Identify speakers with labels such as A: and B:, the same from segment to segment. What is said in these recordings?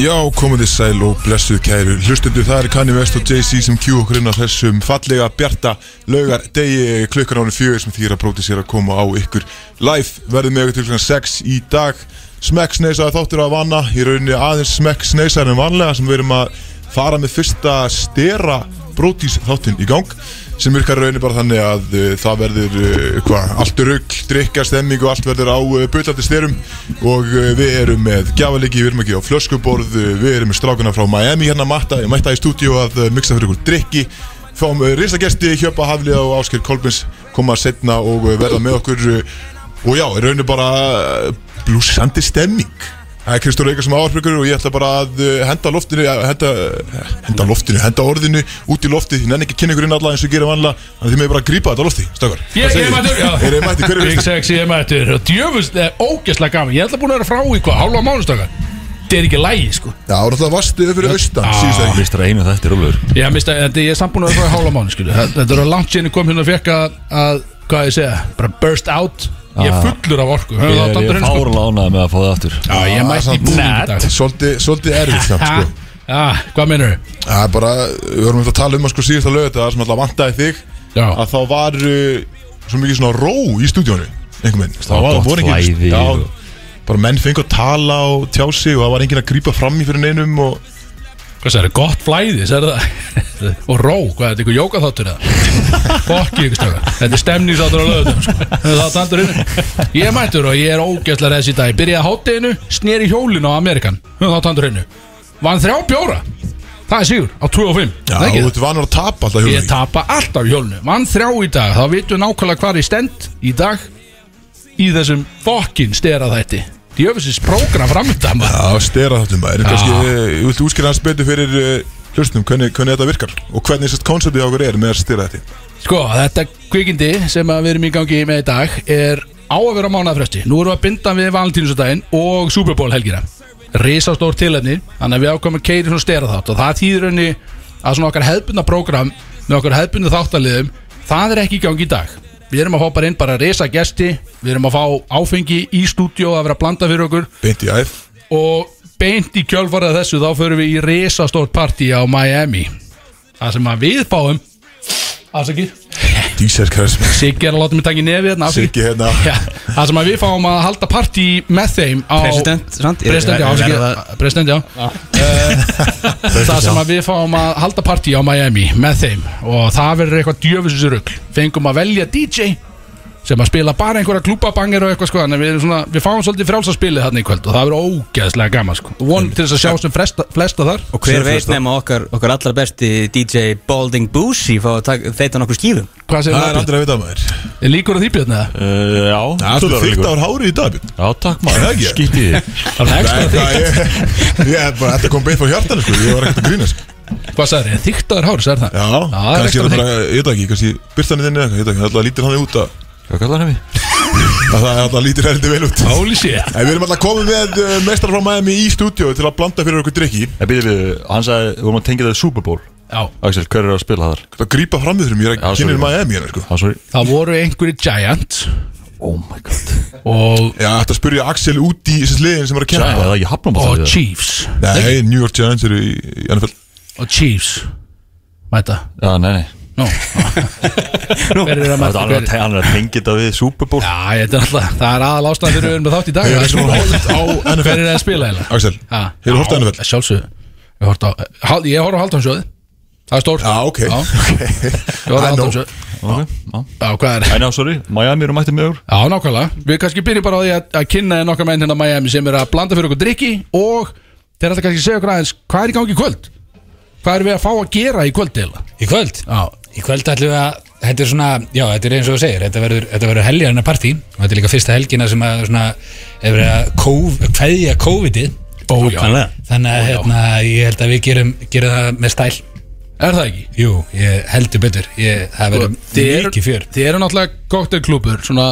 A: Já, komið þið sæl og blessuð kæru Hlustundu, það er Kanye West og Jay-Z sem kjú okkur inn á þessum fallega bjarta laugar degi klukkan ánum fjögur sem þýra bróti sér að koma á ykkur live verðum með ykkur til klukkan 6 í dag smekksneisaði þáttur að vanna í rauninni aðeins smekksneisaði en vanlega sem við erum að fara með fyrsta stera brótis þáttin í gang sem virkar rauninni bara þannig að uh, það verður uh, hva, allt rugg, drikka, stemming og allt verður á uh, butlandi styrum og uh, við erum með gjafalegi, við erum ekki á flöskuborð, uh, við erum með strákuna frá Miami hérna matta, ég mætta í stúdíu að uh, mixa fyrir ykkur drikki fáum uh, risagesti, Hjöpa Hafliða og Ásker Kolbins koma setna og uh, verða með okkur uh, og já, í rauninni bara uh, blúsandi stemming Það er Kristóra Eikar sem áhersbyggur og ég ætla bara að uh, henda loftinu, uh, henda, uh, henda loftinu, henda orðinu út í loftið. Ég nenni ekki að kynna ykkur inn alla eins og gera vanlega, þannig að þið með bara að grípa þetta lofti, stakar.
B: Ég ég er mættur já.
A: Er þið mætti, hver er
B: Big
A: fyrstur?
B: Sexy er mættur Og djöfust er ógæslega eh, gaman Ég ætla búin að vera frá í hvað Hálfa mánustakar Þetta er ekki lægi sko
A: Já, og náttúrulega vastuðu fyrir austan, síðust ekki.
C: Mistur að einu þættir úlfur
B: Ég, mista, þetta, ég er samt búin að vera frá í hálfa mánu skilu Þetta er langt síðan ég kom hérna og fekk að, að Hvað ég segja Bara burst out Ég er fullur af orku Höfum það átt aftur
C: Ah. Ég er, ég er
B: henni sko
C: fárlega ánað með að fá það aftur
B: Já ég mætti í búin í dag
A: Svolítið, svolítið erfitt samt,
B: Ha?
A: sko.
B: Já hvað meinur
A: Það er bara, við vorum eftir að tala um að sko síðust að lögða þetta, sem alltaf vantaði þig,
B: Já.
A: að þá var uh, svo mikið svona ró í stúdíónu, einhvern veginn. Það var,
C: gott
A: voru engin,
C: flæði og-
A: já, bara menn fengi að tala og tjá sig og það var enginn að grípa fram í fyrir neinum og
B: Hvað sagði gott flæði sagði það Og ró Hvað er þetta ykkur jóka þáttur eða Fokki ykkur stakar Þetta er stemningsáttur á löðum sko. Það er þáttur innu Ég er mættur og ég er ógæslega reyðs í dag Ég byrjaði að hátteginu Sneri hjólinu á Amerikan Höfum það tandur innu Vann þrjá bjóra Það er sigur Á 2 og 5
A: Já,
B: Það er ekki
A: þú ert vanur að tapa alltaf hjá
B: Ég tapa alltaf hjólnu Mann þrjá í dag Þá vitum við nákvæmlega hvar ég stend Í dag Í þessum fokkin stera þætti Djöfisins prógram framönda maður.
A: Já, stera þáttum maður Kannski, eh, Ég viltu útskýra hans betur fyrir uh, hlustnum hvernig, hvernig þetta virkar og hvernig sérst konceptið á okkur er með að stera þetta
B: Sko, þetta kvikindi sem að við erum í gangi með í dag Er á að vera á mánaðafresti Nú erum við að binda við valentínsudaginn Og Super Bowl helgina Risastór tilefni Þannig að við ákvæmum keiri svona stera þátt Og það þýður henni að svona okkar hefbundna prógram Með okkar hefbundna þáttaliðum Það er ekki í gangi í dag Við erum að fá bara inn bara risa gesti Við erum að fá áfengi í stúdíó að vera að blanda fyrir okkur
A: Beint í æð
B: og beint í kjölfarið af þessu þá förum við í risastórt partí á Miami það sem að við fáum afsakið
A: Dísar Krasmi
B: Siggi er að láta mig taka í nefið hérna afsakið.
A: Siggi hérna.
B: Já, það sem að við fáum að halda partí með þeim á
D: President, sant?
B: President, já, afsakið, president, já. Eh, það sem að við fáum að halda partí á Miami með þeim og það verður eitthvað djöfisins fengum að velja DJ sem að spila bara einhverja klúbabangir og eitthvað sko þannig að við, erum svona, við fáum svolítið frálsa spilið þarna í kvöld og það verður ógeðslega gaman sko vonum til þess að sjá sem flesta, flesta þar
D: Og hver veit nema okkar, okkar allar besti DJ Balding Boosie fá að taka- þeyta nokkur skífum
B: hvað
A: Það
B: segir
A: er
B: það Björn?
A: aldrei að vita maður
B: Er líkur á því Björn eða?
C: uh, Já,
A: Þú
C: allir
A: þygt
B: sko.
C: líkur.
A: ár hári í dag Björn.
C: Já, takk
A: Það
C: maður,
A: ekki.
C: skítið þið
B: Það er ekstra
A: Nei,
B: þygt
A: það er- Ég er bara, þetta kom beint frá hjartan sko. Ég var ekkert að grínast sko.
B: Hvað sagði þið? Þyktaður hár, sagði það
A: Já,
B: það er
A: kannski er það bara,
B: ekstra þygt
A: ég veit ekki Kannski byrstanir þinni eða eitthvað, ég veit ekki Alltaf lítir hann út að
C: Hvað kallar hann við?
A: að Það alltaf lítir heldur vel út
B: Holy shit
A: En við erum alltaf komið með uh, mestrar frá Miami í stúdíu til að blanda fyrir okkur drikki
C: Ég býði við, hann sagði, við vorum að tengja það Super Bowl
B: Já,
C: Axel, hver er að spila þar?
A: Það grípa fram við þurfum, ég er
C: Já,
A: að kynna
C: sorry.
A: Miami hérna sko
C: Hann sorry
B: það voru einhverju giant
C: Oh my god
B: og,
A: Já, þetta spurja Axel út í þessi liðin sem er að
C: Já,
A: kempa
C: það er ekki hafnum
B: og Chiefs
A: Nei, New York Giants eru í í NFL
B: og Chiefs Mæta
C: Já, nei, nei
B: Nú Hver er að
C: Það
B: mæta
C: er alveg að
B: hver?
C: te- hann er að tengja það við Super Bowl
B: Já, ég, þetta er alltaf Það er aðal ástæðan fyrir við erum með þátt í dag
A: Hefur
B: Það er
A: ekki
B: svona
A: svona
B: hótt á
A: á NFL?
B: Hver er að spila eiginlega?
A: Axel,
B: Ha?
A: hefur þú hort að NFL?
B: Já, Sjálfsögðu Ég hort á Hal- Ég horf á Haldansjóði Það er stórt
A: Já, ok
B: Já, Ég horf
A: I
B: á
A: know.
B: Haldansjóði
C: Ok, já
B: Já, hvað er
C: Æ, ná, sorry, Miami eru mættið með úr
B: Já, nákvæmlega Við kannski byrjum bara á því að, að kynna þér nokkar menn hérna á Miami sem er að blanda fyrir okkur drikki og þeir alltaf kannski að segja okkur aðeins hvað er í gangi í kvöld? Hvað erum við að fá að gera í kvöld eða?
E: Í kvöld?
B: Já,
E: Í kvöld ætlum við að, þetta er svona, já, þetta er eins og þú segir, þetta verður, þetta verður helgarna partí og þetta er líka fyrsta helgina sem að svona, hefur verið að kóf, kveðja COVID-ið.
B: ójá
E: Þannig að hérna, ég held að við gerum, gerum það með stæl.
B: Er það ekki?
E: Jú, ég heldur betur, ég, það verður
B: Sko, Þið eru-
E: mikið fjör.
B: Þið eru náttúrulega koktelklúpur svona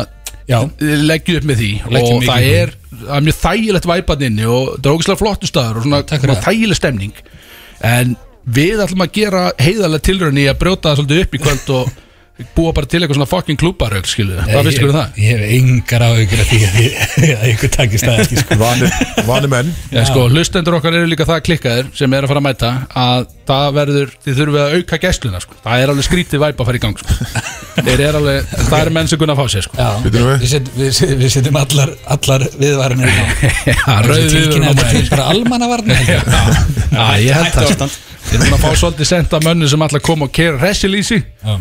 E: Já,
B: þið leggju upp með því
E: Leggjum
B: og það
E: mikið upp með
B: er, það er mjög þægilegt væpan inni og það er ógæslega flottu staður og svona,
E: Takk fyrir
B: svona
E: það.
B: þægileg stemning en við ætlum að gera heiðarlega tilraun í að brjóta það svolítið upp í kvöld og búa bara til eitthvað svona fucking klúbaraug skilu, hvað finnst ykkur um það?
E: Ég hef engar áhyggjur af því að ég- að ykkur takist það ekki sko.
A: Vanir, vanir menn
B: Já, sko, hlustendur okkar eru líka það klikkaðir sem er að fara að mæta að það verður, þið þurfum að auka gæstluna sko. það er alveg skrítið væp að fara í gang sko. þeir eru alveg, það er menn sem kunna að fá sér sko.
E: Já,
A: Bíddu nú við.
E: við, set, við, set, við setjum allar, allar viðvarinir í gang.
B: Já, rauð
E: Tilkynna þetta til
B: viðvörunarmerki.
E: bara almannavarnir held ég.
B: Já, ég held það sko.
D: Hættuástand.
B: Við erum búin að fá svolítið sent af mönnu sem alltaf kom og kera ressilísi
E: Já.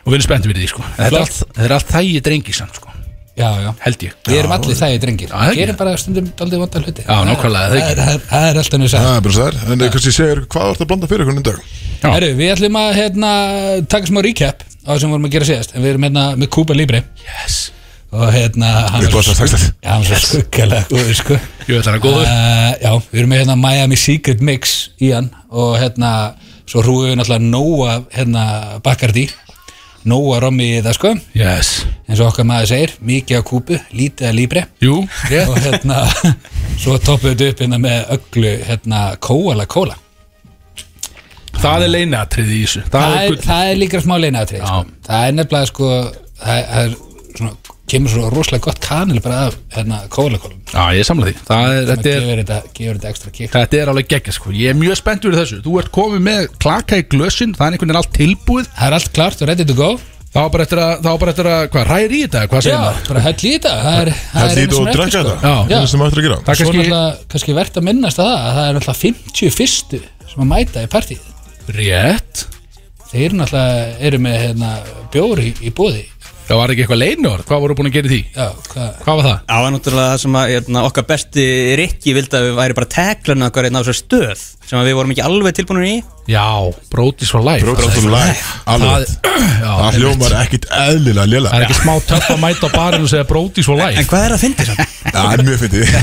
B: og við erum spenntið við því sko. Þetta er
E: Flott.
B: allt, þetta er allt þægi drengi samt sko.
E: Já, já
B: held ég
E: Við erum allir þægir drengir
B: það er ekki.
E: Gerum bara stundum aldrei vonda hluti
B: Já, nákvæmlega, það er
E: Það
B: ekki.
E: er- það er- Það er alltaf njög
A: Það
E: sætt
A: er bara sæður En eh, kannski segir hvað þú ert að blanda fyrir einhvern dag
B: Já.
E: Herru, við ætlum að hérna, taka smá recap á það sem við vorum að gera síðast En við erum hérna með Kúpa Libre
B: yes.
E: Og hérna hann
A: Við
E: var-
A: bóðum það
E: Já, hann er skuggalega góður sko
B: Jú, þetta er góður.
E: Eh, Já, við erum með hérna Miami Secret Mix í hann Og hérna, svo hrúum við náttúrulega Nóa, hérna, Bacardi Nóa rommi í það sko
B: Yes.
E: eins og okkar maður segir, mikið á kúpu, lítið að líbre
B: Jú, rétt
E: og hérna svo toppuðu þetta upp hérna með öllu hérna kóala kóla
B: Það er leinatrið í þessu
E: það er,
B: gull.
E: það er líka smá leinaðatrið sko.
B: Já.
E: það er nefnilega sko það, það er svona, kemur svo rosalega gott kanil bara af hérna kóala kóla
B: Já, ég samla því Það er,
E: það
B: þetta er,
E: gefur þetta, gefur þetta ekstra kikk
B: þetta er alveg geggja sko Ég er mjög spennt fyrir þessu Þú ert komið með klaka í glösin Það er einhvern veginn allt tilbúið
E: það er allt klart og ready to go
B: Þá bara eftir að, þá bara eftir að, hvað, ræri í þetta? Hvað
E: já,
B: segir maður?
E: bara höll í þetta það er, það
A: Það
E: er
A: er
E: einu
A: lítið
E: sem sko.
A: og drekka þetta
E: er eftir,
A: Það er það sem ættir að gera
B: Það er
E: svo
B: kannski
E: náttúrulega kannski verðt að minnast að það að það er náttúrulega 50 fyrstu sem að mæta í partíð
B: rétt
E: þeir náttúrulega eru með hérna, bjóri í bóði
B: Það var ekki eitthvað leinor Hvað voru búin að gera í því?
E: já, hvað
B: Hvað var það?
D: Það var náttúrulega það sem að hérna, okkar besti Rikki vildi að við væri bara teglun okkar einn á þessu stöð sem að við vorum ekki alveg tilbúinur í
B: Já, Brodís for life
A: Bróðar þú live
B: Það-
A: Alveg
B: Já,
A: Það
B: einmitt.
A: hljómar ekkit eðlilega lélega
B: Það er ekki smá töff að mæta á barinn og segja Brodís for life
D: En hvað er að fyndi samt?
A: Það er mjög fyndið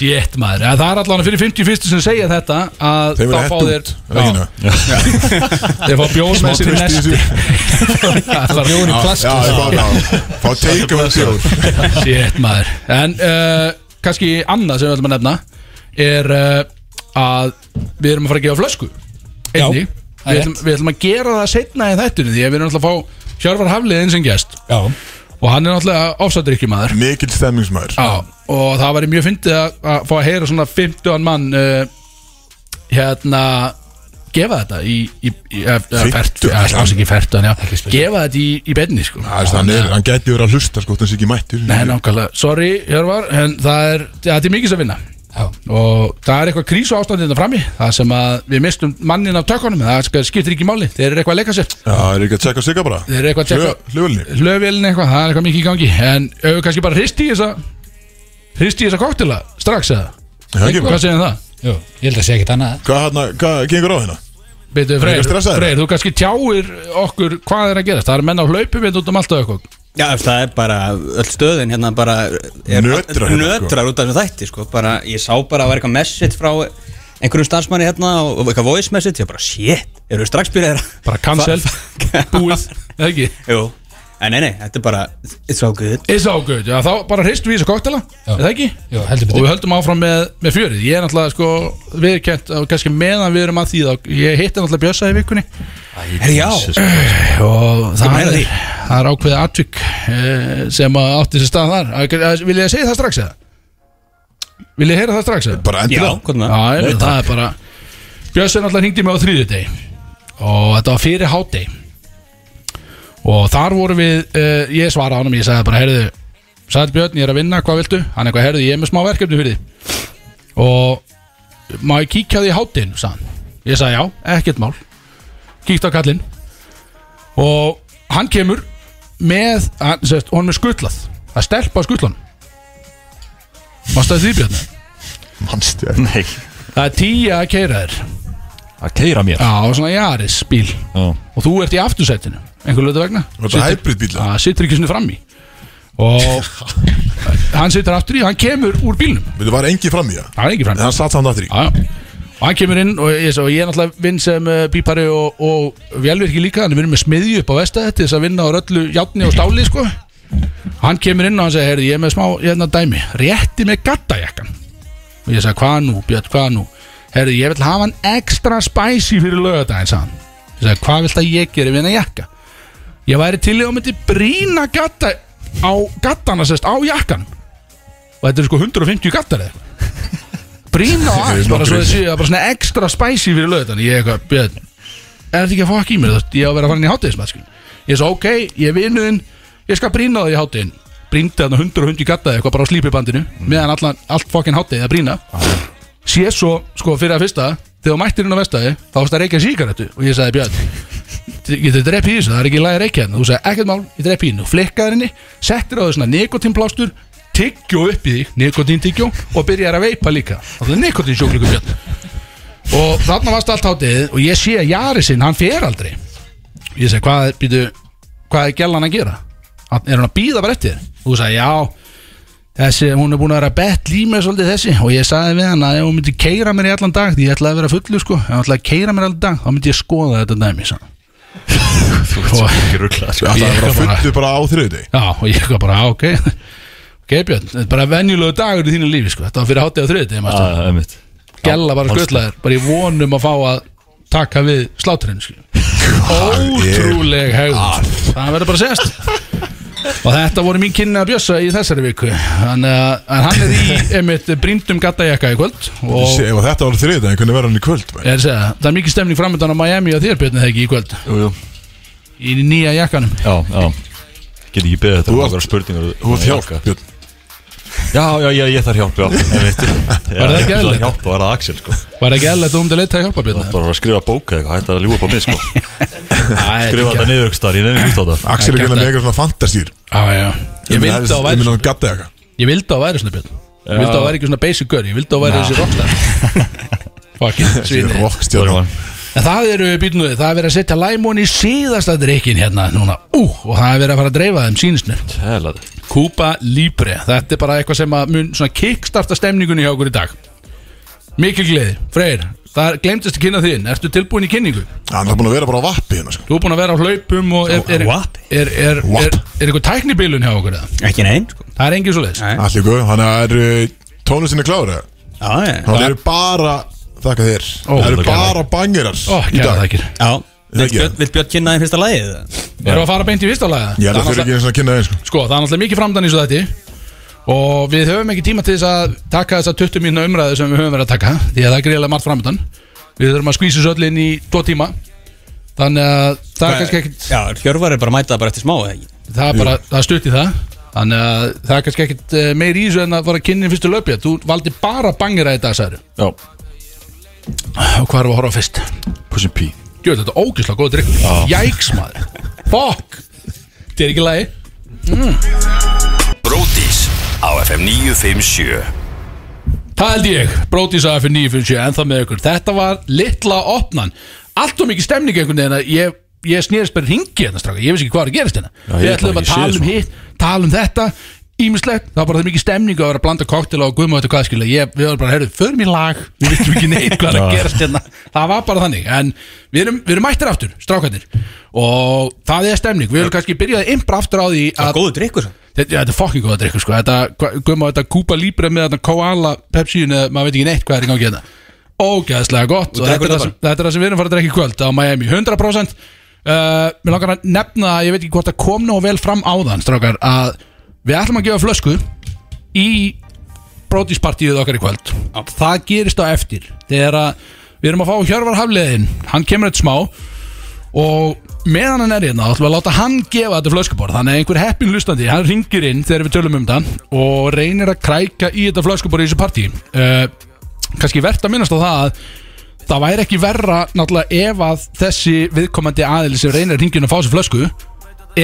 B: Sjétt maður, ja, það er allavega fyrir 51 sem segja þetta að
A: Þeir verða
B: þá fá
A: hett
B: þeir
A: út Veginu
B: þeir fá bjóð með sér í
A: trist í
B: nesti Bjóður
A: Já, já, ég fá það Fá teika með bjór
B: Sjétt maður En uh, kannski annað sem við ætlum að nefna Hérna er uh, að við erum að fara að gefa flösku Einni,
E: Já, það er
B: við ætlum, við ætlum að gera það setna en þetta því að við erum alltaf að fá Hjörvar Hafliðin sem gest
E: Já,
B: og hann er alltaf ofsadrykkjumaður
A: Mikill stemmingsmaður
B: Já, og það væri mjög fyndið að, að fá að heyra svona 15 mann uh, hérna gefa þetta í, í, í eh, eh,
A: 50?
B: fertu, ja, alls ekki fertu en já, gefa þetta í, í benni sko
A: Það er þannig, hann gæti verið að hlusta sko, þannig sé ekki mættur
B: Nei, nákvæmlega, sorry Hjörvar en það er, ja, þetta er mikið sem vinna
E: já,
B: og það er eitthvað krísu ástandið þetta frammi það sem að við mistum mannin af tökunum það sk- skiptir ekki máli, þeir eru eitthvað að leika sér
A: Já, það er ekki að tjekka sigga bara
B: þeir eru eitthvað að tjekka
A: Hljóðilni
B: hlöfvélin eitthvað, það er eitthvað mikið í gangi en auðvitað kannski bara hristi í þessa hristi í þessa koktila strax eða hvað segir það?
E: jú, ég held að segja ekkert annað
A: Hvað hérna, hvað gengur á hérna?
B: Beidu,
A: Er
B: Freyr,
A: eitthvað stressaður?
B: Freyr, þú kannski tjáir okkur hvað er að gerast, það er menn á hlaupum við út um alltaf eitthvað
D: Já, það er bara öll stöðin hérna bara er,
A: Nötrar hérna,
D: nötrar út af þessu þætti sko. bara, Ég sá bara að vera eitthvað message frá einhverjum starfsmanni hérna og og eitthvað voice message, ég bara shit, eru við strax byrjaðir að-
B: bara cancel,
D: Fa-
B: búið eða ekki,
D: Jú, en nei, nei, þetta er bara it's all good
B: it's all good, já þá bara hristum við þessu koktela,
E: Já.
B: eða ekki
E: Jú, heldur
B: og
E: betur
B: við höldum áfram með, með fjörið ég er náttúrulega sko viðurkent og kannski meðan við erum að því þá, ég hitti náttúrulega Bjössa í vikunni
D: Er já,
B: og það
D: meina
B: er,
D: því.
B: það er ákveðið atvik eh, sem að átti sér stað þar Eh, vil ég segja það strax eða? vil ég heyra það strax eða?
A: Bara
D: já,
A: endilega
D: hvað með
B: Já, ég, það er bara Björnsson alltaf hringdi mig á þriðjudeg og þetta var fyrir hádeg og þar voru við uh, ég svaraði honum, ég sagði bara heyrðu, sagði Björn, ég er að vinna, hvað viltu? hann eitthvað, heyrðu, ég er með smá verkefni fyrir þig og má ég kíkja á því hádegin, sagði hann ég sagði já, ekkert mál kíkt á kallinn og hann kemur með, hann, sérst, honum er skutlað að stelpa á skutlan mannst að því Björn
A: Manst ég
C: Nei,
B: það er tíja að keira þér
C: að keira mér
B: Já, svona Jaris bíl
C: Já.
B: Og þú ert í aftursætinu Einhver lötu vegna
A: Var þetta
B: Situr-
A: hybridbíll?
B: Já, situr ekki svona frammi Og hann situr aftur í Hann kemur úr bílnum
A: Við var engi fram í það
B: Það er ekki
A: En
B: frammi
A: hann satt samt aftur í
B: Já, já Og hann kemur inn og ég, svo, ég er náttúrulega vinn sem uh, bípari og, og velvirki líka Þannig við erum með smiðju upp á vestæði til þess að vinna á röllu játni og stáli sko. Hann kemur inn og hann segir, heyrðu, ég er með smá hérna dæmi Rétti með gattajakkan Og ég sagði, hvað nú, Björn, hvað nú Heyrðu, ég vil hafa hann ekstra spicy fyrir lögadaginn, sagði hann Ég sagði, hvað vilt að ég geri við hennar jakka Ég væri til í að myndi brína gatta á gattana sérst á jakkan og þetta er sko 150 gattar eða eitthvað. brína á
A: Þetta er
B: allt bara
A: nokkur
B: svo
A: viti.
B: þessi bara svona ekstra spicy fyrir löðan ég er eitthvað Björn er þetta ekki að fokk í mér þú veist, ég á að vera að fara inn í hátíðismat ég er svo ok ég er vinuðinn ég skal brína það í hátíðin bríndi þarna 150 gatta eða eitthvað bara á slípibandinu meðan allan, allt fokkin hátíð að brína sé svo sko fyrir að fyrsta þegar þú mættir inn á vestæði þá varst að reykja síkaretu og ég sagði Björn getur drepp í þessu, það er ekki lægir ekki hérna þú sagði ekkert mál, ég drepp í henni og flikkaði henni settir á þau svona nikotínplástur tyggjó upp í þig, nikotíntygjó og byrjar að veipa líka það er nikotínsjóklíku björn og þarna varst allt hátíð og ég sé að Jari sinn, hann fer aldrei ég segi, hvað er, býtu, hvað er gellan að gera? Hann- er hann að býða bara eftir þér? og þú sagði, já, þessi, hún er búin að vera bett límið svolítið þessi og ég sagði við hann að ef hún myndi keira mér í allan dag því ég ætlaði að vera fullu sko, ef hún ætlaði að keira mér allan dag þá myndi ég skoða þetta dæmi sann. og,
C: Ekki ruggla sko.
A: Það
B: Ég
A: er bara
B: bara-
A: fullu bara á þriðið
B: já, og ég var bara, "Ah, ok ok Björn, þetta er bara venjulegu dagur í þínu lífi sko, þetta var fyrir hátíð á þriðið
C: Já,
B: ah,
C: einmitt
B: gæla bara
C: Já,
B: sköllæðir, bara ég vonum að fá að taka við sláturinn skilur. ótrúleg hegðun sko. það verður bara að segjast og þetta voru mín kynni að bjössa í þessari viku en, uh, en hann er í einmitt brýndum gattajakka í kvöld og
A: Sé, Ef þetta var þriðið, hvernig verður hann í kvöld?
B: ég er að segja, það er mikið stemning framöndan á Miami og þér Björn þegar ekki í kvöld
C: Jú, jú
B: í nýja jakkanum
C: Já, já Get ekki beðið þetta
A: Þú
C: um
A: átt-
C: okkar spurningar
A: Þú ert hjálp, Björn
C: Já, já, já, ég þarf hjálp, já einmitt. Já,
B: það
C: ég
B: ekki
C: þarf
B: eðlilegt?
C: Hjálp var það Axel, sko
B: var ekki eðlægt um til að leita að hjálpa Björn
C: Það var að skrifa bóka eitthvað, hætti að ljúa upp á mig, sko Skrifa þetta niður ykkur starf, ég nefnir út á þetta
A: Axel er ekki
B: Ég gæti-
A: með eitthvað svona fantasýr
B: Já, já. ég vildi að
A: Ég
B: væri
A: myndi að gatta eitthvað
B: Ég vildi að væri svona Björn Ég vildi að væri ekki svona basic girl Ég vildi að væri þessi rockstar Fucking
A: Ég er
B: svinni
A: rockstjórn
B: En það eru býtnuði Það er verið að setja læmón í síðasta drikkin hérna núna Ú, og það er verið að fara að dreifa þeim sínisnir
C: Helad
B: Kúpa Libre Þetta er bara eitthvað sem að mun svona kickstarta stemningunni hjá okkur í dag Mikil gleði, Freyr Það er- glemdist að kynna þín, ertu tilbúin í kynningu?
A: Hann er búin að vera bara á vappi hérna sko.
B: Þú er búin að vera á hlaupum og er, er,
D: What?
B: er, er, er, er, er eitthvað tæknibilun hjá okkur eða?
D: Ekki neinn sko
B: Það er engin svo leiðis
D: Nei.
A: Allt í góðu, hann er uh, tónlistin er klára
D: Já, já
A: Hann eru bara, þakka þér
B: Ó,
A: Það eru
C: takk.
A: bara bangirar
B: Ó,
A: í
B: kæra
A: dag
B: þakkir
D: Já
A: Það
D: Vill
A: ekki.
D: Björn- vill Björn kynna þeim fyrsta lagið?
B: Erum við að fara beint í fyrsta laga?
A: Ég held að þau ekki eins og að kynna þeim sko.
B: Sko, það er náttúrulega mikið framdann í svo þetta Og við höfum ekki tíma til þess að taka þessa 20 mínuna umræðu sem við höfum verið að taka Því að það er greiðlega margt framdann Við þurfum að skvísa svo öll inn í 2 tíma Þannig að það er kannski ekkit
D: Já, Hjörvar er bara að mæta bara eftir smá eða ekki?
B: Það er bara, það er stutt í það Þannig að það er kannski ekkit eh, meir í þessu en að fara að kynni fyrstu löpja Þú valdi bara bangir að þetta særu
C: Já,
B: Og hvað erum við að horfa á fyrst?
C: Pussin P
B: Jú, þetta er ógislega góð drikkur Jæks maður Fuck Þetta er ekki lagi Mm.
F: Brótis á FM 957
B: Það held ég, Brótis AFN 957 en það með ykkur, þetta var litla opnan allt og mikið stemning einhvern veginn að ég, ég snýðist bara hringi hérna stráka ég veist ekki hvað er að gerast hérna
C: ég
B: við
C: ætla
B: ætlum
C: ekki
B: að
C: að sé
B: tala um
C: svona.
B: hitt, tala um þetta ímislegt, það var bara það mikið stemning að vera að blanda koktela og guðma þetta hvað skilja ég, við varum bara, heyrðu, förum í lag við vittum ekki neitt hvað er að gerast hérna það var bara þannig, en við erum, við erum mættir aftur strákarnir, og það er stemning við erum kannski byrjað að impra aftur á því að
D: Góðu drikkur svo
B: Þetta, ja, þetta er fokking góða drikkur sko Þetta, guðma þetta Kúpa Libre með þetta Koala Pepsi-un eða maður veit ekki neitt hvað er í gangi hérna Ógæðslega gott og þetta
D: drekkur
B: er, það
D: þetta
B: sem, þetta er það sem við erum farið að drekka í kvöld á Miami 100% uh, Mér langar að nefna, ég veit ekki hvort það kom nú vel fram á þann strákar að við ætlum að gefa flösku í brótispartíuð okkar í kvöld Það gerist á eftir þegar að við erum að fá Hjörvar Hafliðin hann kemur eitt smá og meðan hann er hérna þá ætlum við að láta hann gefa þetta flöskuborð þannig að einhver heppin hlustandi, hann ringir inn þegar við tölum um það og reynir að kræka í þetta flöskuborð í þessu partí uh, kannski verðt að minnast á það að það væri ekki verra náttúrulega ef að þessi viðkomandi aðili sem reynir að ringin að fá sér flösku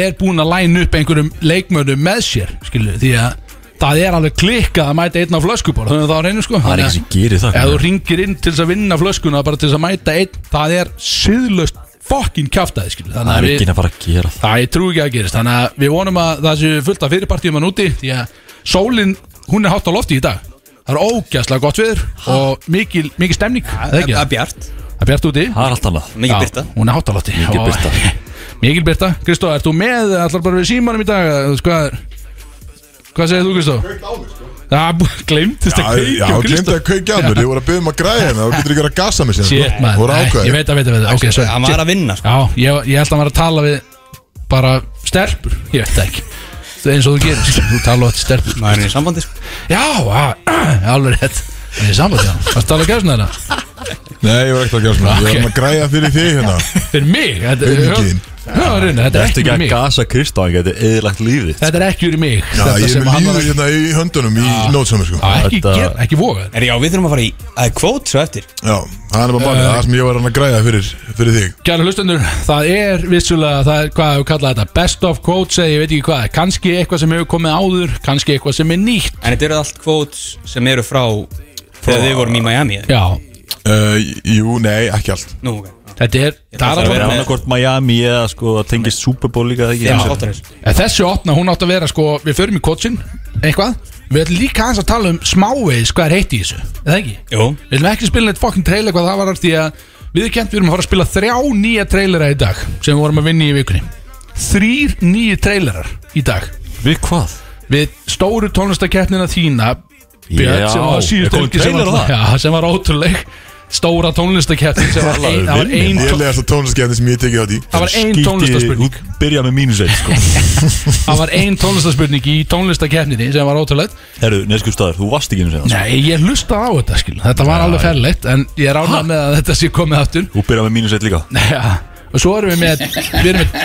B: er búin að læna upp einhverjum leikmönnum með sér skilur, því að það er alveg klikkað að mæta einn á flöskuborð þannig að það reynir sko
C: Það er ekki sem gerir það
B: Ef þú ringir inn til þess að vinna flöskuna bara til þess að mæta einn, það er siðlaust fokkin kjaftaði skilur
C: Það
B: þannig
C: er
B: að
C: ekki
B: við,
C: að fara að gera það
B: það ég trú ekki að gerist þannig að við vonum að það séu fullt af fyrirpartíum að núti því að sólin, hún er hátt á lofti í dag það er ógæslega gott viður og mikil, mikil stemning það er ekki
D: Það er
B: það,
D: bjart
B: það er bjart úti
C: Það er allt annað
D: Mikið
B: Já,
D: byrta
B: hún er hátt á lofti
C: Mikil
B: Og-
C: birta.
B: mikil byrta, Kristó, ert þú með allar bara við símanum í dag eða sko, hvað, er- hvað segir þú Kristó? Það glemtist
A: Já,
B: að
A: já,
B: kveikja á
A: glemdi
B: Kristó
A: að kveikja að mér Ég voru að byggja um að græja hérna Þú getur ekki verið að gasa mig sér
B: Shit, maður,
A: Þú voru
B: Nei, ég
A: ákvæði
B: veit að, veit að, veit að, ok, sorry
D: Hann var að vinna sko
B: Já, ég, ég held að hann var að tala við bara stelpur, ég veit það ekki það er eins og þú gerir, skilur, þú tala átt stelpur
D: Maður er í sambandi sko
B: já, á, alveg rétt það er samband, já, það tala gæsna þetta
A: Nei, ég var ekkert að gera svona Ég var
B: Ok.
A: hann að græja fyrir því hérna
B: fyrir mig, þetta er
A: Umgin.
B: Já, reyna, þetta er
C: Ertu
B: ekki
C: ekki
B: fyrir
C: að
B: mig
C: gasa Kristán Þetta er eðilagt lífið
B: þetta er ekki fyrir mig
A: Já,
B: þetta
A: ég er
B: sem
A: með
B: hann var
A: líður
B: að-
A: hérna í höndunum í nótsamur sko
B: Já, ekki,
C: Þetta-
B: gera, ekki voga
D: Er já, við þurfum að fara í að kvót svo eftir
A: Já, það er bara bara
B: Eh.
A: það sem ég var hann að græja fyrir, fyrir þig
B: Kjæra hlustendur, það er vissulega það er hvað við kalla þetta best of quotes eða ég veit ekki hvað, kannski eitthvað sem hefur komið áður kannski eitthvað sem er nýtt
D: En þetta eru allt kvót sem eru frá Þegar við vorum í Miami eða?
B: Já,
A: uh, Jú, nei, ekki allt
D: Nú, ok
B: þetta er,
D: ætla
B: það er
C: Það
D: að
B: alveg,
C: er
D: vera með-
C: annarkort Miami eða sko að tengist Super Bowl líka eða ekki
D: Þeim þáttarins
B: En þessi opna, hún átt að vera sko, við förum í coachin eitthvað, við ætlum líka aðeins að tala um smávegis hvað er heitt í þessu, eða ekki?
D: Jú
B: Við ætlum ekki að spila neitt fokkin trailer hvað það var því að við erum kent, við erum að fara að spila þrjá nýja trailera í dag sem við vorum að vinna í í vikunni Þrýr nýju trailerar í dag
C: Við hvað?
B: við stóru tónlistakeppnina þína Björn,
C: Já,
B: sem var
C: er
B: síðust
C: komin
B: helgi sem
C: trailer á
B: var,
C: það?
B: já, sem var ótrúleg stóra tónlistakeppnin sem var ein, það var ein,
A: Ég legast að tónliskefni sem ég tekið átt í
B: það var ein
C: Skíti-
B: tónlistaspurning
C: Þú byrja með mínus eitt sko
B: það var ein tónlistaspurning í tónlistakeppninni sem var ótrúleg
C: Herru, neðsku staður, þú varst ekki einu sinni þarna,
B: nei, ég hlustaði á þetta skil þetta var alveg ferleitt en ég er ánað með að þetta sé komið aftur
C: sko Þú byrja með mínus eitt líka
B: já, og svo erum við með við erum með,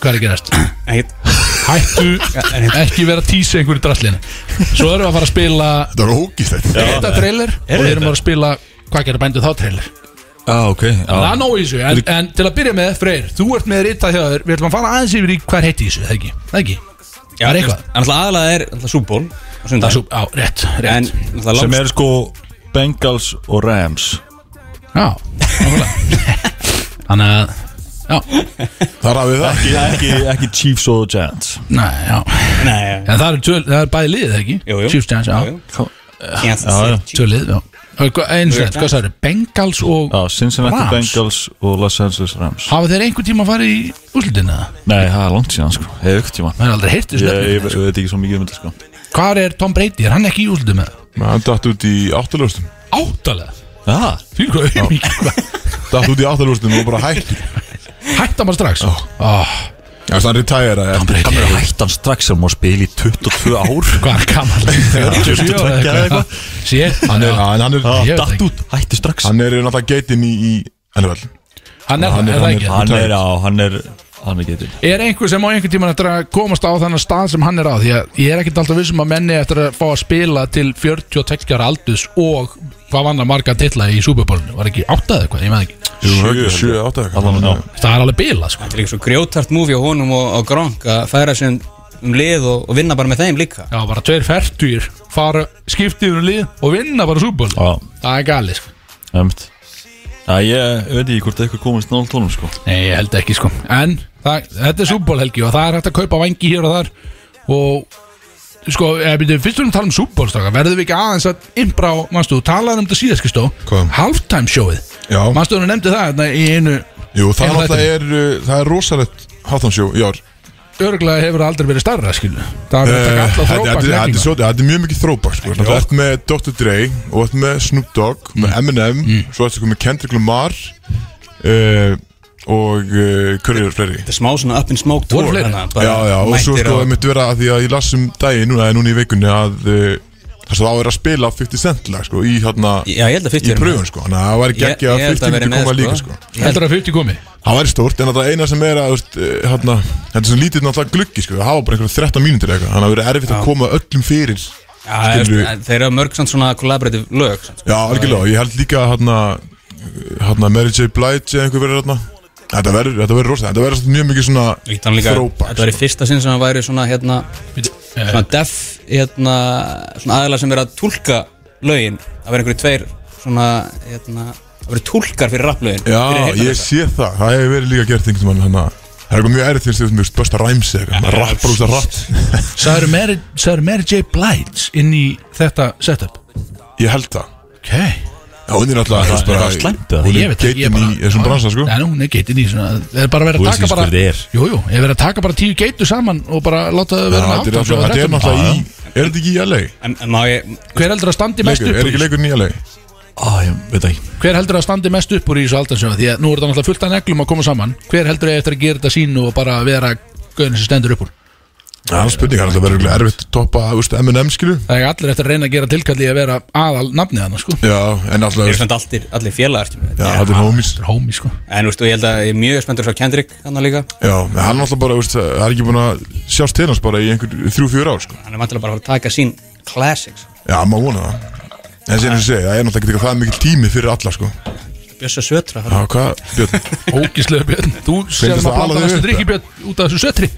B: hvað er að gerast
D: Ekkert hérna,
B: hættu ekki vera að tísa einhverju draslinu svo erum við að fara að spila
A: Þetta var ógist þetta
B: þetta trailer og við erum að fara að spila hvað gerir bændu þá trailer
C: Já, Ah, ok
B: Það er nóg í þessu, en, en til að byrja með, Freyr, þú ert með ritað hjá þér Við ætlum að fara aðeins yfir í hvað er heitt í þessu, það ekki? Það ekki?
D: Já,
B: Það er eitthvað.
D: En alltaf aðalega er alltaf súból Það
B: Það er svo, á, rétt,
D: En
B: rétt
D: alltaf
C: Sem
D: langs
C: er sko Bengals og Rams
B: Já, nákvæmlega Þannig að, já,
A: Það rafið það
C: Ekki, ekki, ekki Chiefs og Giants
B: næ, já En
D: Nei, já
B: það eru töl, það eru bæði lið, það ekki?
D: Jú, jú
B: Chiefs Giants, já,
D: Kansas
C: já.
D: City Chiefs.
B: tvö lið, já Og hvað- Eins og þetta, hvað sagður, Bengals og
C: Já, Cincinnati
B: Rams.
C: Bengals og Los Angeles Rams
B: Hafa þeir einhver tíma að fara í úslutin eða?
C: Nei, það er langt síðan sko Hefur ykkur tíma
B: Það er aldrei heitt
C: Ég,
B: þessu
C: ég,
B: nefnir
C: ég veit ekki svo mikið um þetta sko
B: Hvar er Tom Brady, er hann ekki í úslutin með?
A: Men Hann datt út í áttaljóstum
B: Áttalega,
C: Já,
B: fyrir hvað auðvitað
A: Datt út í áttaljóstum og bara hættur
B: Hætta maður strax Ó,
A: Þannig að hann retire
B: Ah. Tom Brady
C: hann er hættan strax sem má spila í 22 ár
B: Hvað er gammal?
C: 42 eða eitthvað.
B: Sér, hann er
A: Já, en hann er,
B: Ég veit
C: Datt
B: ekki.
C: út, hætti strax
A: hann er náttúrulega geitin í, í NFL
B: Hann er það, er það ekki?
C: Hann er á, hann er Hann er getur
B: Er einhver sem á einhvern tímann eftir að komast á þannig stað sem hann er á Því að ég er ekkert alltaf vissum að menni eftir að fá að spila til 42 ára aldus og hvað vann að marga titla í Superbólunni Var ekki áttað eitthvað, ég með ekki
A: Sjö, sjö, átta eitthvað.
C: Allan, já.
B: Það er alveg bila, sko
D: Þetta er líka svo grjótart múfi á honum og, og Gronk að færa sér um- um lið og, og vinna bara með þeim líka
B: Já, bara tveir fertugir fara skiptiður um lið og vinna bara Superbólunni
C: Já,
B: Það er gali, sko
C: emmitt Já, ég veit ekki hvort eitthvað komist nált honum sko
B: Nei, ég held ekki, sko En það, þetta er Superbólhelgi og það er hægt að kaupa vangi hér og þar og Sko, eh, byrju, fyrst við erum að tala um sútbólstaka Verðum við ekki aðeins að impra á Manstu, þú talaði um þetta síðast, Kristó
A: Hvað?
B: Halftime showið
A: Já,
B: Manstu hún nefndi það hérna, í einu
A: jú, það,
B: Einu
A: náttúrulega er, uh, það er rosalegt Háttansjó í ár
B: Örglega hefur það aldrei verið starra skilu Það er verið að
A: Eh,
B: taka
A: Þetta
B: alla
A: þetta-
B: þrópa
A: þetta er
B: knekkinga
A: svo- þetta er mjög mikið þrópar sko. Þú ert með Dr. Dre og ert með Snoop Dogg með
B: Mm.
A: Eminem, svo ertu komið Kendrick Lamar uh, og uh, hverju er fleiri?
D: Þetta er smá svona up in smoke
B: Voru
D: tour
B: fleiri?
D: þannig að bara
A: Já, já, og svo
D: mættir
A: sko
D: á-
A: það mitt vera að því að ég las um daginn núna, eða núna í vikunni að uh, þess að það var að spila 50 cent lag sko, í hérna,
D: Já, ég held að 50
A: í pröfun sko, þannig að það væri geggja að 50 myndi koma líka sko
B: Heldur að 50 komi
A: Það væri stórt, en það eina sem er að, þú veist, eh, hérna, þetta er svona lítið náttúrulega gluggi sko, það hafa bara einhverja 13 mínútur eða eitthvað, þannig að það verið erfitt að koma öllum fyrir
D: Já,
A: skilur við.
D: en þeir eru mörg samt svona collaborative lög samt, sko.
A: Já, algjörlega, ég held líka að hérna, hérna Mary J. Blige eða einhver verið hérna Þetta verður, þetta verður rosa, þetta verður samt mjög mikið svona
D: Þannig líka-
A: þrópa
D: Þetta var í fyrsta sinn sem það væri svona hérna
B: Eh,
D: Svona def hérna Svona aðeila sem er að túlka lögin Það verður einhverju tveir svona hérna Það verður túlkar fyrir rapplögin
A: Já, ég sé það, það hefur verið líka gert einhvern veginn hérna Það er eitthvað mjög erið þegar þú veist besta ræms eða eitthvað, maður rappar út að rapp
B: Sæður Mary, sagðirðu Mary J. Blige inn í þetta setup
A: Ég held það
B: Ok Nei,
A: Já, hún er alltaf, þú veist
C: það er slæmt, eða?
A: hún
B: Ég
A: er
B: veit það, ég
A: geitin
B: bara-
A: í þessum bransa, sko
B: hún er geitin í svona Það er bara verið
C: Þú
B: að
C: veist
B: taka
C: ekki
B: bara
C: hver þið er.
B: Jú, jú, ég er verið að taka bara tíu geitur saman og bara láta það
A: Já,
B: vera
A: Þetta er
B: með sko.
A: alltaf- þetta er
B: 18
A: náttúrulega í, er þetta ekki í LA?
D: En, en má ég
B: Hver heldur að standi mest
A: Leikur,
B: upp
A: er
B: úr
A: ekki
B: því?
A: leikurinn í LA?
C: Á, ég veit það ekki
B: Hver heldur að standi mest upp úr í þessu aldansjóð Því að nú er það náttúrulega fullt af neglum að koma saman Hver heldur að eftir að gera þetta sínu og bara vera gauðin sem stendur upp úr
A: Það er spurning, það er verið erfitt að toppa þú veist, M&M skilu
B: Það er allir eftir að reyna að gera tilkall í að vera aðal nafnið hann sko.
A: Já, en alltaf
D: Þeir eru
A: Já,
D: svona allir, allir félagar skilur við.
A: það er homies
B: Þetta er Homie sko
D: En þú veist, og ég held að ég er mjög spenntur svo Kendrick hann líka
A: Já, en hann alltaf bara, þú veist, það er ekki búin að sjást til hans bara í einhver þrjú, fjör ár sko.
D: Hann er vantilega bara að fara að taka sín classics
A: Já, maður vona það En sem ég segi, það er náttúrulega ekki eitthvað það mikill tími fyrir alla sko.
D: Bjössa Sötra
A: Já,
D: fara-
A: hvað, Björn?
B: Ógíslega Björn Þú
A: Finnst
B: séðum
A: það
B: að blanda
A: alveg
B: næstu
A: upp,
B: drikki Björn út af þessu sötri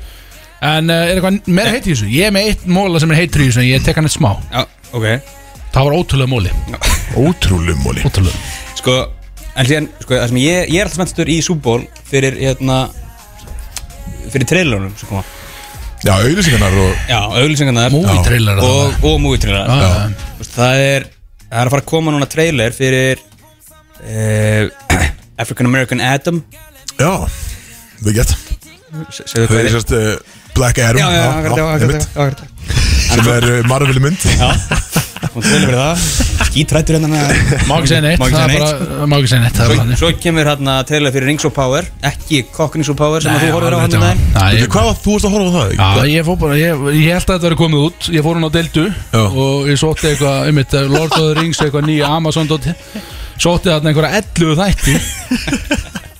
B: En uh, er eitthvað meira heit í þessu? Ég er með eitt móla sem er heitur í þessu En ég tek hann eitt smá
D: Já, ok
B: Það var ótrúlega móli
A: Ótrúlega móli
B: Ótrúlega
D: Sko, en síðan, sko, það sem ég, ég er alltaf spenntur í súból fyrir, hérna, fyrir trailunum sem koma.
A: Já, auðlýsingarnar og
D: Já, auðlýsingarnar.
B: Movie trailer
D: Já.
B: þarna.
D: Og, og movie trailer.
B: Já.
D: Þú veist, Það er, það er að fara að koma núna trailer fyrir uh, African American Adam.
A: Já, við gett
D: Se- Segðu
A: Það
D: hvað
A: er
D: er.
A: sérst uh, Black Adam
D: Já, já, akkurat, já, akkurat,
A: einmitt.
D: já, akkurat.
A: Sem er uh, Marvel mynd
D: Já, hún trailer fyrir það. Skítrættur hérna með.
B: Má ekki segja neitt
D: Má ekki segja
B: það er
D: neitt.
B: bara- Má ekki segja neitt Það er
D: Svo,
B: bara þannig
D: svo kemur hérna trailer fyrir Rings of Power, ekki Cock Rings of Power sem að þú horfir á hann um daginn.
B: Nei,
A: Veitu, Hvað, þú varst að horfa á það, ekki?
B: Já, ég fór bara, ég, ég held að þetta verið komið út Ég fór hún á Deldu
A: Já.
B: Og ég sótti eitthvað, um þetta Lord of the Rings Eitthvað nýja Amazon Sótti þarna einhverja 11 þætti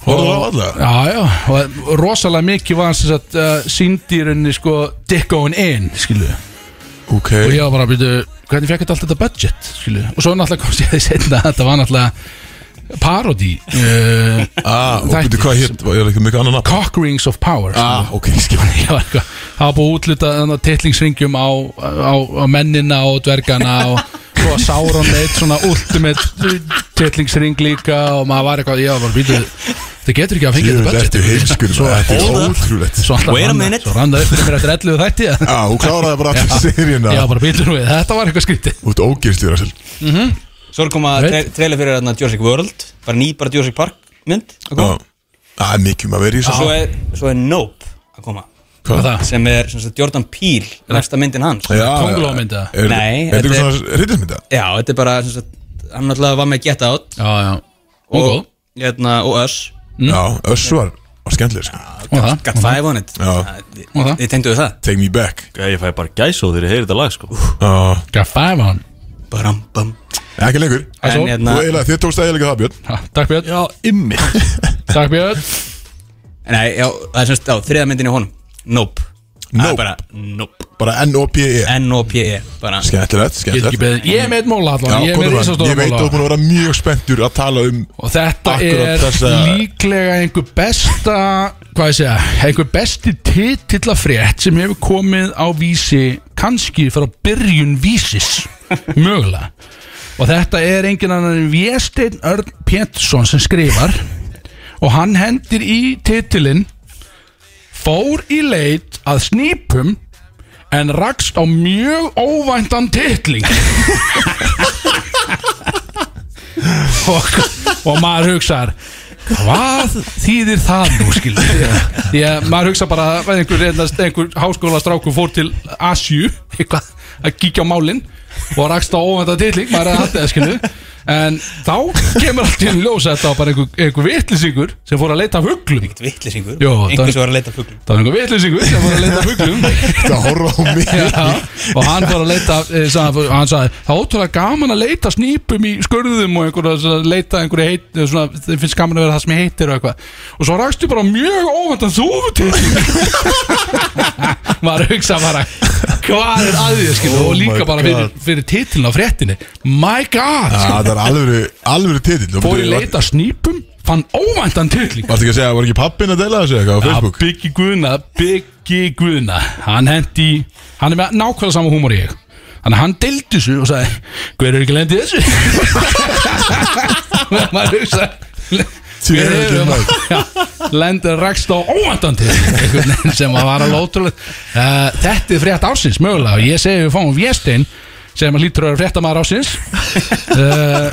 A: Horfðu á alla?
B: Já, já, og rosalega mikið var hans að uh, síndýrunni sko Dickoin in, skilu
A: Ok
B: Og ég var bara að byrja, hvernig fekk þetta allt þetta budget, skilu Og svo náttúrulega komst ég að því setna Þetta var náttúrulega parody uh,
A: Ah, og
B: Þættir
A: veitu hvað hér, ég er ekki mikið annað nafn
B: Cock rings of power skilu.
A: Ah, ok, skil
B: Ég var eitthvað- Það var búið að útluta þannig að titlingsringjum á, á, á mennina og dvergana og svo að Sauron leitt svona ultimate titlingsring líka og maður var eitthvað, ég var bara býtuð þetta getur ekki að fengja
A: Jú,
B: þetta budget
A: þetta er heimskur,
B: Svo-
A: þetta er
D: Hold up.
A: ótrúlegt
B: Svo alltaf
D: Wait a
B: rann-
D: minute.
B: Svo rann það upp fyrir mér eftir 11 þætti eða?
A: Já, hún kláraði bara alltaf seríuna
B: Já, bara býtur við, þetta var eitthvað skrítið
A: Út ógeirstjóra sér
D: Svo er koma
B: Veit.
D: tra trailer fyrir hérna Jurassic World bara ný, bara Jurassic Park mynd að
B: Sko?
D: koma.
A: Það er mikið um að vera í
D: og
A: þessu
D: svo er, svo er Nope að koma
B: Hvað það?
D: sem er sem sagt, Jordan Peele næsta myndin hans
A: Já, já.
B: Köngulómynd, eða?
A: Er-
D: Nei,
A: Er þetta
D: þetta
A: eitthvað
D: er-
A: svona hryllismynda?
D: Já, þetta er bara sem sagt, hann náttúrulega var með Get Out
B: Já, já, og góð,
D: hérna, og Us
B: Hmm?
A: Já, Öss var var skemmtileg sko.
D: Ah,
B: og það
D: Got Five on it
A: Já.
D: Það- þið-
B: Og það?
D: Þið tengduðu það
A: Take me back
C: Ég fæ bara gæs á þeirri heyri þetta lag sko
A: Já,
B: Gaf 5 á hann
D: Baram, bam.
A: Ekki lengur
D: En
B: Það svo.
A: Þú
D: hérna
A: eiginlega, þér tókst eiginlega það Björn
B: Ha, Takk Björn,
A: Já, ymmi
B: takk Björn
D: Nei, já, það er semst á þriða myndin í honum Nope Það
A: Nope.
D: er bara Nope
A: Bara N-O-P-E
D: N-O-P-E E, bara
A: E. Skemmtilegt,
B: E. Ég get ekki
A: skemmtilegt
B: beðið. Ég er með eitt móla
A: Já,
B: allan, ég er
A: komdu
B: með
A: fram.
B: risastóra
A: Ég veit að þú
B: móla
A: búin að vera mjög spenntur að tala um
B: Og þetta
A: Akkurat
B: er
A: þessa-
B: líklega einhver besta Hvað ég segja Einhver besti titillafrétt sem hefur komið á vísi kannski frá byrjun vísis Mögulega Og þetta er engin annar en Vésteinn Örn Pétursson sem skrifar Og hann hendir í titilinn Fór í leit að snýpum En rakst á mjög óvæntan titling og, og maður hugsar hvað þýðir það nú skilur því að maður hugsa bara að einhver, einhver, einhver háskólastráku fór til Asju eitthvað að kíkja á málin og rakst á óvænta titling maður er að hatta það skilur en þá kemur allt í einu í ljós að þetta var bara einhver, einhver vitlisingur sem fór að leita að huglum
D: Vittlisingur
B: Jó, það-
D: Einhvers var að leita fuglum
B: það var einhver vitlisingur sem fór að leita að huglum
A: Það horfa á mig
B: Já, og hann fór að leita eh, sagði, hann sagði, það er ótrúlega gaman að leita snýpum í skörðum og einhverja svona, leita einhverju heit, eh, svona, þeim finnst gaman að vera það sem heitir og eitthvað, og svo rakstu bara á mjög óvæntan þúfutil maður hugsa bara hvað er að því, skilu,
A: Oh
B: og
A: my
B: líka bara fyrir, fyrir titilin á fréttinni, my god
A: Já,
B: skilu,
A: Það er alvöru, alvöru titill
B: fór í leita snýpum fann óvæntan titling
A: Varstu ekki að segja, var ekki pappin að dela þessu eitthvað á Facebook?
B: Ja, Biggi Guðna, Biggi Guðna Hann hendi, hann er með nákvæmlega sama húmor í ég Þannig að hann deildi þessu og sagði Hver er ekki lendið þessu? maður hugsa
A: Hver er ekki lent?
B: Lendir rakst á óvandandi sem að var alveg ótrúlega uh, Þetta er frétt ásins mögulega og ég segi við fáum Vjestein sem að lítur að vera fréttamaður ásins
A: Já,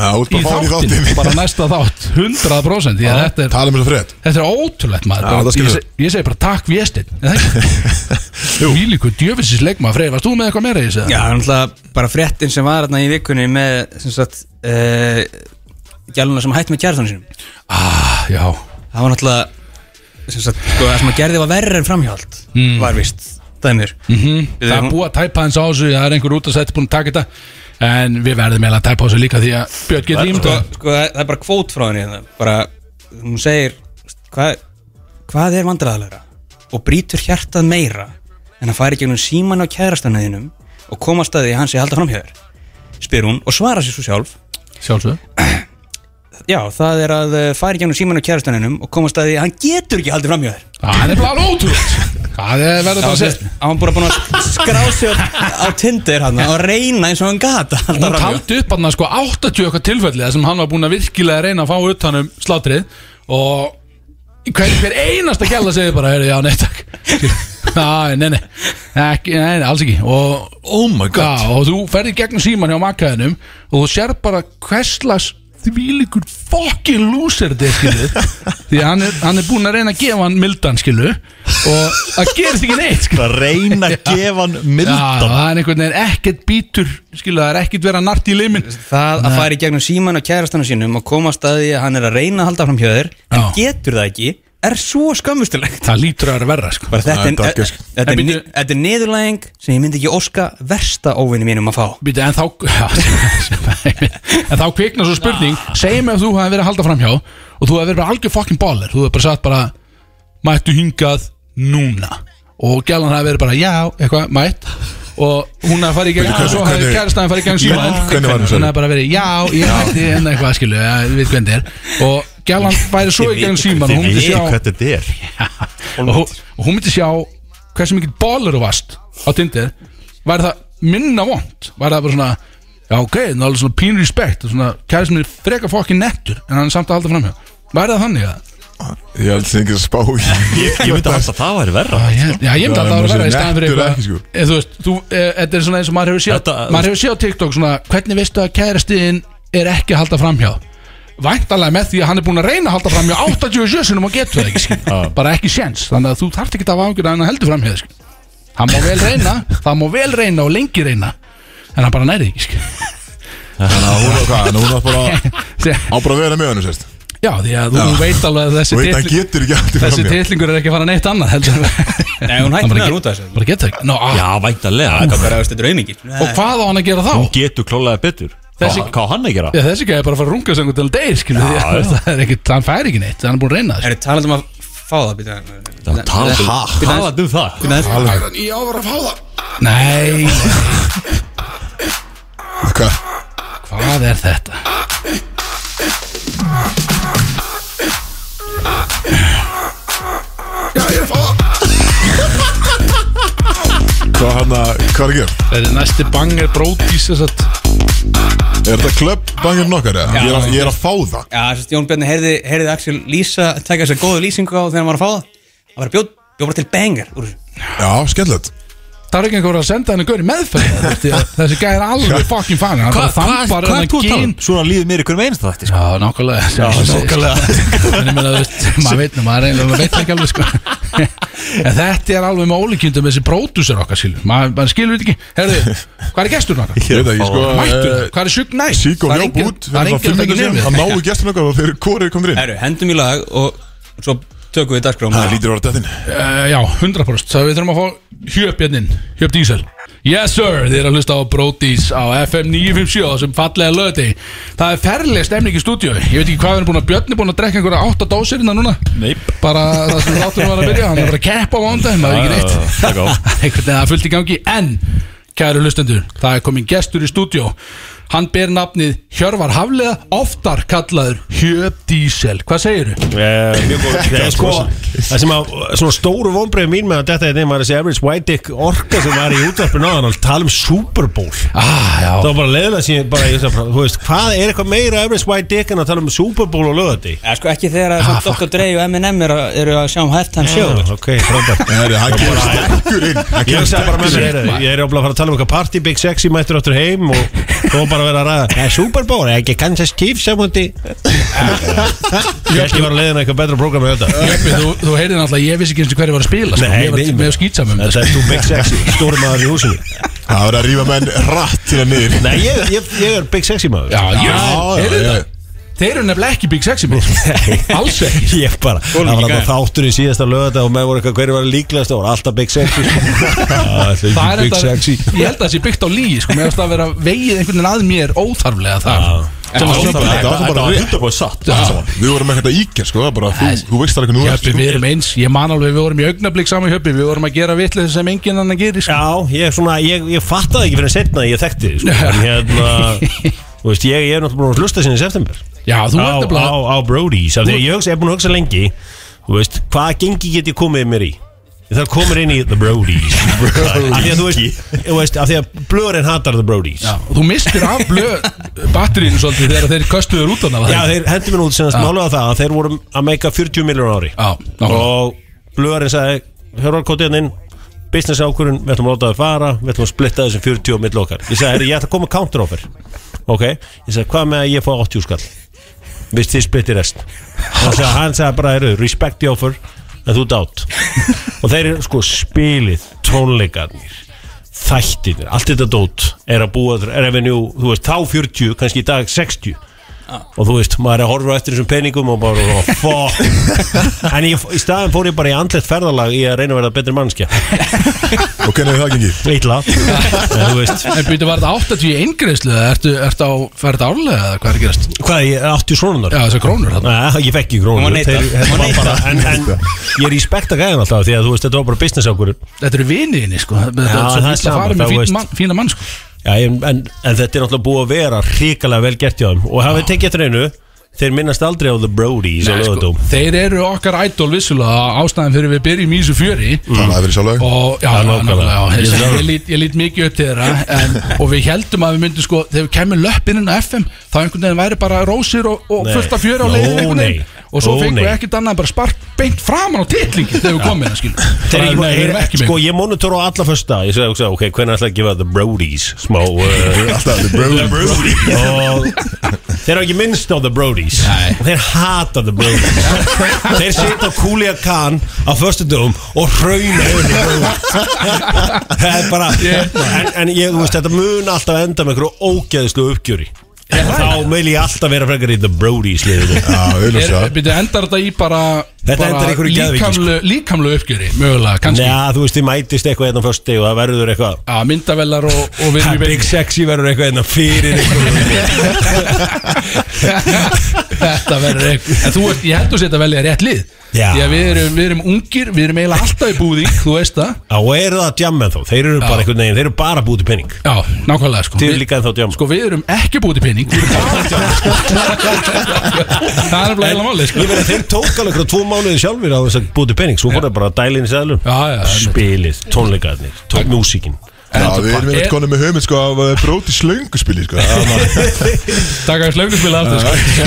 B: uh,
A: út bara fá hann í þáttinn.
B: bara næsta þátt 100% því að þetta er
A: Tala um þetta frétt
B: Þetta er ótrúlegt maður
A: Já, það
B: bara,
A: skilur
B: ég,
A: við.
B: seg, ég segi bara takk Viesteinn Vílíku djöfisins leikmaður Freyr, varst þú með eitthvað meira í þessu?
D: Já, það er náttúrulega bara fréttin sem var hérna í vikunni með, sem sagt, eh, uh, gæluna sem hætti með kjærðanum sínum.
B: Ah, já
D: Það var náttúrulega, sem sagt, sko, það sem að gerði var verri en framhjáld var vist, dæmir mm -hmm.
B: Það er búið að tæpa hans á þessu, það er einhver út að setja búin að taka þetta En við verðum eiginlega að tæpa á þessu líka því að Björn getur ímynda
D: sko, sko, það það er bara kvót frá henni hérna, bara, hún segir hvað, hvað er vandræðalega og brýtur hjartað meira en að fara í gegnum síman á kærastanæðinum og koma að staði að hann sé að halda framhjáður spyr hún og svarar sér svo sjálf
B: Sjálfsög
D: já, það er að eh, fara í gegnum síman á kærastanæðinum og koma að staði að hann getur ekki haldið framhjáður
B: Það er bara ótrútt Það er verður bara að
D: Hann
B: segja
D: hann bara búin að skrá sig á, á Tinder hann og reyna eins og hann gata
B: Hún taldi upp hann sko 80 okkar tilfelli þar sem hann var búin að virkilega reyna að fá utanum slátrið og hver, hver einasta gæla segir bara "Heyrðu, já, nei takk Æ, nei, nei, ekki, nei, nei, alls ekki og,
C: Oh my god
B: já, og þú ferði gegnum síman hjá makkaðinum og þú sér bara hverslas þvílíkur fucking loser þetta er skilu því að hann er, hann er búin að reyna að gefa hann mildan skilu og það gerist ekki neitt skilu
C: Það reyna að gefa hann
B: Já,
C: mildan
B: það er einhvern veginn ekkert bítur skilu, það er ekkert vera nart í limin
D: það að fara í gegnum síman á kærastanum sínum og koma að staði að hann er að reyna að halda fram hjöður en
B: Já.
D: getur það ekki er svo skömmustulegt
B: það lítur að vera verra sko
D: Bara þetta,
A: Það er
D: er-
A: daggjörsk.
D: e- þetta, er
B: En
D: ni-
B: bíddu-
D: þetta er niðurlæging sem ég myndi ekki óska versta óvinni mínum að fá
B: Býtu, en þá en þá kviknar svo spurning segjum ef þú hafði verið að halda framhjá og þú hafði verið bara algjör fucking baller þú hafði bara sagt bara mættu hingað núna og gælan hafði verið bara já, eitthvað, mætt og hún hafði farið í gegn
A: Hvernig-
B: og svo hafði
A: hvernig-
B: kærastaðin farið í gegn símaðin
A: Hvernig- hvernig var hún,
B: hún hafði bara verið já, ég mætti henni eitthvað skilu ja, við veit hvernig þetta er og gælan færi svo í gegn síman og hún myndi
C: Þið veitir
B: sjá
C: hvað þetta er
B: og, hú- og hún myndi sjá hversu mikið bólur þú varst á Tinder væri það minna vond væri það bara svona já ok, það er alveg svona pín respect og svona kæri sem er freka fokkin nettur en hann er samt að halda framhjá væri það þannig að
A: Ég held sem ekki að spá í
C: Ég ég myndi að halda að það væri verra
B: já, ég- já, ég myndi að það
A: maður
B: var
A: sé
B: verið í staðan fyrir
A: nettur
B: eitthvað
A: ekki, sko.
B: Eh, þú veist, þú, eh, þetta er svona eins og maður hefur séð
C: Þetta-
B: maður hefur séð á TikTok svona hvernig veistu að kærastiðin er ekki að halda framhjá væntalega með því að hann er búin að reyna að halda framhjá 87 sinum og getur það ekki skil. bara ekki séns, þannig að þú þarft ekki að ágjörða hann að heldur framhjá þér, skil. hann má vel reyna það má vel reyna og lengi reyna en hann bara næri ekki skil.
A: Þannig að hún var hvað, þannig að hún var bara
B: Sé-
A: Á bara að vera með hann, sérst
B: já því að þú
A: Já.
B: veit alveg að þessi
A: Og veit hann
B: titl-
A: getur ekki aftur
B: þessi
A: fram í
B: titlingur er ekki að fara neitt annað heldur
D: Nei, hún hætti
B: Hann
D: með
B: bara
D: hann
B: get-
D: út af þessu
B: bara getur það ekki Nó, ah.
C: Já, væntalega
D: Það bara veist, þetta er aumingi
B: og hvað á hann að gera þá?
C: Getur klálega betur
B: Þessi-
C: Hvað hvað á hann að gera?
B: Já, þessi gæði bara að fara að runga um sengu til að deyr, skilu því
C: Já,
B: að
C: já.
B: það er ekkit, hann fær ekki neitt, hann er búin að reyna
D: Er þetta talað um að fá það býta
C: Það talaði um það Talaði um það
A: Alveg,
B: þessu. Ég ávar að fá það. Nei,
A: hvað?
B: hvað er þetta?
A: Hvað hann að, hvað er að gera?
B: Það er næsti banger brótís þess að
A: Er þetta klöpp bangir nokkar eða? Ég er að- Ég er að fá það
D: Já, sérst, Jón Bjarni heyrði, heyrði Axel lýsa taka þess að góðu lýsingu á þegar hann var að fá það Það var bjóð, bjóð bara til banger úr þessu
A: Já, skemmtilegt
B: Það er ekki einhver að senda hann að góri meðferð þú veist, því að Þessi gæði er alveg fucking fangin Hann bara þambar hann að
C: Hvað er þú að tala um?
B: gín
C: Svona líður mér í hverjum einasta þætti sko.
B: Já, nákvæmlega Já, nákvæmlega En ég meina, þú veist, maður veit nú, maður eiginlega maður veit ekki alveg sko En þetta er alveg með ólíkjöndum þessi brótusur okkar, skilu Maður maður skilur þetta ekki Herðu, hvað er gesturinn okkar?
A: Ég veit að ég sko
B: Mættur, hvað er sjúk næst?
A: Síkó
B: Það er
A: hljóp
B: engin-
A: út
B: Það er
A: fyrir
B: enginn
A: það fimm
B: sem ekki nefnir
A: minna Hann náðu gestin okkar og þeir hvorið komður inn
D: Herru, hendum í lag og svo tökum við dagskráma
A: Það lítur að vera dættin
B: Uh, já, 100% Það við þurfum að fá hjöpjarninn Hjöp Diesel Yes sir, þið eru að hlusta á Brodís á FM 957 sem fallega löði Það er ferlega stemning í stúdíu Ég veit ekki hvað við erum búin að Björn er búin að drekka einhverja 8 dósir innan núna
C: Neip.
B: Bara það sem ráttur var að byrja Hann er bara að keppa á mándaginn, það er
A: Ah.
B: ekki neitt
C: Takk á
B: einhvern veginn það er fullt í gangi en kæru hlustendur, það er komin gestur í stúdjó hann ber nafnið Hjörvar Haflega, oftar kallaður Hjöp Diesel, hvað segiru?
G: Nei, sko, það sem að svona stóru vonbreið mín með að þetta er þeim var þessi average white dick orka sem var í útvarpinu áðan og tala um Super Bowl það
B: Ah, já,
G: var bara leiðilega sem ég bara, ég sagði bara, þú veist, hvað er eitthvað meira average white dick en að tala um Super Bowl og lögati
D: Já, sko ekki þegar að ah, Dr. Dre og M&M eru, að- eru að sjá um halftime show
G: ok, frábært
A: Herri, hann kemur sterkur inn Hann
G: Ég
A: kemur
G: sagði bara
A: sterkur
G: með
A: inn
G: mér, ég er jafnilega að fara að tala um eitthvað party, big sexy, mættur áttur heim og þó bara að vera að ræða Nei, Super Bowl, er ekki Kansas Chiefs sem hundi Ég held ég var að leiðina eitthvað betra program með þetta
B: Jeppi, þú, þú heyrið náttúrulega, ég vissi ekki eins og hverju var að spila sko.
G: Nei,
B: ég var
G: nei,
B: með um að skýtsa með
G: Þetta er þú big sexy, stóri maður í húsinu
A: Það verður að rífa menn rætt til að niður
G: Nei, ég, ég, ég er big sexy maður
B: Já, já,
A: já,
B: heyrið
A: já.
B: það Þeir eru nefnilega ekki Big Sexy Mix Alls ekki
G: Ég bara, það var alltaf þáttur í síðasta lögata og með voru eitthvað hverju var líklegast og voru alltaf Big Sexy
B: Það
G: Það
B: er þetta, ég held að það sé byggt á líi sko, mér finnst það að vera vegið einhvern veginn að mér óþarflega þar Sem að
A: Þetta
B: svona-
A: var alltaf bara rétt.
C: hundarbúið satt
A: Við vorum með þetta íkja, sko, það er bara, þú, þú veist það ekki nú sko.
B: Hjöppi, við erum eins, ég man alveg, við vorum í augnablík saman hjöppi, við vorum að gera vitlið sem enginn annan gerir sko.
G: Já, ég, svona, ég, ég fattaði ekki fyrir setna að ég þekkti þið sko. En hérna, þú veist, ég, ég er náttúrulega búin að hlusta sinni í september
B: Já, þú
G: á,
B: ert að blá
G: á, á Brody's af því að ég hugsa, ég er búin að hugsa lengi þú veist, hvaða gengi get ég komið mér í ég þarf að koma mér inn í The Brody's af því að þú veist, þú veist af því að blöðurinn hatar The Brody's já,
B: Þú mistir af blöð batterínu svolítið þegar þeir köstuður út á hana var það
G: þeir hendur mér út sem að málega það að þeir voru að meika 40 miljónur ári
B: Já, nákvæmlega.
G: og blöðurinn sagði hörvarkótiðan hérna inn business ákvörun, við ætlum að láta það fara við ætlum að splitta þessum 40 á milli okkar ég sagði, "Heyrðu, ég ætla að koma counter offer ok, ég sagði, hvað með að ég fá 80 skall viðst þið splitti rest hann sagði, hann sagði bara, heyrðu, respect the offer en þú dát og þeir eru sko spilið, tónleikarnir þættinir, allt þetta dót er að búa þér revenue, þú veist, þá 40 kannski í dag 60 og þú veist, maður er að horfa eftir þessum peningum og bara, oh, fuck en ég, í staðin fór ég bara í andlegt ferðalag í að reyna að verða betri mannskja
A: Og hvernig hefur það gengið?
G: eitla, en þú veist
B: En býtu, var þetta 80 eingreislu eða ertu, ertu á færið árlega eða hvað er að gerast?
G: hvað, ég er 80 svonunar
B: Já, þessar krónur þarna
G: Nei, ég fekk ekki
D: Hún
G: krónu
D: var neitað. Hún var
G: en, en ég er í spekta gæðin alltaf því að þú veist, þetta var bara business ákvörður
B: Þetta eru viniðinni sko, þetta
G: Já,
B: er svo
G: það er
B: vilt að
G: sama,
B: fara
G: þá
B: með
G: veist.
B: fín mann, fína mann sko
G: Já, en, en, en þetta er náttúrulega búið að vera hrikalega vel gert hjá þeim og hafið tekið eftir einu þeir minnast aldrei á The Brodies á
B: Nei, sko,
G: lögatum
B: Þeir eru okkar idol vissulega ástæðan fyrir við byrjum í þessu fjöri
A: Það hefur verið sjálfleg
B: Mm. og já, já,
G: nákvæmlega.
B: nákvæmlega, já, þessi, ég, lít, ég lít mikið upp til þeirra en, og við heldum að við myndum sko þegar við kemur löppinn inn á FM þá einhvern veginn væri bara rósir og, og
G: Nei.
B: fullt af fjöri á
G: Ó,
B: leiðin einhvern veginn
G: nei.
B: og svo
G: Ó,
B: fengum við
G: nei.
B: ekkert annað en bara spark beint framan á titlingin þegar við komum inn
G: Þeir eru ekki
B: við erum
G: bara,
B: ekki
G: sko
B: með
G: ég monitor á alla fyrsta Ég sagði, hugsaði, ok, hvernig ætla ég að gefa The Brodies smá uh,
A: Alltaf, the bro
G: og þeir eru ekki minnst á The Brodies
B: Nei.
G: og þeir hata The Brodies Þeir sita á Kulia Khan á föstudöfum og hrauna yfir The Brodies Það er bara en, en ég, þú veist, þetta mun alltaf enda með einhverju ógeðslu uppgjöri Þá meil ég alltaf vera frekar í The Brodies liðinu
A: Já,
B: Er,
A: auðvitað
B: byrju, eh, endar þetta í bara,
G: Þetta endar í
B: bara
G: einhverju geðveiki, sko.
B: líkamlu, líkamlu uppgjöri mögulega, kannski ja.
G: Já, þú veist, þið mætist eitthvað hérna á föstu og það verður eitthvað
B: myndavelar og, og við
G: Það Big Sexy verður eitthvað hérna fyrir
B: Þetta verður eitthvað En þú ert, ég heldur sér að velja rétt lið
G: Já.
B: Því að við erum, við erum ungir, við erum eiginlega alltaf í búðing Þú veist það
G: Já, og eru það djammen þá, þeir eru bara einhvern veginn, þeir eru bara búið til penning
B: Já, nákvæmlega sko
G: Þið eru líka ennþá djammen
B: Sko við erum ekki búið til pening Við erum bara Það er bara eiginlega máli sko
G: Ég meina þeir tók alveg einhverja tvo mánuði sjálfur á þess að búið til penning Svo voru bara að dæla inn í sæðlum
B: Já, já, einmitt.
G: Spilið, tónleikarnir, tók músíkin
A: Já, við erum
B: Er-
A: einmitt konum með höfum sko af bróti slöngspili sko
B: Takk að slögnspila aftur sko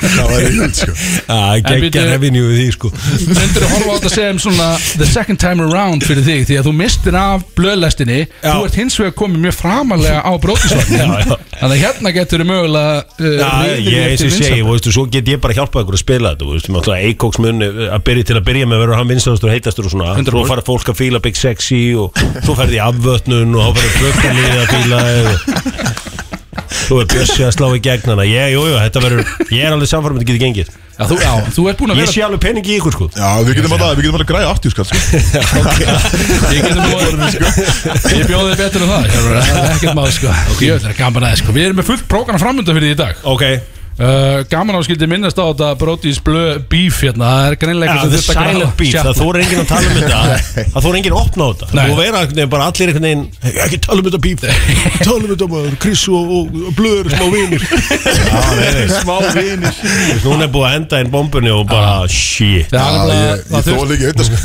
A: Það var eitthvað sko
G: Það
B: bíddu-
G: Ah, geggja revenue við því sko
B: Myndir að horfa á þetta sem svona The second time around fyrir þig Því að þú mistir af blöðlestinni
G: Já.
B: Þú ert hins vegar komið mjög framalega á brótisvagnin
G: Já, já.
B: Þannig að hérna getur þú mögulega uh,
G: Já,
B: riðið
G: ég, eins og
B: til
G: ég segi,
B: vinsælda.
G: þú veistu, svo get ég bara hjálpað ykkur að spila þetta, þú veistu, náttúrulega Eikoks munni eh, að byrja til að byrja með að vera hann vinstastur og heitastur og svona,
B: 100%.
G: svo fara fólk að fíla Big Sexy og svo ferði í afvötnun og þá ferði flökkalið að fíla þig og þú er bjössi að slá í gegn hana, ég, jú, jú, þetta verður, ég er alveg samfarmið að geta gengið,
B: Já, þú, já, þú ert búin að
G: ég
B: vera
G: sé alveg pening í ykkur sko,
A: Já, við getum alltaf, við getum alltaf græða 80 skall sko
B: Ég getum búið Ég bjóði þið betur en það Hjálmar, það er Ekkert maður sko Ég ætla gaman aðeins sko Við erum með fullt prógana framönda fyrir því í dag
G: ok,
B: uh, Gaman á skildi minnast á þetta Brodís blö beef hérna Það er greinlega
G: ja,
B: eitthvað
G: the
B: sem þurfti að
G: silent
B: grafa.
G: beat,
B: Sjá.
G: það þú er enginn að tala um þetta, það þú er enginn að opna á þetta,
B: Nei.
G: þú vera einhvern veginn bara allir einhvern veginn, "Hey, ekki tala um þetta beef, tala um þetta maður, Chris og, og, og Blöður er smá vinir,
A: Smá vinir
G: Núna er búið að enda inn bombunni og
B: Ah.
G: bara shit
B: Það er nefnilega-
A: Ég
B: það þurfti-
A: þóla ekki auðvitað sko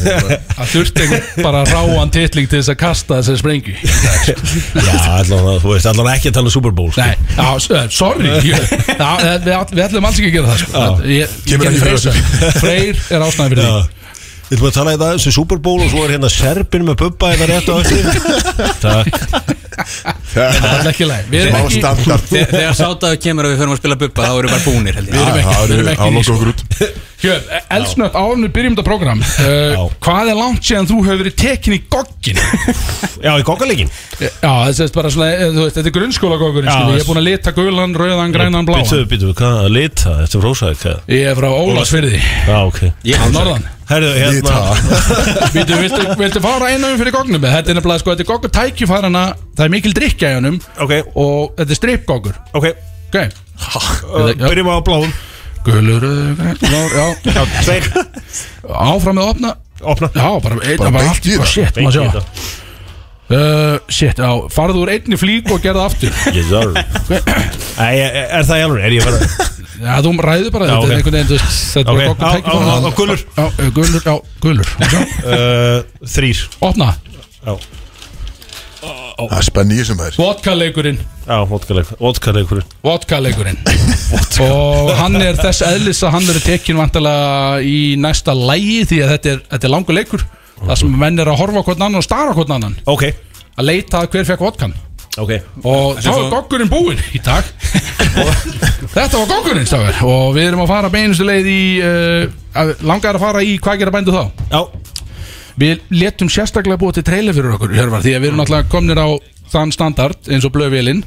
B: það þurfti einhvern bara ráan titling til þess að kasta þessari sprengju
G: Já, allan, þú veist, allan ekki að tala um Super Bowl
B: Nei, já, s- eh, sorry ég, já, eh, við, all- við ætlum alls ekki að gera það sko. ég, ég
A: Kemur
B: gerði
A: ekki fyrir
B: freysa Freyr er ástæðan fyrir því
G: Við erum að tala í dag sem Super Bowl og svo er hérna Serbin með Bubba hérna rétt á öllu Takk
B: Það er ekki læg Við erum
A: Smá
B: ekki
A: standard
D: Þegar sátaðu kemur að við förum að spila bubba þá erum við bara búnir held ég
B: Við erum
A: Já,
B: ekki-
A: það
B: við erum
A: eru-
B: ekki
A: Það
B: í því,
A: lóka
B: sko.
A: okkur út
B: Gjöf, elsnött, árunni byrjum þetta program uh, Hvað er langt séðan þú hefur verið tekin í goggin?
G: Já, í kokkaleikin
B: Já, það sést bara svona, eh, þú veist, þetta er grunnskóla goggurinn
G: Já,
B: Ég er búin að lita gulan, rauðan, grænan, bláan
G: Býttu, býttu, hvað að lita? Þetta er rósaðið hvað?
B: Ég er frá Ólasfyrði,
G: Já, ok
B: á norðan
G: Herðu, hérna
B: Viltu, viltu, viltu fara einu um fyrir gognum? Þetta er nefnilega, sko, þetta er goggur tækjufærana Það er mikil drikja í honum
G: Ok,
B: Og þetta er stripgoggur
G: ok
B: Ok,
G: Uh, Byrjum á bláum
B: gulur, rauður, græn, blár, já
G: Já, tveir
B: Áfram með að opna
G: Opna
B: Já, bara einn
A: Bara
B: Bara
A: beint
B: allt,
A: í
B: bara
A: það.
B: shit,
G: Beint í
B: maður sjá
G: þetta.
B: Uh, shit, já, farðu úr einni flík og gerða aftur
G: Yes, sir Æ, er- Er það í alveg? Er ég bara
B: Já, þú ræður bara
G: Já,
B: þetta
G: ok.
B: er einhvern veginn, þú veist, þetta
G: Ok,
B: er
G: á,
B: okkur
G: á, á, á, gulur
B: Já, eh, gulur, já, gulur Sjá,
G: uh, Þrýr
B: Opna,
G: Já,
A: Það er spenn í þessum þær
B: vodkaleikurinn
G: já, vodkaleik Vodkaleikurinn
B: Vodkaleikurinn Og hann er þess eðlis að hann verður tekin vantalega í næsta lægi Því að þetta er, þetta er langur leikur Það sem menn er að horfa á hvern annan og stara á hvern annan
G: Ok,
B: Að leita að hver fekk vodkan
G: ok
B: Og þá er goggurinn búinn í dag Þetta var goggurinn, stafir Og við erum að fara beinustu leið í uh, Langar að fara í hvað gera bændu þá?
G: Já,
B: Við letum sérstaklega búið til trailer fyrir okkur Hjörvar, því að við erum náttúrulega komnir á þann standard eins og blöðvélinn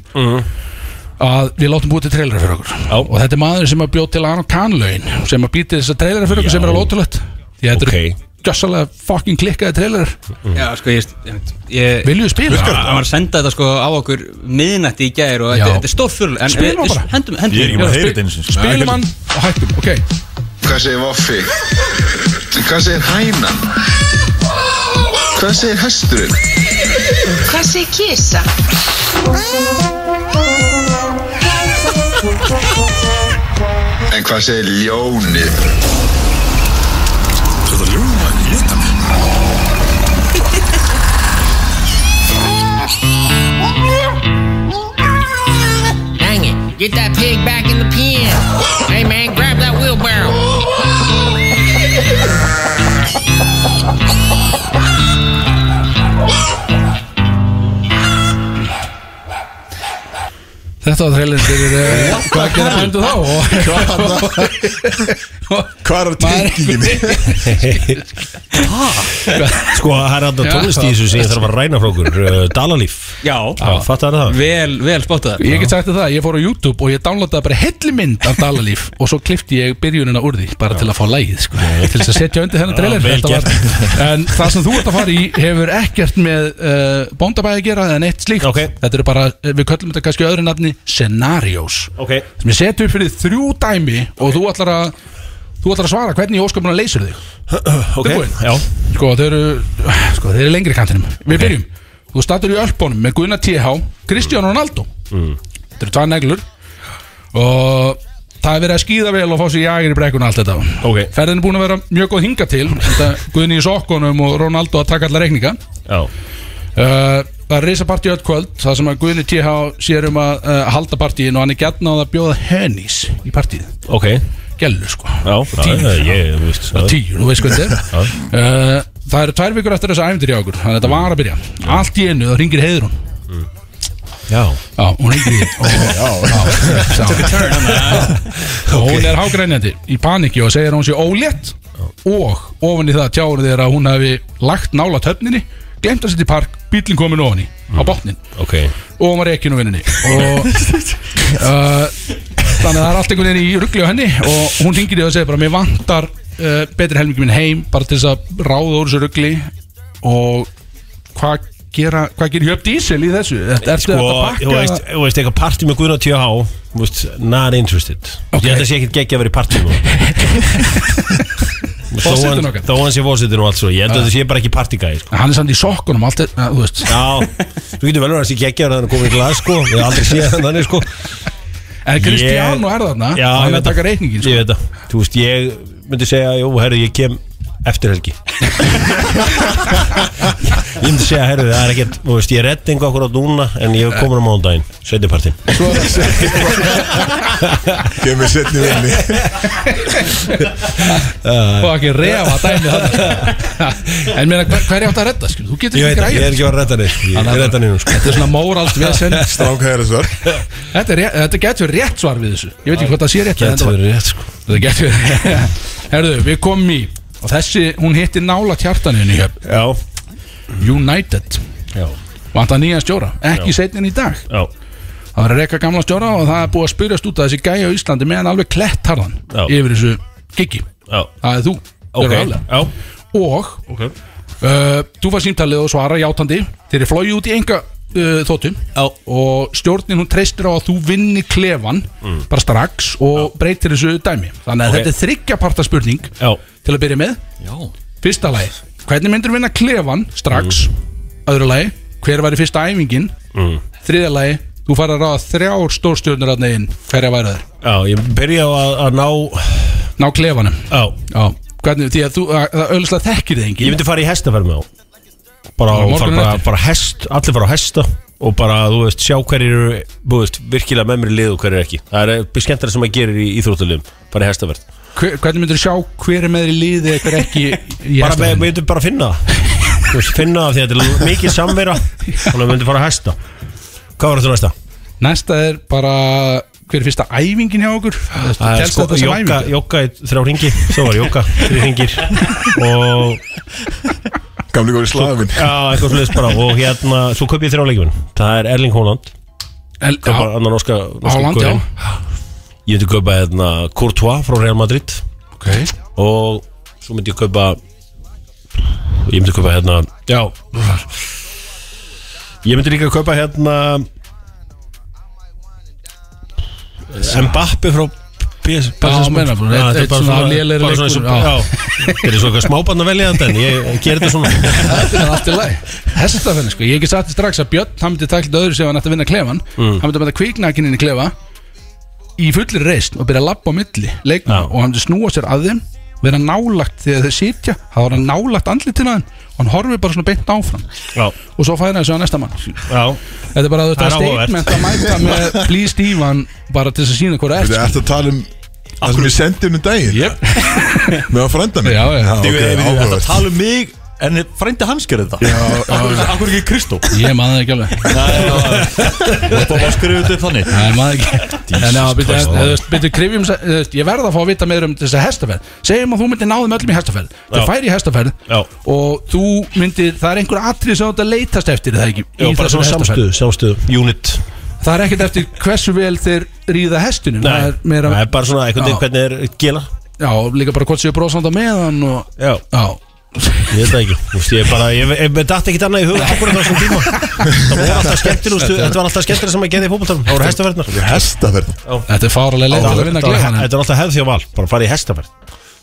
B: að við látum búið til trailer fyrir okkur Mm. Já. og þetta er maður sem að bjóð til Aron Kahnlaun sem að býti þessa trailer fyrir okkur sem er alveg ótrúlegt því að þetta
G: Ok.
B: eru gjössalega fucking klikkaði trailer
D: Já, sko, ég, ég, ég
B: Viljum við spila?
D: Það var að senda þetta sko á okkur miðnætti í gær og
B: Já.
D: þetta, þetta er stóð fyrl en
B: Spilum
D: við-
B: bara.
D: Hendum, hendum
C: Ég er ekki
B: Já,
C: bara að heyra
B: spil-
C: þetta einu sinni sko.
B: Spilum hann og hættum, ok
H: Hvað segir Vaffi? Hvað segir Hænan? Hvað segir Hesturinn?
I: Hvað segir kisa?
H: En hvað segir Ljónið?
I: Dang it, get that pig back in the pen. Hey man, grab that wheelbarrow.
B: Þetta var trailer fyrir uh, hvað gera bændu þá og
A: Hvað er tenginginni?
G: sko, það er alltaf
B: Já.
G: tónlist í þessu sem ég þarf að ræna frá okkur uh, Dalalíf
D: Já,
G: Já, fattar það?
D: vel, vel spottaður
B: Ég get sagt þér það, ég fór á YouTube og ég downloadaði bara helli mynd af Dalalíf og svo klifti ég byrjunina úr því bara til að fá lægið sko, til þess að setja undir þennan trailer
G: vel
B: Þetta En það sem þú ert að fara í hefur ekkert með uh, bóndabæði að gera eða neitt slíkt
G: Ok.
B: Þetta eru bara, eh, við köllum þetta kannski öðru nafni scenarios
G: Ok,
B: sem ég seti upp fyrir þrjú dæmi og þú ætlar að þú ætlar að svara hvernig í ósköpunum leysir þig
G: ok
B: Tilbúin?
G: Já,
B: Sko þeir eru, sko, þeir eru lengri í kantinum Við byrjum, þú startur í Ölpunum með Gunnar TH, Kristján Ronaldo
G: Mm.
B: Þetta eru tvær neglur Og það er verið að skýða vel og fá sér jagir í brekkuna og allt þetta
G: Ok.
B: Ferðin er búin að vera mjög góð hinga til Þetta Gunni í sokkunum og Ronaldo að taka allar reikninga
G: já,
B: Uh, Það er risapartí öll kvöld Það sem að Guðni TH sér um að uh, halda partíin og hann er gætn á það að bjóða hennís í partíð,
G: ok
B: gælu sko
G: Já, já, ég, þú veist já.
B: tíu, þú veist hvað þetta er uh, Það eru tvær vikur eftir þessu æfindir hjá okkur Þannig að þetta var að byrja Allt í einu, það ringir heiður hún
G: Já,
B: Já, hún ringir í og, já, já, og hún er hágrænjandi í paniki og segir að hún sé ólétt og ofan í það tjáur þeir að hún hafi lagt nála töfninni glemt að setja í park, bílinn komin ofan í á botnin
G: ok
B: og hún var ekki nú vinninni og uh, þannig að það er allt einhvern veginn í ruggli á henni og hún hringir í það og segir bara mér vantar uh, betri helmingi minn heim bara til þess að ráða úr þessu ruggli og hvað gera hvað gerir hjöfn dísil í þessu þetta er
G: Sko,
B: þetta að
G: þú
B: pakka
G: veist, þú veist, eitthvað partí með Guðna 10H Þú veist, not interested
B: Ok.
G: Ég held að sé ekkert geggja að vera í partí nú Þó
B: Forsetinn
G: hann-
B: okkar.
G: Þó hann sé fórsetin og allt svo Ég held að það sé bara ekki partígæði, sko
B: hann er samt í sokkunum allt er, að, þú veist
G: Já, þú getur vel verið að sé geggja að hann er komið í glas, sko Ég hef aldrei séð hann þannig, sko
B: en Kristján og er þarna og
G: Já, ég
B: hann er
G: veit
B: að taka
G: það.
B: reikningin sko.
G: Ég veit það, þú veist, ég myndi segja Jú, herru, ég kem eftir helgi Ég myndi segja, herru, það er ekkert Þú veist, ég reddi einhver okkur á dúna En ég er komin á mándaginn, setjapartin
A: Kemur setni vinni
B: og ekki refa dæmi þarna en meina hver, hver er átt að redda skil? þú getur
G: Ég veit
B: ekki
G: það, ég er
B: ræðið
G: ekki að redda neitt Ég er redda neitt, sko
B: þetta er svona móralt vesen
A: Strákaðar þessar
B: Þetta, er rétt- þetta getur rétt svar við þessu Ég veit ekki hvað það sé rétt en
G: Gæti
B: þetta var-
G: verið rétt, sko
B: Þetta getur Herðu, við komum í Og þessi, hún hitti nála kjartaninu hér
G: Já,
B: United
G: já,
B: Vantar nýja stjóra, ekki seinnin í dag
G: já,
B: Það var að reyka gamla stjóra og það er búið að spyrjast út að þessi gæja á Íslandi meðan alveg klett harðan
G: Já.
B: Yfir þessu giggi
G: já
B: Það er þú
G: Ok,
B: Gjörðu alveg.
G: já,
B: Og
G: ok
B: Uh, þú var símtalið og svara játandi Þeir eru flóið út í enga uh, þóttum Já. Og stjórnin hún treystir á að þú vinni klefan Bara strax og breytir þessu dæmi Þannig að
G: Mm. Ok.
B: þetta er þryggjaparta spurning
G: Já,
B: Til að byrja með
C: Já
B: Fyrsta lagi, hvernig myndir vinna klefan strax
G: Mm.
B: Öðru lagi, hver væri fyrsta æfingin mm. Þriðja lagi, þú fara að ráða þrjár stórstjórnir að negin Hverja væri þær?
G: já, ég byrja á að, að ná
B: Ná klefanum
G: Já,
B: Já, hvernig, því að þú, að, að öllislega þekkir þið
G: ég
B: engin
G: myndi fara í hestaferð með á
B: Bara
G: Bara, á-
B: morguninn
G: fara, bara,
B: eftir.
G: bara hest, allir fara á hesta Og bara, þú veist, sjá hverjir eru Þú veist, virkilega með mér í lið og hverjir ekki Það er skemmtara sem að gera í íþróttulegum Fara í hestaferð
B: Hver, Hvernig myndir sjá hver er með þér í liði eða hver ekki í
G: bara með,
B: hestaferðinni?
G: við veitum bara að finna það Þú veist, finna það því að þetta er mikið samvera þannig að við veitum fara að hesta hvað var þetta næsta?
B: Næsta er bara hver er fyrsta æfingin hjá okkur
G: Það er sko
B: Telst þetta sem
G: jogga,
B: æfingu?
G: jogga í þrjá ringi svo var jogga, þrjá ringir og
A: Gamli góri slafin
G: já, eitthvað sliðis bara og hérna, svo kaup ég þrjá leikjum það er Erling Haaland
B: El,
G: kaupa
B: já,
G: annan norska norska
B: Haaland,
G: gaurinn. ég myndi kaupa hérna Courtois frá Real Madrid
B: ok
G: og svo myndi ég kaupa ég myndi kaupa hérna já ég myndi líka kaupa hérna Mbappi frá PS
B: Já, meina, bara eitt- eitt svona lélegri
G: bara svona
B: leikur,
G: sem,
B: já.
G: já, þetta er svo eitthvað smábann að velja þetta en ég ger þetta svona
B: Þetta er allt í lagi Hestaferðin sko, ég hef ekki sagt þér strax að Björn hann myndi takla öðru sem hann ætti að vinna klefan hann myndi að bæta kviknakininn í klefa í fullir reisn og byrja að labba á milli leikna
G: Já.
B: og hann myndi snúa sér að þeim vera nálagt þegar þeir sitja það var hann nálagt andlitina þeim og hann horfi bara svona beint áfram
G: já,
B: og svo færa þessu að næsta mann
G: já,
B: Þetta er bara þú veist,
G: Það
B: að
G: er áhugavert.
B: statement að mæta með Please Steven bara til þess að sína hvað það
A: Þetta
B: er
A: er eftir að tala um það sem ég sendi um daginn
B: Jep.
A: Með að frænda mig
B: Já, já.
A: ok,
C: Ég veit að
A: áhugavert.
C: tala um mig En frændi hans gerði þetta Akkur akkur ekki Kristó
B: Ég maður það ekki alveg
C: Það var skrifið þetta upp þannig
B: Það er maður ekki En já, byrju,
C: Christ.
B: þú veist, byrju, krifjum sa- þú veist, Ég verð að fá að vita meira um þessa hestaferð Segjum að þú myndir náðum öllum í hestaferð
G: Já.
B: Þau færi í hestaferð
G: Já.
B: Og þú myndir, það er einhver atrið sem þú ert að leitast eftir er Það ekki, í
G: já bara
B: þessari
G: svona
B: hestaferð?
G: samstöðu, samstöðu unit
B: Það er ekkert eftir hversu vel þeir ríða hestinum Það
G: Nei,
B: er meira,
G: það er bara svona einhvern veginn
B: Já.
G: hvernig er gela
B: já, líka bara hvort séu brosandi á meðan og,
G: já,
B: Já,
G: ég veit það ekki Þú veist, ég bara, ég, ég, ég datt ekkit annað í huga akkur á þessum tíma það voru alltaf skemmtilegustu þetta var alltaf skemmtilega sem að gerði í fókbaltarnum það voru hestaferðnar
A: Hestaferð
B: þetta er fáralega leið til að vinna
G: Þetta var-
B: gleðan
G: þetta var alltaf hefð því á val, bara farið í hestaferð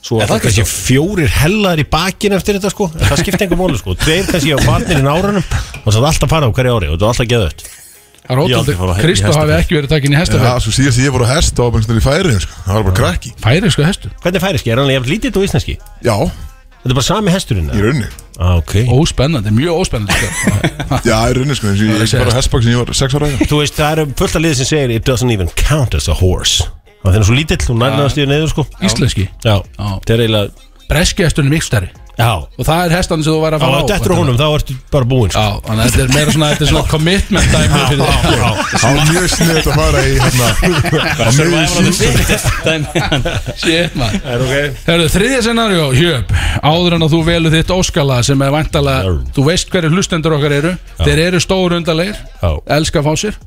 G: Svo er það kannski fjórir hellaðir í bakin eftir þetta sko, en það skipti engum mónu sko Tveir kannski á barnir í nárunum og það er alltaf farið á hverju ári og það er alltaf geðut
B: Það er
C: Ég aldrei
B: ótrúlega,
C: fara í
B: Kristó hafi
C: hestaferð.
B: ekki verið takin í hestaferð
A: Já, svo síðast ég voru á hest og var bara einhvern veginn í færi sko. Það var bara krakki
B: Færi sko hestu
G: Hvernig færið ski, er hann jafn lítið og íslenski?
A: Já,
G: Þetta er bara sami hesturinn
A: í
G: eða?
A: rauninni
G: ah, okay.
B: Óspennandi, mjög óspennandi sko.
A: Já, í rauninni sko eins og Ég ég var á hestbak sem ég var 6 ára
G: Þú veist, það eru fullt af liðið sem segir It doesn't even count as a horse Það er svo lítill, hún nærnaðast í neður sko
B: Íslenski
G: Já,
B: Já.
G: það er eiginlega
B: Breski hesturinn er miklu stærri
G: Já,
B: Og það er hestan sem þú væri að
G: á
B: fara
G: dettur á honum, þá ertu bara búinn sko.
B: Já, þannig að þetta er meira svona, þetta er svona commitment dæmi fyrir þig
G: Já,
A: Það var mjög sniðt að fara í hérna á miðju síðan
B: Shit man
G: Það er ok
B: Herðu, þriðja scenario, hjöp Áður en að þú velur þitt óskala sem er væntalega
G: Já.
B: Þú veist hverju hlustendur okkar eru Þeir eru stóru undarleir
G: Já. Hmm.
B: Elska að fá sér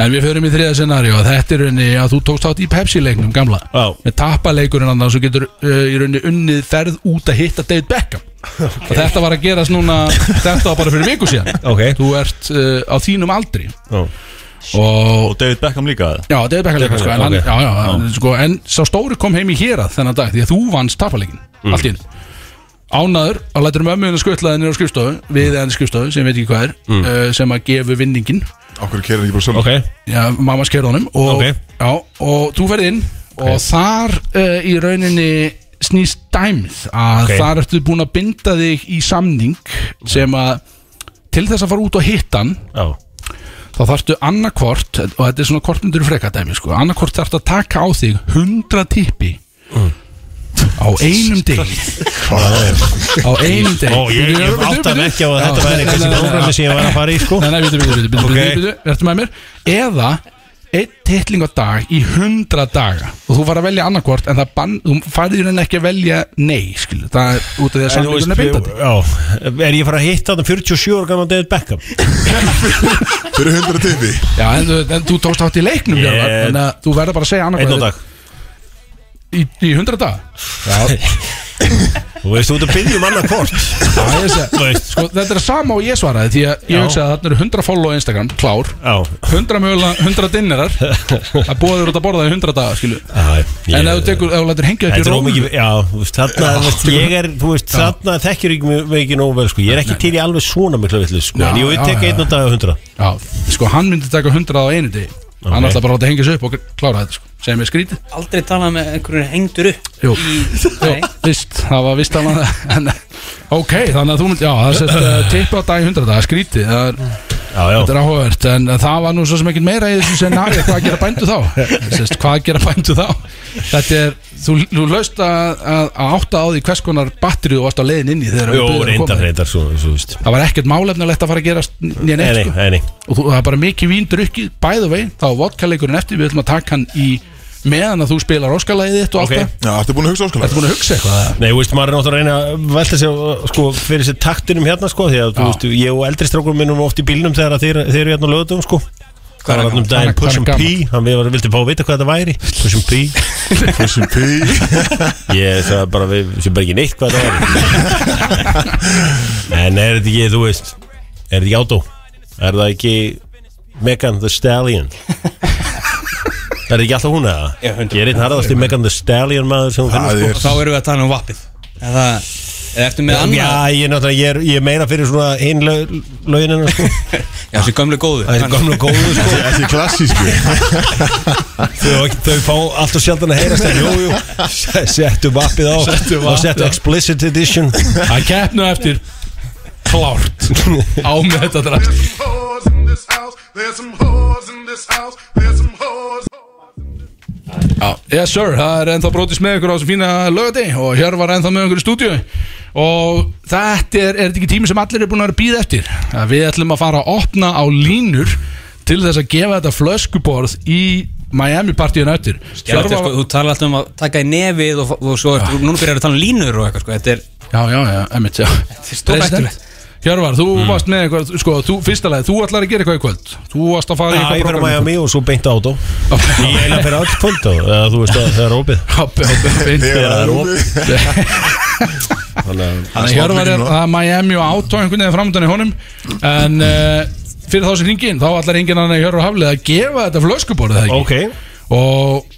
B: En við förum í þriðja scenario Þetta er rauninni að þú tókst átt í Pepsi-leiknum gamla
G: Já.
B: Með tappaleikurinn andan Svo getur uh, í rauninni unnið ferð út að hitta David Beckham Og þetta var að gerast núna Þetta var bara fyrir viku síðan
G: Ok.
B: Þú ert uh, á þínum aldri
G: Já.
B: Og
C: Og David Beckham líka eða?
B: Já, David Beckham leikar sko, en, hann,
G: ok.
B: já, já, en, sko, en sá stóri kom heim í hérað þennan dag Því að þú vannst tappaleikin
G: Mm.
B: Allt í einu Ánaður, að lætur um ömmuðinu skuttlaðinir á skrifstofu Við enn skrifstofu, sem ég veit ekki hvað er
G: Mm.
B: uh, Sem að gefu vinningin
A: Okkur kerðan ekki bara svona
G: Ok,
B: Já, mamma sker honum og,
G: Ok.
B: já, og þú ferð inn og þar uh, í rauninni snýst dæmið að
G: Ok.
B: þar ertu búin að binda þig í samning sem að til þess að fara út og hitta hann
G: já
B: þá þarftu annarkvort og þetta er svona kortmyndur freka dæmi sko, annarkvort þarftu að taka á þig 100 tippi
G: Mm.
B: á einum degi á einum degi
G: Ó, ég, ég átta mig ekki á að þetta væri eitthvað sem
B: óræmi
G: sem ég var að fara í sko
B: Nei, nei, býtu, býtu, býtu, býtu,
G: Ok.
B: býtu, býtu, verður með mér Eða einn titling á dag í 100 daga og þú fara að velja annarkvort en það bann, þú færði hún ekki að velja nei skil, það er út af því að
G: En þú veist,
B: samlingun er beitandi
G: já, er ég fara að hitta þannig 47 ára gaman David Beckham
A: Fyrir 100 tippi
B: Já, en, þú- en þú tókst átt í leiknum
G: Ég-
B: yeah. en að þú verður bara að segja
G: einn og
B: annarkvort
G: dag
B: í, í 100 dag
G: þú veist, þú ert að byggja um annað kort
B: Já, ég sé
G: þú veist,
B: Sko, þetta er sama og ég svaraði því að ég
G: Já.
B: hugsaði að þarna eru 100 follow á Instagram, klár
G: já,
B: 100 mögulega, 100 dinnerar að búa þér út að borða í 100 daga, skilu
G: já ég-
B: En ef þú tekur, ef þú lætur hengja upp í
G: Þetta er
B: rólu
G: ómikið, já, þú veist, þarna, þú veist, ég er, þú veist, þarna þekkjur ekki mig- mig ekki nógu vel, sko, ég er ekki til í alveg svona mikla villu, sko, en
B: Já,
G: ég vil
B: já,
G: tekja
B: já.
G: einn og dag á hundra.
B: Já, sko, hann myndi taka 100 á einu degi Hann ætla bara að láta hengja sig upp og klára þetta, sko Segir mér skrítið
D: Aldrei talað með einhverjum hengdur upp
B: Jú, Jú
D: Nei.
B: vist, það var vist alveg en, Ok, þannig að þú myndi, já, það er sett uh, tippa á dag í 100 daga, skrítið Það er,
G: Já, já,
B: þetta er áhugavert En það var nú svo sem ekkert meira í þessu scenari Hvað gera bændu þá? Sest, hvað gera bændu þá? Þetta er, þú, þú laust að, að, að átta á því hvers konar batteri þú varst á leiðin inn í þegar
G: jú,
B: umbyggðin kom.
G: reyndar, reyndar, svo, svo, þú veist.
B: Það var ekkert málefnilegt að fara að gera nýja
G: Nei,
B: neitt
G: nei,
B: sko.
G: nei, nei,
B: og þú, það er bara mikið vín drukkið bæðu veginn, þá er vodkaleikurinn eftir við ætlum að taka hann í meðan að þú spilar óskalæðið þitt og
G: Ok.
B: okay.
A: Já, ertu búin að hugsa áskala?
B: Ertu búin að hugsa eitthvað? eða?
G: nei, þú veist, maður er náttúrulega að reyna að velta sér, sko, fyrir sér taktinum hérna, sko, því að, þú
B: Já.
G: veist, ég og eldri strákur minn vorum oft í bílnum þegar að þeir, þeir eru hérna á lögutum, sko. Það var hann
B: Hvað
G: um
B: er-
G: daginn
B: hvað er
G: Push'em
B: gaman?
G: P, hann við varum vildi fá að vita hvað þetta væri, Push'em P,
A: Pushing P
G: ég sagði bara, við sem bara ekki neitt hvað þetta væri. en er þetta ekki, þú veist, er þetta ekki átó? Er það ekki Megan the Stallion? Er þetta ekki alltaf hún eða?
D: Já, 100%.
G: Ég er einn harðast í Megan the Stallion maður sem hún finnur,
A: Það
G: sko.
A: er
D: Þá erum við að tala um vappið Eða, eða ertu með annað
G: Já, ég er náttúrulega, ég er, ég er meira fyrir svona einn lög, löginina sko
D: Já, þessi gömlu góðu
G: Það er gamla og góðu sko
A: Þetta er klassísku
G: Þau, þau fá allt og sjaldan að heyrast en jú, jú, se- settu vappið á
B: Settu
G: og
B: vappið á.
G: settu explicit edition
B: Það keppnu eftir klárt á með þetta drast Já, yes sir, það er ennþá brótis með ykkur á þessum fína lögati og hér var ennþá með ykkur í stúdíu og þetta er, er þetta ekki tími sem allir er búin að vera býð eftir að við ætlum að fara að opna á línur til þess að gefa þetta flöskuborð í Miami partíun eftir
D: Já, þetta er sko, þú talar alltaf um að taka í nefið og, og svo, ertu, núna byrjar að tala um línur og eitthvað sko, þetta er
B: Já, já, já, emitt, já
D: er stórhættulegt.
B: President. Hjörvar, þú varst með eitthvað, sko, þú, fyrsta leið, þú ætlar að gera eitthvað í kvöld Þú varst að fara í
G: Já, ég
B: eitthvað
G: fyrir að mæja mig og svo beint á átó
B: prógram
G: Ég er fyrir allt kvöld á, eða þú veist að það er opið
B: Hoppi, hoppi, fint
A: Þegar það er opið
B: Þannig Hjörvar er að Miami og átó einhvern veginn framöndan í honum En uh, fyrir þá sem hringin, þá ætlar enginn annar en Hjörvar Haflið að gefa þetta flöskuborð, eða
G: Ok,
B: ekki? Og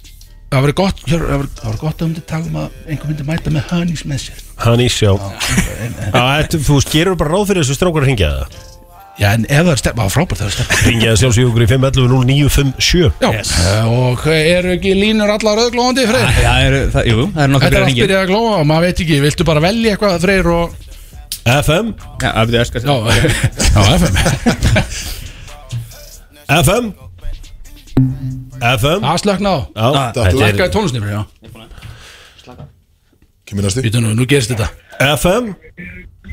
B: það verið gott, Hjörvar, það verið- það verið gott að um þetta tala um að einhver myndi mæta með hönís með sér
G: hann ís, já Já, þetta- Þú veist, gerur bara ráð fyrir þessu strákur að ringja það
B: Já, en ef það er stefn, það var frábært þegar stefn
G: Ringja það sjálfsögur í 511 0957
B: Já, Eh, og eru ekki línur allar öðglóðandi, Freyr?
D: Ah, Já, það eru, það, jú, það eru nokkuð
B: Þetta
D: byrjar
B: er allt
D: hringir
B: byrjað að glóa og maður veit ekki, viltu bara velja eitthvað freyr og
G: FM,
D: Já, það byrjar sko
B: Já, já FM
G: FM FM
B: Það slökna á
G: Já, Ah, þetta er
B: Slakkaði tónusnifri, já
A: Kemur næstu
B: Býtu nú, nú gerist þetta
G: FM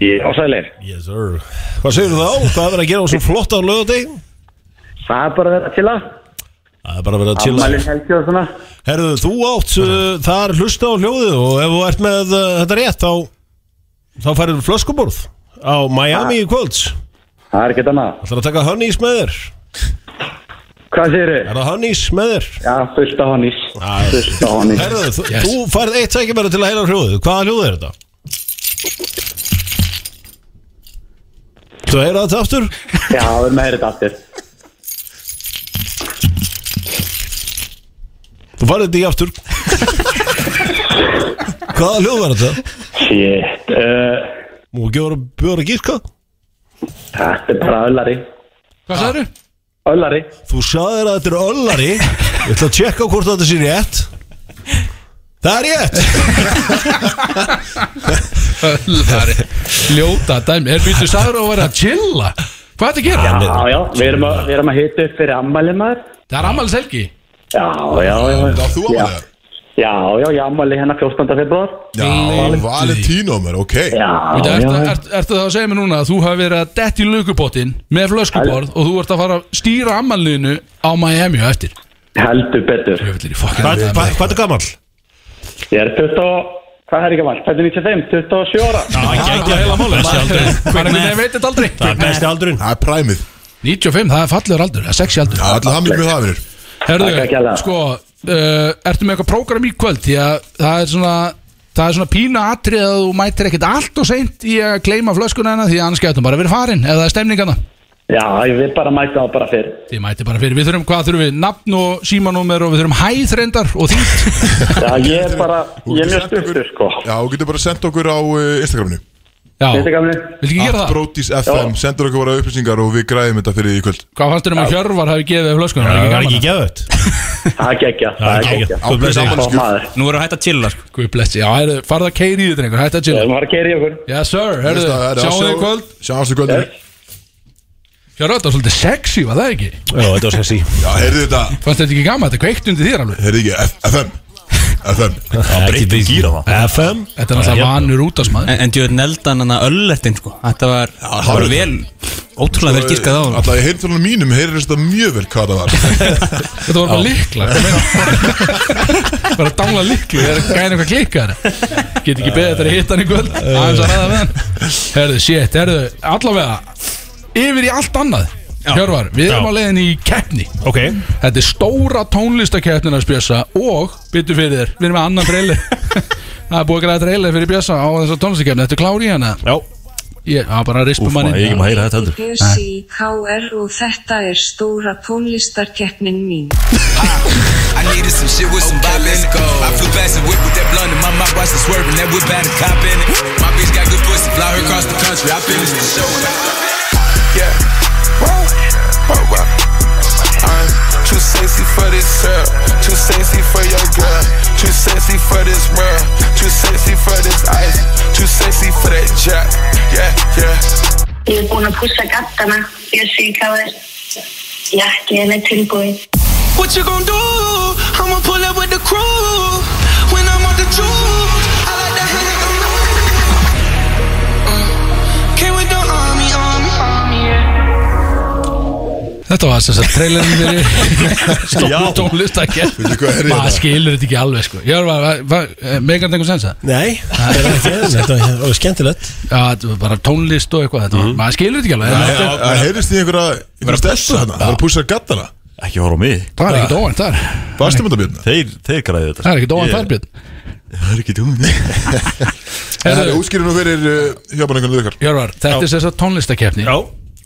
J: Ég ásælir.
G: Yes sir Hvað segir þú þá? Hvað er verið að gera á svo flott á lögadeg?
J: Það er bara að vera til að.
G: Það er bara verið að
J: Ammælin
G: chilla
J: helgi og svona.
G: Herðu, þú átt uh, þar hlusta á hljóðið og ef þú ert með uh, þetta rétt þá þá færðu flöskuborð á
J: Ah.
G: Miami í kvölds
J: Það er ekkert annað.
G: Það er að taka honeys með þér
J: Hvað segir þau?
G: Er það honeys með þér?
J: Já, fullt á honís. Fullt á honís.
G: Herðu, þú, þú færð eitt tækifæri til að heyra hljóðið Hvaða hljóðið er þetta? Þú heyra þetta aftur?
J: Já, við erum að heyra þetta aftur.
G: Þú færði þetta í aftur Hvaða hljóðið er þetta?
J: Shit. Uh,
G: Mú ekki voru bjóra gíska?
J: þetta er bara öllari.
B: Hvað sagður?
J: Öllari.
G: Þú sagðir að þetta er öllari Ég ætla að tjekka hvort þetta sé rétt Það er rétt
B: Það er ljóta dæmi Er býtu sagður og verið að chilla Hvað er þetta að gera?
J: Já, já, við erum að, við erum að hita upp fyrir ammælin maður.
B: Það er ammælis helgi
J: Já, já, já.
A: Það þú
J: Já.
A: ámælega
J: Já, já, ég ammæli hérna 14. februar.
A: Já, Valentino mér, ok
J: Já,
B: Býtu,
J: já,
B: ertu,
J: já.
B: ertu, ertu það að segja mér núna að þú hafi verið að detti lukupottin með flöskuborð og þú ert að fara að stýra ammælinu á Miami á eftir
J: Heldur betur
G: Hvað hvað ertu gammal?
J: Ég er 20 og- Hvað er ég gammal? Fættu 95, 27 ára
G: Gæti að heila máli
B: Hvernig veit þetta aldrei?
G: Það er besti aldurinn
A: Það er præmið
B: 95, það er fallegur aldur, það er sexy aldur
A: Alla hamið með það vinur
J: Takk ekki
B: Herðu,
J: alveg.
B: sko uh, Ertu með eitthvað prógram í kvöld Því að það er svona Það er svona pína atrið að þú mætir ekkert allt og seint í að gleyma flöskuna hennar því að annars getum bara verið farin ef það er stemningana
J: Já, ég vil bara mæta á bara fyrr
B: Þið mæti bara fyrir, við þurfum hvað þurfum við nafn og símanúmer og við þurfum hæð reyndar og þýtt
J: Já, ég er bara Ég er mjög stuttur sko
A: Já, þú getur bara sendt okkur á eh, Instagraminu
B: Já,
J: Þetta
B: viltu
J: gamli
B: ekki gera það?
A: Brotis FM, sendur okkur bara upplýsingar og við græðum þetta fyrir því í kvöld
B: Hvað fannst þér um að Hjörvar hafi gefið þér flöskuna?
G: Það
B: Var
G: er
B: ekki
G: ekki
B: gaman?
G: geðvögt
J: Það er geggja
G: Það
J: Það
G: er
J: er
G: geggjað.
J: geggja
G: Guð blessi þig.
J: Ó maður
D: Nú erum við hægt að chilla sko.
B: Guð blessi, já, heyrðu, farðu að keiri í þetta einhver, hættu að
J: Við
B: chilla
J: erum að fara að keira í okkur
B: Yes sir, herðu,
A: Veist það, það er á
B: sjáum þið
A: sjá-
B: í kvöld
A: Sjáumst í kvöld vinur.
B: Hjörvar, þetta var svolítið sexy, var það ekki?
G: Já, þetta var sexy
A: Já, heyrðu þetta
B: Fannst þetta ekki gaman, þetta kveikt undir þér alveg
A: Heyrðu ekki, F- FM FM
G: Það breytti gýra það FM
B: Þetta er alltaf
G: Já,
B: vanur út af smaður
D: En, en djöðin eldan hann að öllertin sko Þetta var, það var vel Ótrúlega vel gískað á hann
A: Alltaf í heyrðunum mínum heyrður þetta mjög vel hvað það var
B: Þetta var bara líkla Bara dangla líklu Það er gæðin eitthvað klikkar Get ekki beðið þetta að hitta hann í kvöld Aðeins að ræða með hann Herðu, shit, herðu, allavega Yfir í allt annað Hjörvar, við erum
G: Já.
B: á leiðin í keppni
G: Ok
B: Þetta er stóra tónlistakeppnin að spjösa Og, byttu fyrir þér, við erum með annan trailer Það er búið að græða trailer fyrir bjösa á þessa tónlistakeppni Þetta er klári í hana
G: Já
B: Ég, það bara rispum
C: Úf, maður, ég er
B: manni
C: ekki maður að heyra þetta heldur
K: Persi HR og þetta er stóra tónlistarkeppnin mín.
L: I needed some shit with some bop in it. I flew past and whip with that blunt in my mouth, watched it swerving. That whip had a cop in it. My bitch got good pussy, fly her across the country. I finished the show. Yeah. Whoa. Whoa, whoa. I'm too sexy for this girl, too sexy for your girl, too sexy for this world, too sexy for this ice, too sexy for that jack. Yeah, yeah.
K: Ég er búin að pússa gattana. Ég sé hvað er jakkinn er tilbúin.
L: What you gonna do? I'ma pull up with the crew when I'm on the juice. I like to hang out Mm. the room. Came with the army, army, army. Yeah.
B: Þetta var þess að trailerin fyrir Stóra tónlistakeppni
A: Veitu hvað er í
B: maður
A: þetta?
B: skilur þetta ekki alveg sko Jörvar, megar þetta einhvern sens að
G: Nei Það er ekki eðlilegt. Þetta var skemmtilegt
B: Já, þetta var bara tónlist og eitthvað þetta var, maður skilur þetta ekki alveg en þetta-
A: Það heyrðist því einhverja einhverja stelpu hérna Það var að pússa gattana
C: Ekki horfa á mig
B: það er ekkert óvænt þar
A: Varstum þetta björna?
C: Þeir, þeir græði þetta
B: það er ekkert óvænt þar
C: Ég-
B: björn
C: Það er ekki dúm
A: Það er
B: Herðu,
A: útskýrinu eh, fyrir uh, hjábanningunum ykkar
B: Jörvar, þetta er þess að tónlistakeppni
G: Já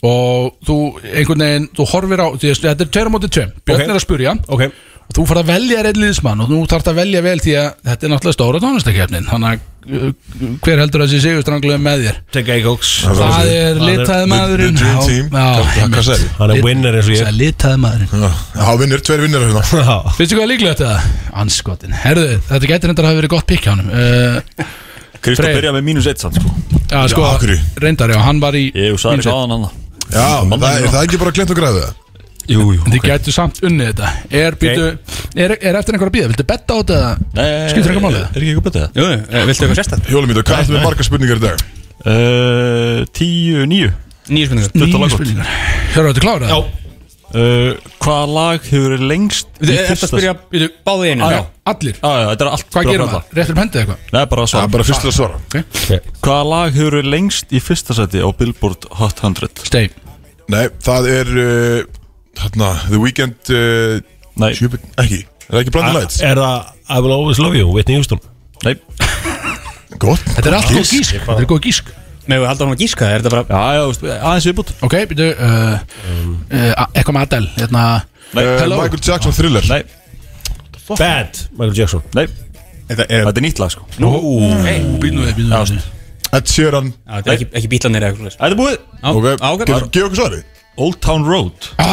B: og þú einhvern veginn, þú horfir á þú veist, þetta er tveira móti tveim, Björn
G: Ok.
B: er að spurja
G: Ok
B: og þú fara að velja einn liðsmann og þú þarf að velja vel því að þetta er náttúrulega stóra tónlistakeppnin þannig að uh, hver heldur að þessi sigurstranglu er með þér
G: Take a cox
B: Það er litaði maðurinn
A: The- the dream team.
B: Já,
A: Hvað- hvað
B: einmitt.
A: sagði?
G: Hann er winner eins og ég
B: Það er litaði maðurinn
A: Já, Já, vinnir, tveir vinnir hérna
G: Já
B: Finnstu hvað er líklegt það? Anskotin Herðu, þetta getur reyndar að hafa verið gott pikk hjá hann uh,
C: Kristó
B: Freyr.
C: byrjaði með mínus eitt sann sko
B: Já, sko,
A: af hverju?
B: reyndar, já, hann var í
C: Ég og Sari
B: mínus einn.
C: sáðan hann
A: Já, það er það ekki bara glemt að græða það
C: Jú, jú
B: Þið getur samt unnið þetta Er, býtu, er, er eftir einhver að býða? Viltu betta á þetta? Skiptir eitthvað málið?
C: Er ekki eitthvað betið það?
D: Jú, eh, viltu eitthvað sérstætt?
A: Hjólumýta, hvað ertu með marga spurningar í dag?
C: Uh, Tíu, níu
D: Nýju spurningar
C: Þetta
B: Nýju
C: lag gott.
B: spurningar Hjörðu, þetta klárað? Já
C: Uh, Hvaða lag hefur verið lengst í
D: Þetta er að
C: fyrsta-
D: spyrja býtu, báðu í einu
C: Já.
D: Ah, Já.
B: Allir
C: Já, já, þetta er allt
B: Hvað
C: bara
B: gerum
C: alla.
B: það? Réttur um hendið eitthvað?
C: Nei, bara
A: Það
C: svo
A: er bara fyrst að svara
C: Hvaða lag hefur verið lengst í fyrsta seti á Billboard Hot 100?
B: Stay
A: Nei, það er uh, hérna, The Weeknd uh,
C: Nei,
A: Sjöbjörn, ekki Er það ekki
G: Ah,
A: Blinding Lights?
G: Er það I will always love you Whitney Houston
C: nei
A: Gott
B: Þetta er allt góð gísk Þetta er góð gísk
D: Megum við halda hann að gíska, er þetta bara
C: Já, já, þú veist, aðeins viðbútt
B: Ok, býtu uh, uh, Eitthvað með Adele Hérna
C: Nei,
A: Uh,
B: Hello.
A: Michael Jackson Thriller
C: Nei,
G: Bad Michael Jackson
C: nei,
D: Þetta er
C: þetta er nýtt lag sko
B: Nú Býtu nú við, býtu nú við
A: Ed Sheeran
D: Já, þetta er ekki, ekki bílanir eða eitthvað
C: Þetta er búið
A: Ok,
D: ágætt.
A: getur gefa okkur svari?
C: Old Town Road
A: Æ,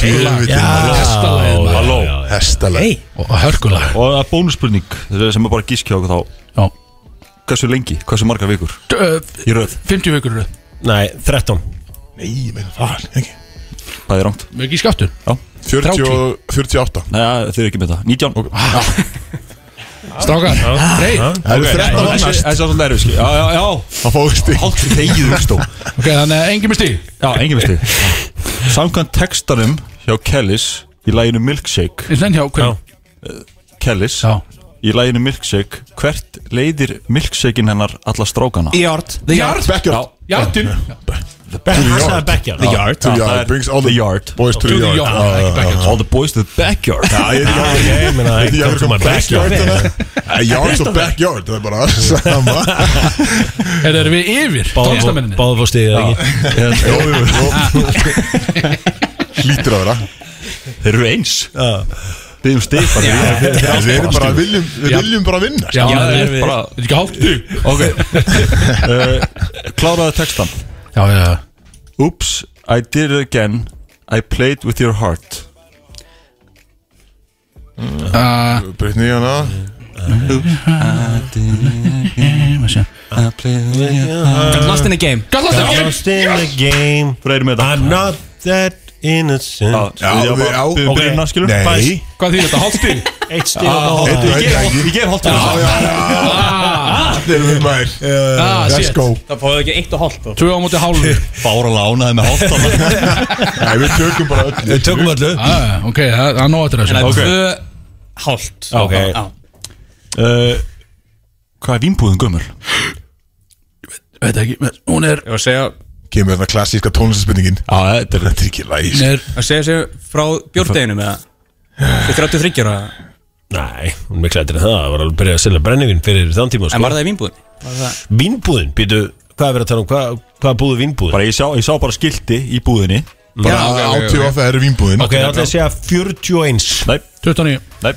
A: tjóðvitin
B: Hestalagið maður.
G: Halló
A: Hestaleg
D: Hey.
B: Og hörkulag
C: Og það er bónusspurning eh, sem er bara gískja okkur þá
B: Já.
C: Hversu lengi, hversu margar vikur
B: Ö,
C: í röð
B: 50 vikur eru
G: Nei, 13
A: Nei, meina það ekki
C: Það er rámt
B: Mjög ekki skáttur
A: 40 og 48
C: Nei, þau eru ekki með það 19 okay.
B: Strákar Rey
A: Það eru 13
C: Það er
A: vannast
C: svolítið nerviski Já, já, já
A: Það fóðist í
C: Hátt þegið þú stó
B: Ok, þannig að engin með stíg
C: Já, engin veist þið Samkvæmt textanum hjá Kellis í læginu Milkshake
B: Ég lenn hjá hverjum?
C: Eh, Kellis Já. í læginu Milkshake hvert leiðir Milkshakein hennar alla strákana
D: Yard
B: The Yard
A: Backyard
B: Yardin
C: The
G: Hann sagði backyard.
C: The
G: Já.
C: yard
G: The
C: Já,
G: yard
C: það er-
G: brings all the
A: boys to the
C: To
A: yard. Já,
C: Já,
A: ekki backyard.
C: já, já. Uh, All the boys to the backyard
A: Já, ég veit ekki-
G: ég meina,
A: veit ekki
G: come
A: alveg
G: to
A: hvað
G: my
A: backyard
G: backyard.
A: er. Eh, Yards og backyard, það er bara sama
B: Er það við yfir tónlistamenninni?
G: Báðu fór stíðið
C: Já.
G: ekki
A: Jó, jú, jú Lítur að vera Ah.
C: Þeir eru eins Við erum stig bara,
A: Já.
C: við- við-
A: Við erum bara-
C: stig.
A: viljum- við
C: Já.
A: viljum bara vinna,
C: Já,
A: sko.
C: það
A: Já,
C: er
A: við-
C: bara
B: Þetta er ekki hátt dug
C: Ok uh, Kláraði textan
B: Já, já
C: Oops, I did it again I played with your heart
M: Ah.
B: Uh,
A: Brittany hann að
C: I played with your heart
D: Got lost in the game
B: Got lost in the game.
G: Lost in the game
C: Breyrum við þetta
G: I'm not that innocent
C: Já, já, við- já, við byrjum
G: Ok.
C: næst, skilur.
G: Nei.
C: Bæs.
B: Hvað þýðir þetta? Hálft stig?
G: Eitt stíl og
C: Eitt stig. Ég
G: hálft
C: gef- Ég gef hálft
A: Þeir eru mær
B: Ah,
A: Let's
B: shit.
A: go
M: Það fáið ekki eitt og hálft
B: Tvö á móti hálfu
C: Bára lánaði með hálft
A: Nei, við tökum bara öllu
G: Við tökum öllu
B: Ah, Ok, það það er nóg eftir
M: En
B: þessu
M: það er
C: Ok.
M: tvö hálft
C: Ok.
M: Já.
C: uh, Hvað er vínbúðin gömur?
B: Veit ekki, hún er
M: Ég var að segja
A: Kemur þarna klassíska tónlistaspurningin
C: Já, þetta er
A: Þetta er ekki sko. læg
B: Hún er
M: að segja sér frá björndeginu með það Þið 33 ára
G: Nei, hún er mikla eftir það Það var alveg að byrja að selja brennivín fyrir þann tíma
M: En var það
G: sko.
M: í vínbúðin? Var það-
G: Vínbúðin, býtu Hvað er verið að tala um? Hvað, hvað búðu vínbúðin?
C: Bara ég sá, ég sá bara skilti í búðinni
A: Bara
M: Já, ok, ok, ok.
A: átjóð af það eru vínbúðin
G: Ok, það er að segja 41
C: Nei,
B: 29
C: nei,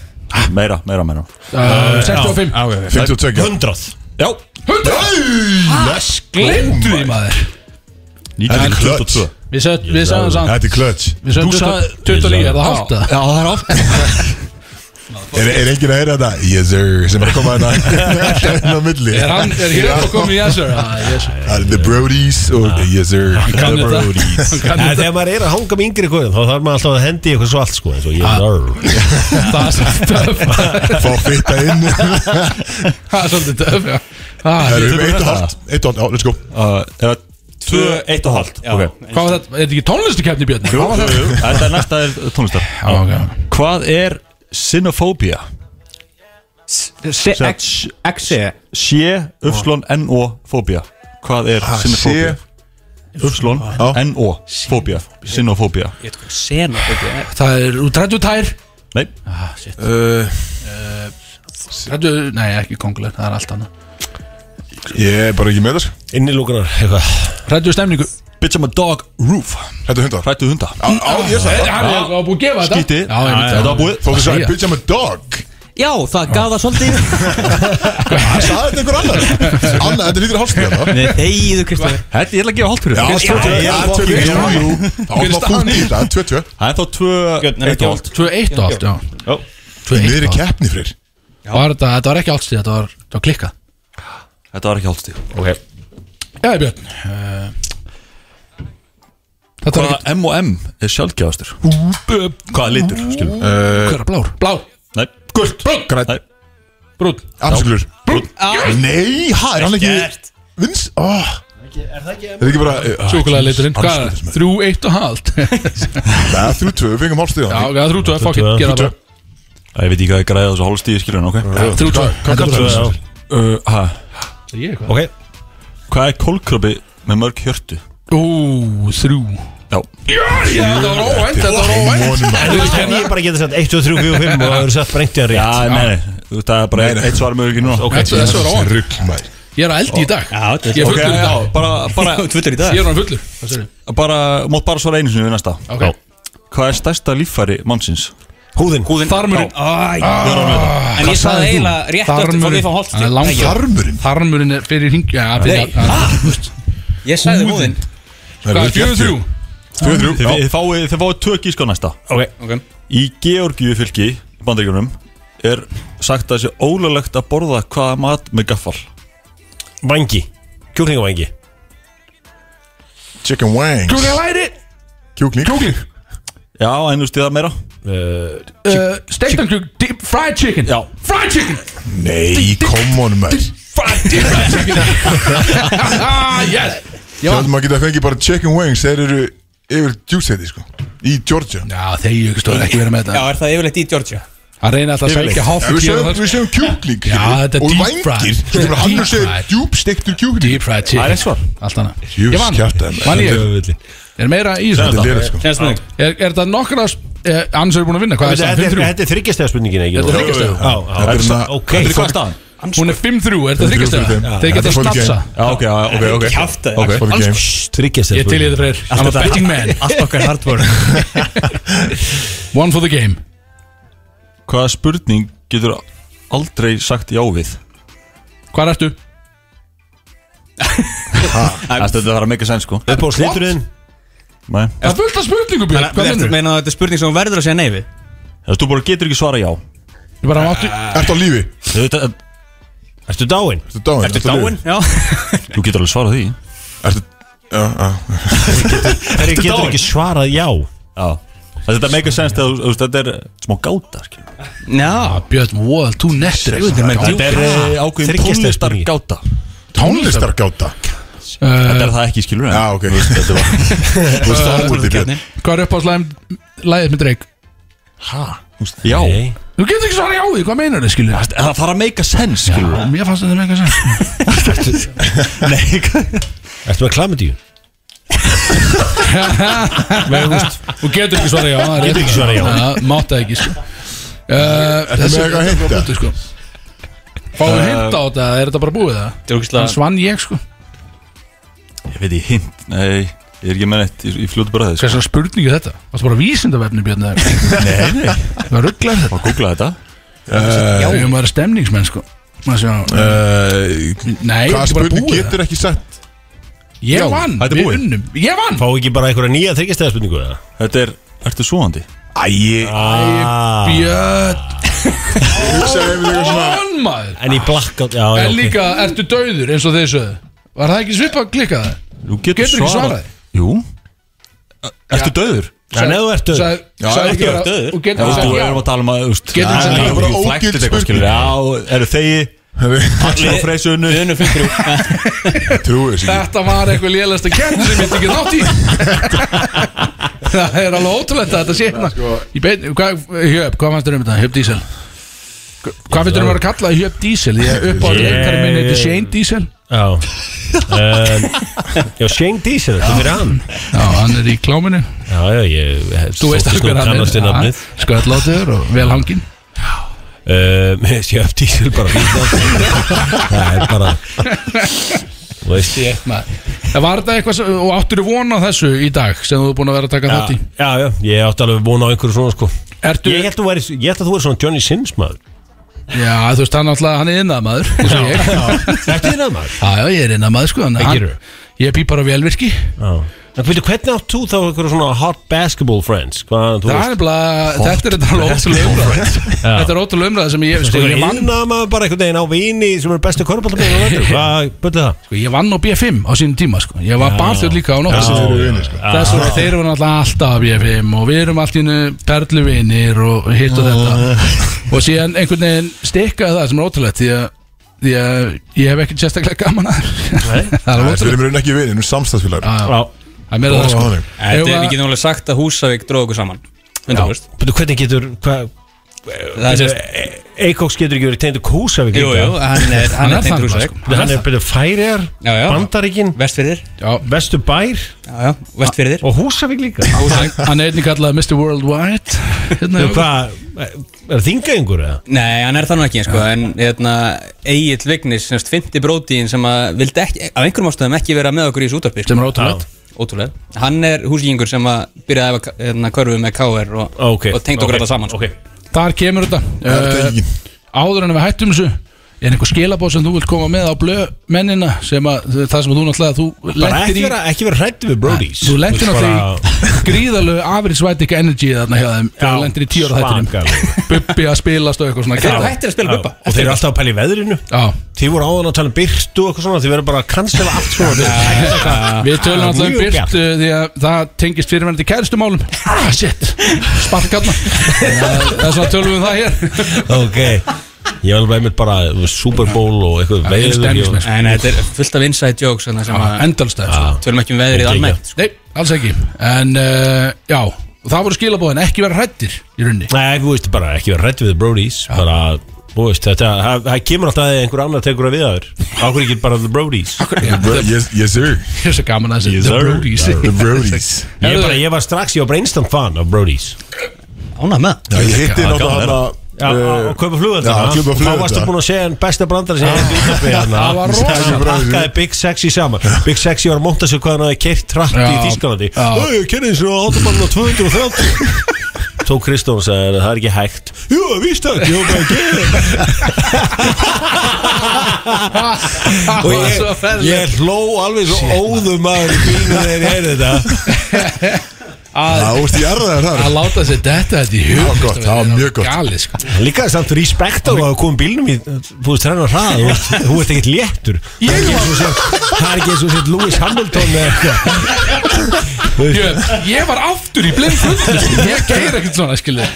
C: meira, meira, meira
B: uh, 65
M: Já, já, já.
A: 52
G: 100
C: Já,
B: 100 Glemdu því maður
C: 1922
B: Við sagði- við sagðum samt
A: Þetta er klöts
B: Við
C: Þú
B: sagðum
C: sagði-
B: 29, er það hálft það?
M: Já, það er hálft
A: Er, er enginn að heyra þetta? Yes sir sem er að koma hérna Alltaf inn á milli
B: Er hann, er hér að koma í þessu? Ah, yes.
A: Það eru The Brodies og Yes sir
B: kann
A: The
B: þetta.
A: Brodies
B: Hann kann
G: Nei,
B: þetta.
G: þegar maður er að hanga með yngri guðum þá þarf maður alltaf að hendi í eitthvað svo allt sko eins og ég er
B: Það er svolítið töf
A: Fá fitta inn
B: Það er svolítið töf, já Ah,
A: Það eru
B: ég-
A: eitt og hálft Eitt og hálft, já, oh, let's go
C: Uh, eða 2, 1 og hálft
M: Já.
C: Ok
B: Hvað var þetta? Er þetta ekki tónlistukefni Björn?
C: Jú,
B: Hvað var þetta?
C: jú, jú. Þetta er næsta er tónlistar
B: Já, ok.
C: Hvað er sinofóbía?
M: Se- ex- Exi
C: C-Y-N-O fóbía Hvað er sinofóbía? Y-N-O fóbía Sinofóbía
M: Ég veit hvað sen
B: Það er úr 30 tær
C: Nei,
A: Uh,
B: 30, nei ekki konguleg, það er allt annað
A: Ég er bara ekki með þess
G: innilúkunar eitthvað
B: 30 stemningu
C: bitch I'm a dog roof
A: Þetta er hundar
C: Hrættu hunda
A: Á, ég sagði það
B: Það var búið að gefa þetta
C: Skíti
B: Ah. Já, ég myndi
C: Þetta var búið
A: Þú
B: Jæja.
A: sagði bitch I'm a dog
M: Já, það gaf það svolítið
A: Það sagði þetta einhver annar Anna, þetta lítur hálft með það
M: Þegiðu Kristofur
C: Þetta ég ætla að gefa hálft fyrir
A: Já,
C: þetta.
A: tvö, tvö, já, tvö, tvö, jú, jú. Það var
B: Hver er
A: bara fútt í
B: staðan?
A: þetta, tvö, tvö
C: Það er þá 2
M: Björn, er
C: 1
M: ekki
C: og
M: hálft?
C: hálft
B: 2-1 og allt, já
C: Já.
B: 2-1
A: Niður í
B: og allt.
A: keppni fyrir
B: Var þetta, þetta var ekki allt stíð, þetta var, þetta var klikkað
C: Þetta var ekki hálft stíl okay.
B: Já, Björn uh, Þetta var
C: Hvaða M&M er Eh, sjálfgjáðastur?
B: ekki
C: Hvaða litur? Skilum
B: Hver er blár? Blár,
C: Nei Gult Græn Nei
B: brún
A: Absolutt Nei, ha, er hann ekki Vins, ó Er það ekki bara eh, ah,
B: Sjúkulega liturinn Hvað er
A: Andskotans maður.
B: það? 3-1 og halvt
A: Það er þrjú tvö, við fengum hálft í
B: Já,
A: það
B: ok, það er 3-2, fuck it, gera það bara
C: Æ, Ég veit ekki hvað ég græði þessu hálft stíl Skilum, ok
B: 3-2 Þetta er bara-
G: Já.
C: uh, ha,
B: Er ég eitthvað?
G: Ok,
C: Hvað er kólkrabbi með mörg hjörtu?
B: Ó, þrjú
C: Já
B: Já, þetta var óvænt, þetta var óvænt
G: en þú veist hefði ég bara getið sett 1, 2, 3, 4 og 5 og það eru sett bara einhvern
C: Já,
G: veginn rétt
C: nei, nei Þú veist, það er bara eitt svar með ekki núna
B: Þetta- Þessu var óvænt
A: Rugg, maður
B: Ég er að eldi í dag
M: Já, þetta er
B: Ég er
C: Ok,
B: fullur í
C: já,
B: dag
C: bara, bara,
M: Tvittur í dag
B: Ég er hann fullur Hvað segir
C: bara Mátt bara svara einu sinni við næsta
B: Ok. Já.
C: Hvað er stærsta líffæri mannsins?
G: Húðin
M: Húðin
B: Þarmurinn.
M: Æ, En ég sagði eiginlega rétt aftur Fá við fá hálft
B: Hann er
M: stig.
B: langt
A: Þarmurinn
B: Þarmurinn er fyrir hring Já, fyrir
M: Nei. Ég sagði húðin
B: Hvað er 43?
A: Tvö, þrjú,
C: Þið
A: já
C: þið fáið þið fáið tvö gíska næsta
M: Ok
C: Í Georgíu fylki í bandaríkjunum er sagt að það sé ólulegt að borða hvaða mat með gaffal
G: Vangi Kjúklingavangi
A: Chicken wings
B: Kjúkling læri
A: Kjúkling
B: Kjúkling
C: Já, einu stíða meira
G: uh,
B: Uh, Steiktan kjúk Deep fried chicken
C: Já.
B: Fried chicken
A: Nei, come on, maður
B: Fried deep fried chicken Ah, yes Já,
A: Þegar maður geta fengið bara chicken wings Þeir eru yfir djúsæti, sko Í Georgia
B: Já, þeir ekki stóð ekki verið með þetta
D: Já, er það yfirleitt í Georgia?
B: Hann reyna alltaf að
A: Yfirleitt.
B: sækja
A: Ja, Við
B: hoffkjöð
A: segjum- við segjum kjúkling
B: Já,
A: skilur,
B: þetta er
A: Og
B: deep
A: vængir
B: fried.
A: Skilur,
B: Deep
A: Hann segir
B: fried.
A: djúbstektur kjúkling
B: Deep fried chicken
A: Það er rétt svar.
B: Allt annað
A: Jöfus,
B: Ég vann.
A: kjaftaði, maður.
B: Vann
A: Þetta er
B: ég Er meira í þessu?
A: Þetta er lélegt, sko.
B: Kennst mig. Er er þetta nokkra eh, Annars erum við búin að vinna Hvað er
G: Þetta
B: þetta? 5-3?
G: er- þetta er þryggjastega spurningin ekki?
B: Þetta er þriggja stiga.
G: Já, já,
A: Þetta er
G: já,
A: svona-
G: ok
B: Þetta er
G: Fuck.
B: hvað staðan? Hún er 5-3, er þetta
A: Þetta er
B: þryggjastega?
A: þriggja stiga.
B: Þeir geta
A: Þetta er fór í
B: snapsa
A: game.
C: Já, ok, já, ok, ok
D: Kjaftaði.
C: Ok.
A: Fór í
C: Alls-
A: game.
G: Þryggjastega
B: Ég til í þetta freyr I'm a
C: þetta-
B: betting man
C: Allt okkar hardware
B: One for the game
C: Hvaða spurning getur aldrei sagt já við?
B: Hvað ertu?
C: Þetta þetta þarf að meika sæn sko
G: Upp á slíturinn
C: Nei
B: Það er fullt af spurningu Björn Hvað
D: Ertu
B: finnur?
D: að meina að þetta er spurning sem hún verður að segja nei við?
C: Þú veist, þú bara getur ekki svara já
B: Ég bara máttu
A: Ertu á lífi?
C: Þú veit að-
G: Ertu dáinn?
A: Ertu dáin?
D: Ertu
A: á lífi?
D: dáin? Já
C: Þú getur alveg svarað því
A: Ertu Já, já
G: Þeir getur
C: dáinn?
G: ekki svarað já
C: Já Það þetta meika sæn Þetta er smá gáta skilur.
D: Já
B: Björn, wow, þú nettir
C: Þetta er eh, ákveðin
G: Þriggja stiga
C: tónlistar
G: spurning.
C: gáta
A: Tónlistargáta
C: Þetta er það ekki skilur en-
A: Já, ok Þetta var Þú veist það er út í björn
B: Hvað er upp á slæðið með Drake?
C: Hæ? Já
G: Nei.
B: Þú getur ekki svarað já því, hvað meinar þið skilur?
C: Það þarf að meika sæn skilur
B: Já, Mér fannst þetta með eitthvað sem
C: Nei hvað-
G: Ertu með klamidíu?
B: Þú getur ekki svarað já það er
G: Getur
B: rétt.
G: ekki svarað já.
B: Máttu ekki sko Uh,
A: Ertu með eitthvað að heimta?
B: blöndu, sko. Fáum við heimta á þetta, er þetta bara búið það?
D: Þetta er ógeðslega-
B: Hann svann ég sko
C: Ég veit ég hint Nei Ég er ekki með neitt Ég fljótu sko. bara þess
B: Hvað er svona spurningu þetta? Það er bara vísindavefni björn eða eitthvað?
C: Nei, nei
B: Það var rugglar þetta
C: Bara googla þetta
B: Já, ég maður er stemningsmenn sko Maður sjá- Eh, Nei,
A: Hvaða
B: þetta er bara
A: spurning
B: búið
A: getur ekki sagt
B: það Ég vann,
C: þetta er
B: við
C: búið.
B: unnum Ég vann
G: Fá ekki bara einhverja nýja þryggjastega spurningu eða?
C: Þetta er Ertu svoandi?
A: Æi
G: Ah,
B: Björn,
A: Þú segir við eitthvað svona
B: vann maður
G: En ég blakk á Já, já,
B: En
G: ok.
B: líka, ertu dauður eins og þeir sögðu Var það ekki svipað klikkað?
C: Þú getur,
B: Getur ekki svarað.
C: Jú Ertu döður?
G: Já, en ef þú ert döður
B: Sæði ekki vera
C: döður
B: Og getur
C: Þú
B: ekki
C: erum að
B: svarað
C: tala um að þú veist,
B: Getur ekki
C: já,
B: sagt já.
C: já,
A: Bara
C: þú flæktið
A: ógild
C: eitthvað, skilur, Já, eru þegi Allir á freysunnu
D: Unnu fyrir þrjú
A: Trúið þessi ekki
B: Þetta var eitthvað lélægsta kemd sem ég myndi ekki þátt í Það er alveg ótrúlegt að þetta sé hérna Ég beit, hvað, Hjöp, hvað fannst þér um þetta? Hjöp Diesel Hvað finnst þér um að vera kallað Hjöp Diesel? Því að upp á
G: Ég-
B: leikari minn heiti Shane Diesel
G: Já Ehm, Já, Shane Diesel, þetta er hann
B: Já, hann er í kláminu
G: Já, já, ég hef
B: Þú veist alveg hver hann
G: Kannast í
B: er
G: nafnið
B: Sköldlátur og vel hanginn
G: Ehm, Ég sé upp Diesel bara fínt nafn. Það er bara Þú veist ég
B: Nei. En Var þetta eitthvað sem, og áttur von á þessu í dag sem þú er búin að vera að taka þátt í
G: Já, já, ég átti alveg vona á einhverju svona sko
B: Ertu,
G: Ég held að þú væri- ég held að þú væri svona Johnny Sins maður
B: já þú veist hann alltaf, hann er innað maður eins og ég.
G: Þetta er það maður
B: Já, já, ég er innað maður sko hann,
G: Það
B: hann,
G: gerðu.
B: Ég býpar á velvirki
G: Já En veitu, hvernig átt þú þá einhverju svona hot basketball friends? Hvað, þú
B: Það er nefnilega, þetta er þetta alveg ótrúlega umræða Þetta er ótrúlega umræða sem ég, sko,
G: Sko,
B: ég
G: ég
B: vann
G: vann að maður bara einhvern veginn á vini sem eru bestu korfballtabæðin Hvað byrði það?
B: sko, Ég vann á B5 á sínum tíma, sko Ég var barþjóð líka á
A: Þessi
B: nótt
A: þeir eru vinir sko
B: Þess vegna þeir eru náttúrulega alltaf að BFM og við erum allt í hennu perluvinir og hitt og þetta og síðan einhvern veginn stikkaði það sem er ótrúlegt því að, því að ég hef ekkert sérstaklega gaman að
G: Nei.
B: það er alveg
A: Við
B: ótrúlegt
A: erum í rauninni ekki vinir, við erum samstagsfélagar
B: Já, já.
G: Já
B: það er meira það sko
A: Þannig.
D: Þetta er
B: Ef að-
D: við getum alveg sagt að Húsavík dróð okkur saman 100%.
G: Byrðu, hvernig getur hvað,
D: Það er sérst
G: Eikoks getur ekki verið tegndur Kúsavík
D: Jú, jú, hann er
B: Hann
D: Hann
B: er
D: er
B: þarna,
D: tengdur Húsavík
B: sko.
G: Hann er byrðu Færiðar
D: Já, já.
G: Bandaríkin
D: Vestfyrðir
B: Já.
G: Vesturbær
D: Já, já Vestfyrðir
G: Og Húsavík líka
B: Hann- hann er einnig kallað Mr. Worldwide hérna,
G: Byrðu, hvað Er þinga einhver eða?
D: Nei, hann er það nú ekki sko, En hérna Egil Vignis Semst 50 brótiðin sem að Vildi ekki Af einhverjum ástæðum ekki vera með okkur í þessu útarpi
B: sem er ótrúlegt
D: Ótrúlega Hann er húsíkingur sem að Byrjaði að æfa k- hérna, körfu með KR Og,
G: Ok
D: og tengd okkur
G: ok,
D: þetta saman sko.
G: Ok
B: Þar kemur þetta
A: Það er
B: Eh,
A: tengingin.
B: Áður en við hættum þessu Er einhver skilabóð sem þú vilt koma með á blöð mennina sem að það sem þú náttúrulega þú
G: Bara
B: lentir
G: ekki
B: í
G: vera, ekki vera hrættu við Brodies
B: Þú lendir náttúrulega í gríðalögu afriðsvætika energy þarna hjá þeim Þú
G: Já,
B: lendir í tíu ára þættinum
G: svakalega.
B: Bubbi að spilast og eitthvað svona
D: Þeir eru
B: Já,
D: hættir að spila bubba
G: Og þeir eru alltaf að pæla í veðrinu
B: já.
G: Þið voru áðan að tala um byrtu og eitthvað svona Þið verður bara að cancela allt sko. svona
B: Við tölum alltaf um
G: Ah, mjög
B: byrt
G: bjart.
B: uh, því að það tengist fyrirverandi kærustumálum Ah shit, sparkarna Það er svona tölum við um það hér
G: Ok Ég var alveg einmitt bara Super Bowl og eitthvað
B: er
G: veður
B: stemningsmenn.
G: og-
D: En þetta er fullt af inside jokes þarna sem að-
B: Endalstæð sko.
D: Tölum ekki um veðrið
G: Ok,
D: almennt
B: Nei, alls ekki En uh, já, og það voru skilabóðin, ekki vera hrættir í rauninni
G: Nei, þú veist bara, ekki vera hrætt við the Brodies bara, þú veist, þetta, það það kemur alltaf að einhver annar tekur að við aður Akkur ekki bara the Brodies
A: Yes, yes sir
B: Ég er svo gaman að
A: Yes,
B: þessu The
A: sir.
B: Brodies
A: The Brodies.
G: Ég, bara, ég var strax, ég var bara instant fan af Brodies
D: Ánað með
A: Já, ég hitti náttúrulega hann að
G: eh, Já,
B: Eh,
G: að kaupa flugvelda
A: Já, kaupa
G: Þá varstu
A: flugelda.
G: búin að segja en besta brandar sem ég hefði útvarpið hérna.
B: Það var rosa.
G: Hann Pakkaði Big Sexy saman Big Sexy var að monta sig hvað hann hafi keirt trakk í
B: Já.
G: Þískalandi
B: Já.
G: Þau, ég kynni eins og autobann á 230 Tók Kristjón og sagði það er ekki hægt Jú, víst það, ég var bara að gera þetta."
B: Það
G: Og
B: var
G: ég,
B: svo ferðilegt
G: ég hló alveg svo óðum maður í bílinu þegar ég heyrði þetta
A: Það úrst í erðaðar þar
B: Að láta sér detta þetta í hug
A: Það var gott, það var mjög gott
B: Galið sko
G: Líka samt respekt á að koma bílnum í Þú veist, þrennar hrað, þú veist, þú veist ekkert léttur Það er ekki eins og sér Það er ekki eins og sér Lewis Hamilton eða eitthvað
B: Ég, ég var aftur í blind fullnustu Ég keir ekkert svona skilur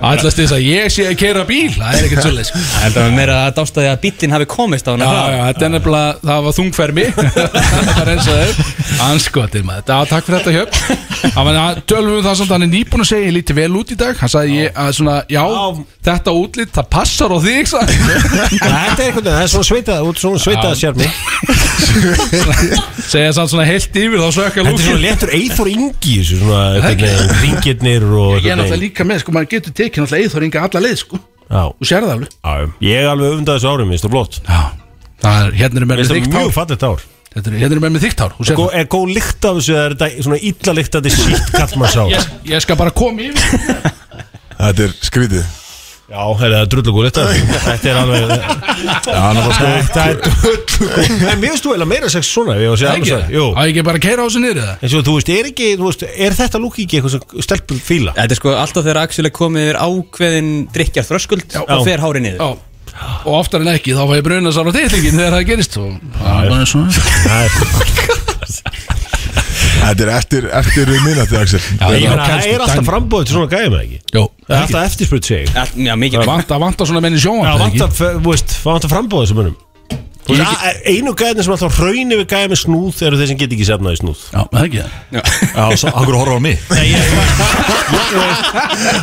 B: Allast þess að ég sé að keira bíl Það er ekkert svolítið sko.
D: Ég held að við meira að dástaði að bíllinn hafi komist á
B: Já,
D: hana
B: já, þetta er nefnilega, það var þungfermi Það reynsaði Anskotir maður, það takk fyrir þetta hjöp Það var tölvum við það samt, hann er nýbúin að segja Ég líti vel út í dag, hann sagði ég að svona Já, þetta útlit, það passar á þig sagði hann.
G: Þetta er einhvern veginn, það er svona sveitað út Svona sveitað sérmi
B: Segja samt svona heilt yfir, þá sökka
G: Þetta er svona
B: lúkin
G: léttur eithor yngi í þessu, Svona ringirnir og
B: Ég er
G: einhvern
B: náttúrulega
G: veginn.
B: líka með, sko, maður getur tekið náttúrulega eithor inga alla leið, sko
G: Já,
B: Þú sér það alveg
G: já, Ég er alveg öfndað þessu árum, minnst það flott
B: Já, það er, hérna er mér með
G: Minnst það
B: þygt
G: mjög
B: hár
G: fallegt ár
B: Þetta er, hérna er mér með þygt hár, þú sér
G: Gó-
B: það
G: Er góð lykt af þessu eða er þetta svona illa lyktandi sítt kallmannsár
B: Ég, ég skal bara koma yfir
A: Þetta er skrítið
G: Já, heyrðu, það er drullu góð lykt af þessu Þetta er alveg
A: Já, hann var sko
G: Þetta er drullu En mér veist þú eiginlega meira sex svona ef ég á að segja
B: Það ekki,
G: alveg svo. Jú.
B: á ég ekki bara að keira á þessu niður eða?
G: eins og þú veist, er ekki, þú veist, er þetta lúk ekki eitthvað sem stelpur fíla?
D: Þetta er sko alltaf þegar Axel er komið yfir ákveðin drikjar þröskuld og fer hárið niður
B: Já, og oftar en ekki þá fæ ég brunasár á titlingin þegar það gerist sko. og það er bara svona
A: Þetta er eftir, eftir minnati, Axel
G: Já, ég
A: Þetta-
G: meina, það er alltaf frambóð til svona gæði með ekki
B: Jó,
G: Það er alltaf eftirspurt sig
D: Allt- Já, mikið
B: vantar vanta svona menn í
G: Já,
B: sjóan
G: vantar, f- þú veist, vantar frambóð þessum önum
B: Ég ekki-
G: Einu gæðin sem alltaf raunir við gæði með snúð eru þeir sem get ekki sefnað í snúð
B: Já, það ekki það
C: Já, svo, akkur horfa á mig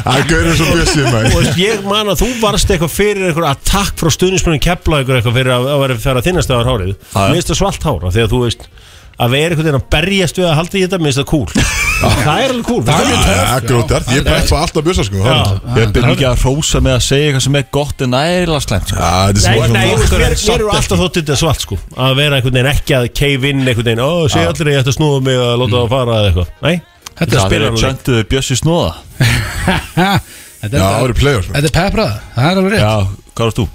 A: Það er gaurið svo bjössið
G: Þú
A: maður
G: veist, ég man að þú varst eitthvað fyrir eitthvað attack frá stuðnismunum kepla ykkur eitthvað fyrir að, að vera fyrir að þinnast aðar hárið Mér finnst það svalt hára þegar þú veist að vera einhvern veginn að berjast við að halda í þetta mér finnst það cool Það er alveg cool Það
A: Já, Það er grótart, ég beppa alltaf bjössa sko
G: Já.
C: Ég byrði ekki að hrósa með að segja eitthvað sem er gott en nægilega slæmt sko.
A: Já, þetta er
G: Nei,
A: smá-
G: nei, mér, mér
C: samt
G: eru alltaf þótt þetta svalt sko Að vera einhvern veginn ekki að cave in einhvern veginn Ó, segja allir að ég ætti að snúða mig að láta það fara eða eitthvað Nei,
C: Það er
G: spilar
C: verið
G: alveg.
C: tjönduðu Bjössi snóða
B: Ha,
A: Já,
B: Þetta er
A: það
B: þetta-
A: eru playoffs maður.
B: þetta er peprað, það er alveg
C: Já,
B: rétt
C: hvað varst þú?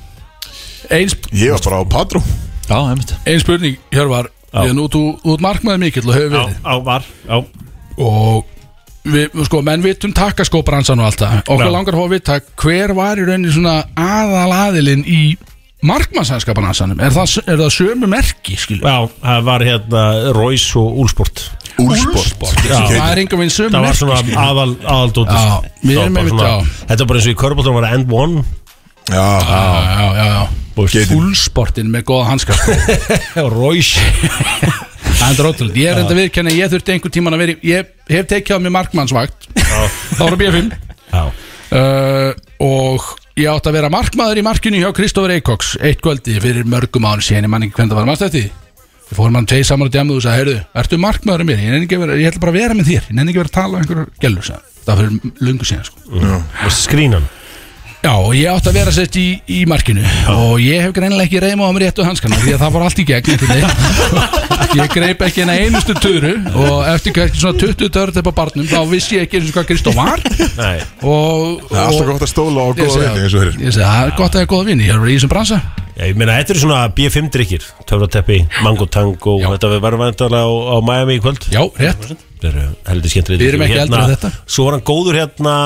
B: Eins,
A: Ég var bara á Padró
C: Já, einmitt
B: ein spurning, Hjörvar
G: Já.
B: Ég nú, þú þú ert markmaður mikill og hefur
G: Já,
B: verið
G: á, var, á
B: og við, sko, menn vitum takkaskóbransan og allt það okkur
G: Já.
B: langar að fá að vita hver var í rauninni svona aðalaðilinn í markmannshanskabransanum er það, er það sömu merki, skilur
G: Já, það var hérna Róis og Úlsport
A: Úlsport
B: það er enga veginn sömu
G: Það var
B: merki
G: svona
B: skilur.
G: aðal, aðaldóttir
B: Já,
G: sko.
B: við erum
G: Það var
B: einmitt,
G: bara
B: já.
G: svona- Þetta var bara eins og í körbóltunum var end one
A: Já,
B: já, já, já, já.
A: Geitin.
B: fullsportin með góða hanska sko.
G: Róis
B: það er drótulegt, ég er enda viðkenni ég þurfti einhver tíman að veri, ég hef tekið á mig markmannsvakt þá var B5
G: Já,
B: uh, og ég átti að vera markmaður í markinu hjá Kristófur Eikoks eitt kvöldi fyrir mörgum ári síðan ég man ekki hvernig það var mannst eftir því. við fórum hann tveið saman og djamið og sagði heyrðu, ertu markmaður um mér, ég, nenni ekki að vera, ég ætla bara að vera með þér ég nenni ekki að vera að tala um einhverjar gælur það var fyrir lungu síðan sko
G: og skrínan
B: Já, og ég átti að vera sett í, í markinu og ég hef greinilega ekki reyma á mér réttu hanskana því að það fór allt í gegn einhvern veginn. ég greip ekki hennar einustu töru og eftir kannski svona 20 törut upp á barnum þá vissi ég ekki eins og hvað Kristóf var
G: Nei,
B: og,
A: það er alltaf
B: og
A: gott að stóla á
B: Ég
A: góða
B: segi
A: vini eins og hér
B: Ég segi, það er gott að það er góða vini Ég er í þessum bransa
G: Já, ég meina þetta eru svona B5 drikkir Töfrateppi, Mango Tango
B: Já.
G: Þetta við verðum vantarlega á, á Miami í kvöld
B: Já, rétt
G: Þetta eru heldur skemmtrið
B: Við erum ekki eldri en þetta.
G: Svo var hann góður hérna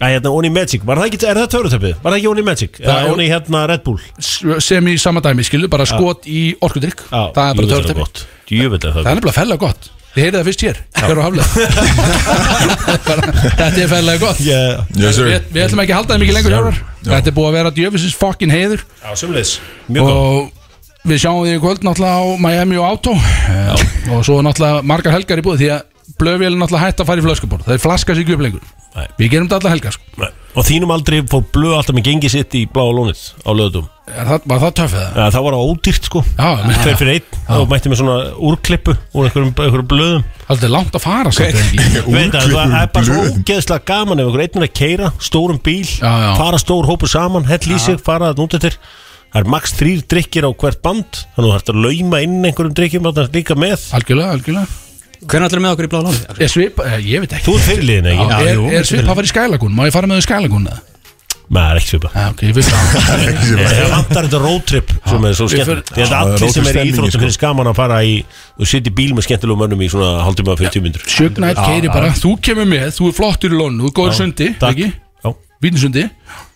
G: Að hérna Oni Magic, var það ekki, er það töfrateppið? Var það ekki Oni Magic? Eða
B: er-
G: Oni hérna Red Bull?
B: S- Sem í sama dæmi, skilu, bara skot í orkudrykk
G: Já,
B: Það er bara
G: djöfull
B: törtepi
G: gott. Djöfull er það
B: Það er nefnilega fellega gott Þið heyrið það fyrst hér Hver á haflega Bara, Þetta er fellega gott
G: Yeah.
A: Yes sir
B: Við, við ætlum ekki að halda það mikið lengur hjárar Þetta er búið að vera djöfisins fucking heiður
G: Já, sömulegis, mjög góð
B: Og við sjáum því í kvöld náttúrulega á Miami og Auto Eh, Og svo náttúrulega margar helgar í búið Því að
E: blöfjölinn náttúrulega hætt að fara í flöskubor Það er flaska sig ekki upp lengur Við gerum þetta alla helga sko.
G: Nei. Og þínum aldrei fór blöð alltaf með gengið sitt í bláa lónið á löðum
E: Er það, Var það töffið það?
G: ja, Það var ódýrt sko
E: Já, menn-
G: Tveir fyrir einn
E: Já.
G: og mætti með svona úrklippu úr einhverjum, einhverjum blöðum
E: Það er langt að fara samt, er ekki?
G: Veit að það er bara svo
E: Úrklippu blöðum.
G: ógeðslega gaman ef einhver einn er að keira stórum bíl,
E: já.
G: fara stór hópur saman hell í sig, fara það nútið til Það er max þrýr drikkir á hvert band þannig að þú þarfst að lauma inn einhverjum drikkjum þarna líka með
E: Algjörlega, algjörlega
G: Hvernig ætlar með okkur í blá lónið?
E: Er svipa,
B: eh,
E: ég veit ekki
G: Þú ert fyrirliðin ekki?
E: Já, er, er svipa að fara í skælagún? Má ég fara með þau í skælagún? eða?
G: Nei, það er ekki svipa
E: Já,
B: Ah,
E: ok, ég veit það
G: Það vantar þetta roadtrip sem er svo
E: Við
G: skemmt
E: förum-
G: Ég held
E: Já,
G: að allir
E: roadtrip
G: sem er í
E: stemning,
G: íþróttum
E: sko.
G: finnst gaman að fara í og sitja í bíl með skemmtilegum mönnum í svona haldum að 40 myndur
E: Sjögnætt keiri bara, þú kemur með, þú er flottur í lónu, þú er góður
G: Já,
E: sundi,
G: takk.
E: ekki?
G: Já.
E: Vínsundi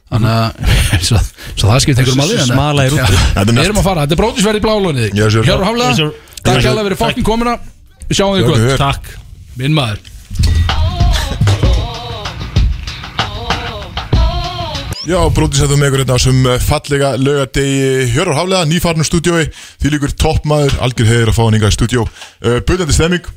E: Þannig að, svo, svo það skipt einhverjum að því þannig að-
A: Smala í rútu.
E: Já,
A: Þetta er
E: Við
A: nett.
E: erum að fara, þetta er brótisverð í blálónið
A: Yes, sir.
E: Hjörur
A: Yes,
E: Haflega,
A: sir.
E: takk
A: Yes, sir.
E: hella fyrir fokkin komina Við sjáum þig
A: Takk
E: gott
A: fyrir.
G: Takk
E: Minn maður
A: Já, brótið setjum með ykkur hérna á sem fallega lögadegi Hjörður Haflega, nýfarnum stúdiói Því líkur toppmaður, algjör heiður að fá hann hingað í stúdió uh, Böðandi stemming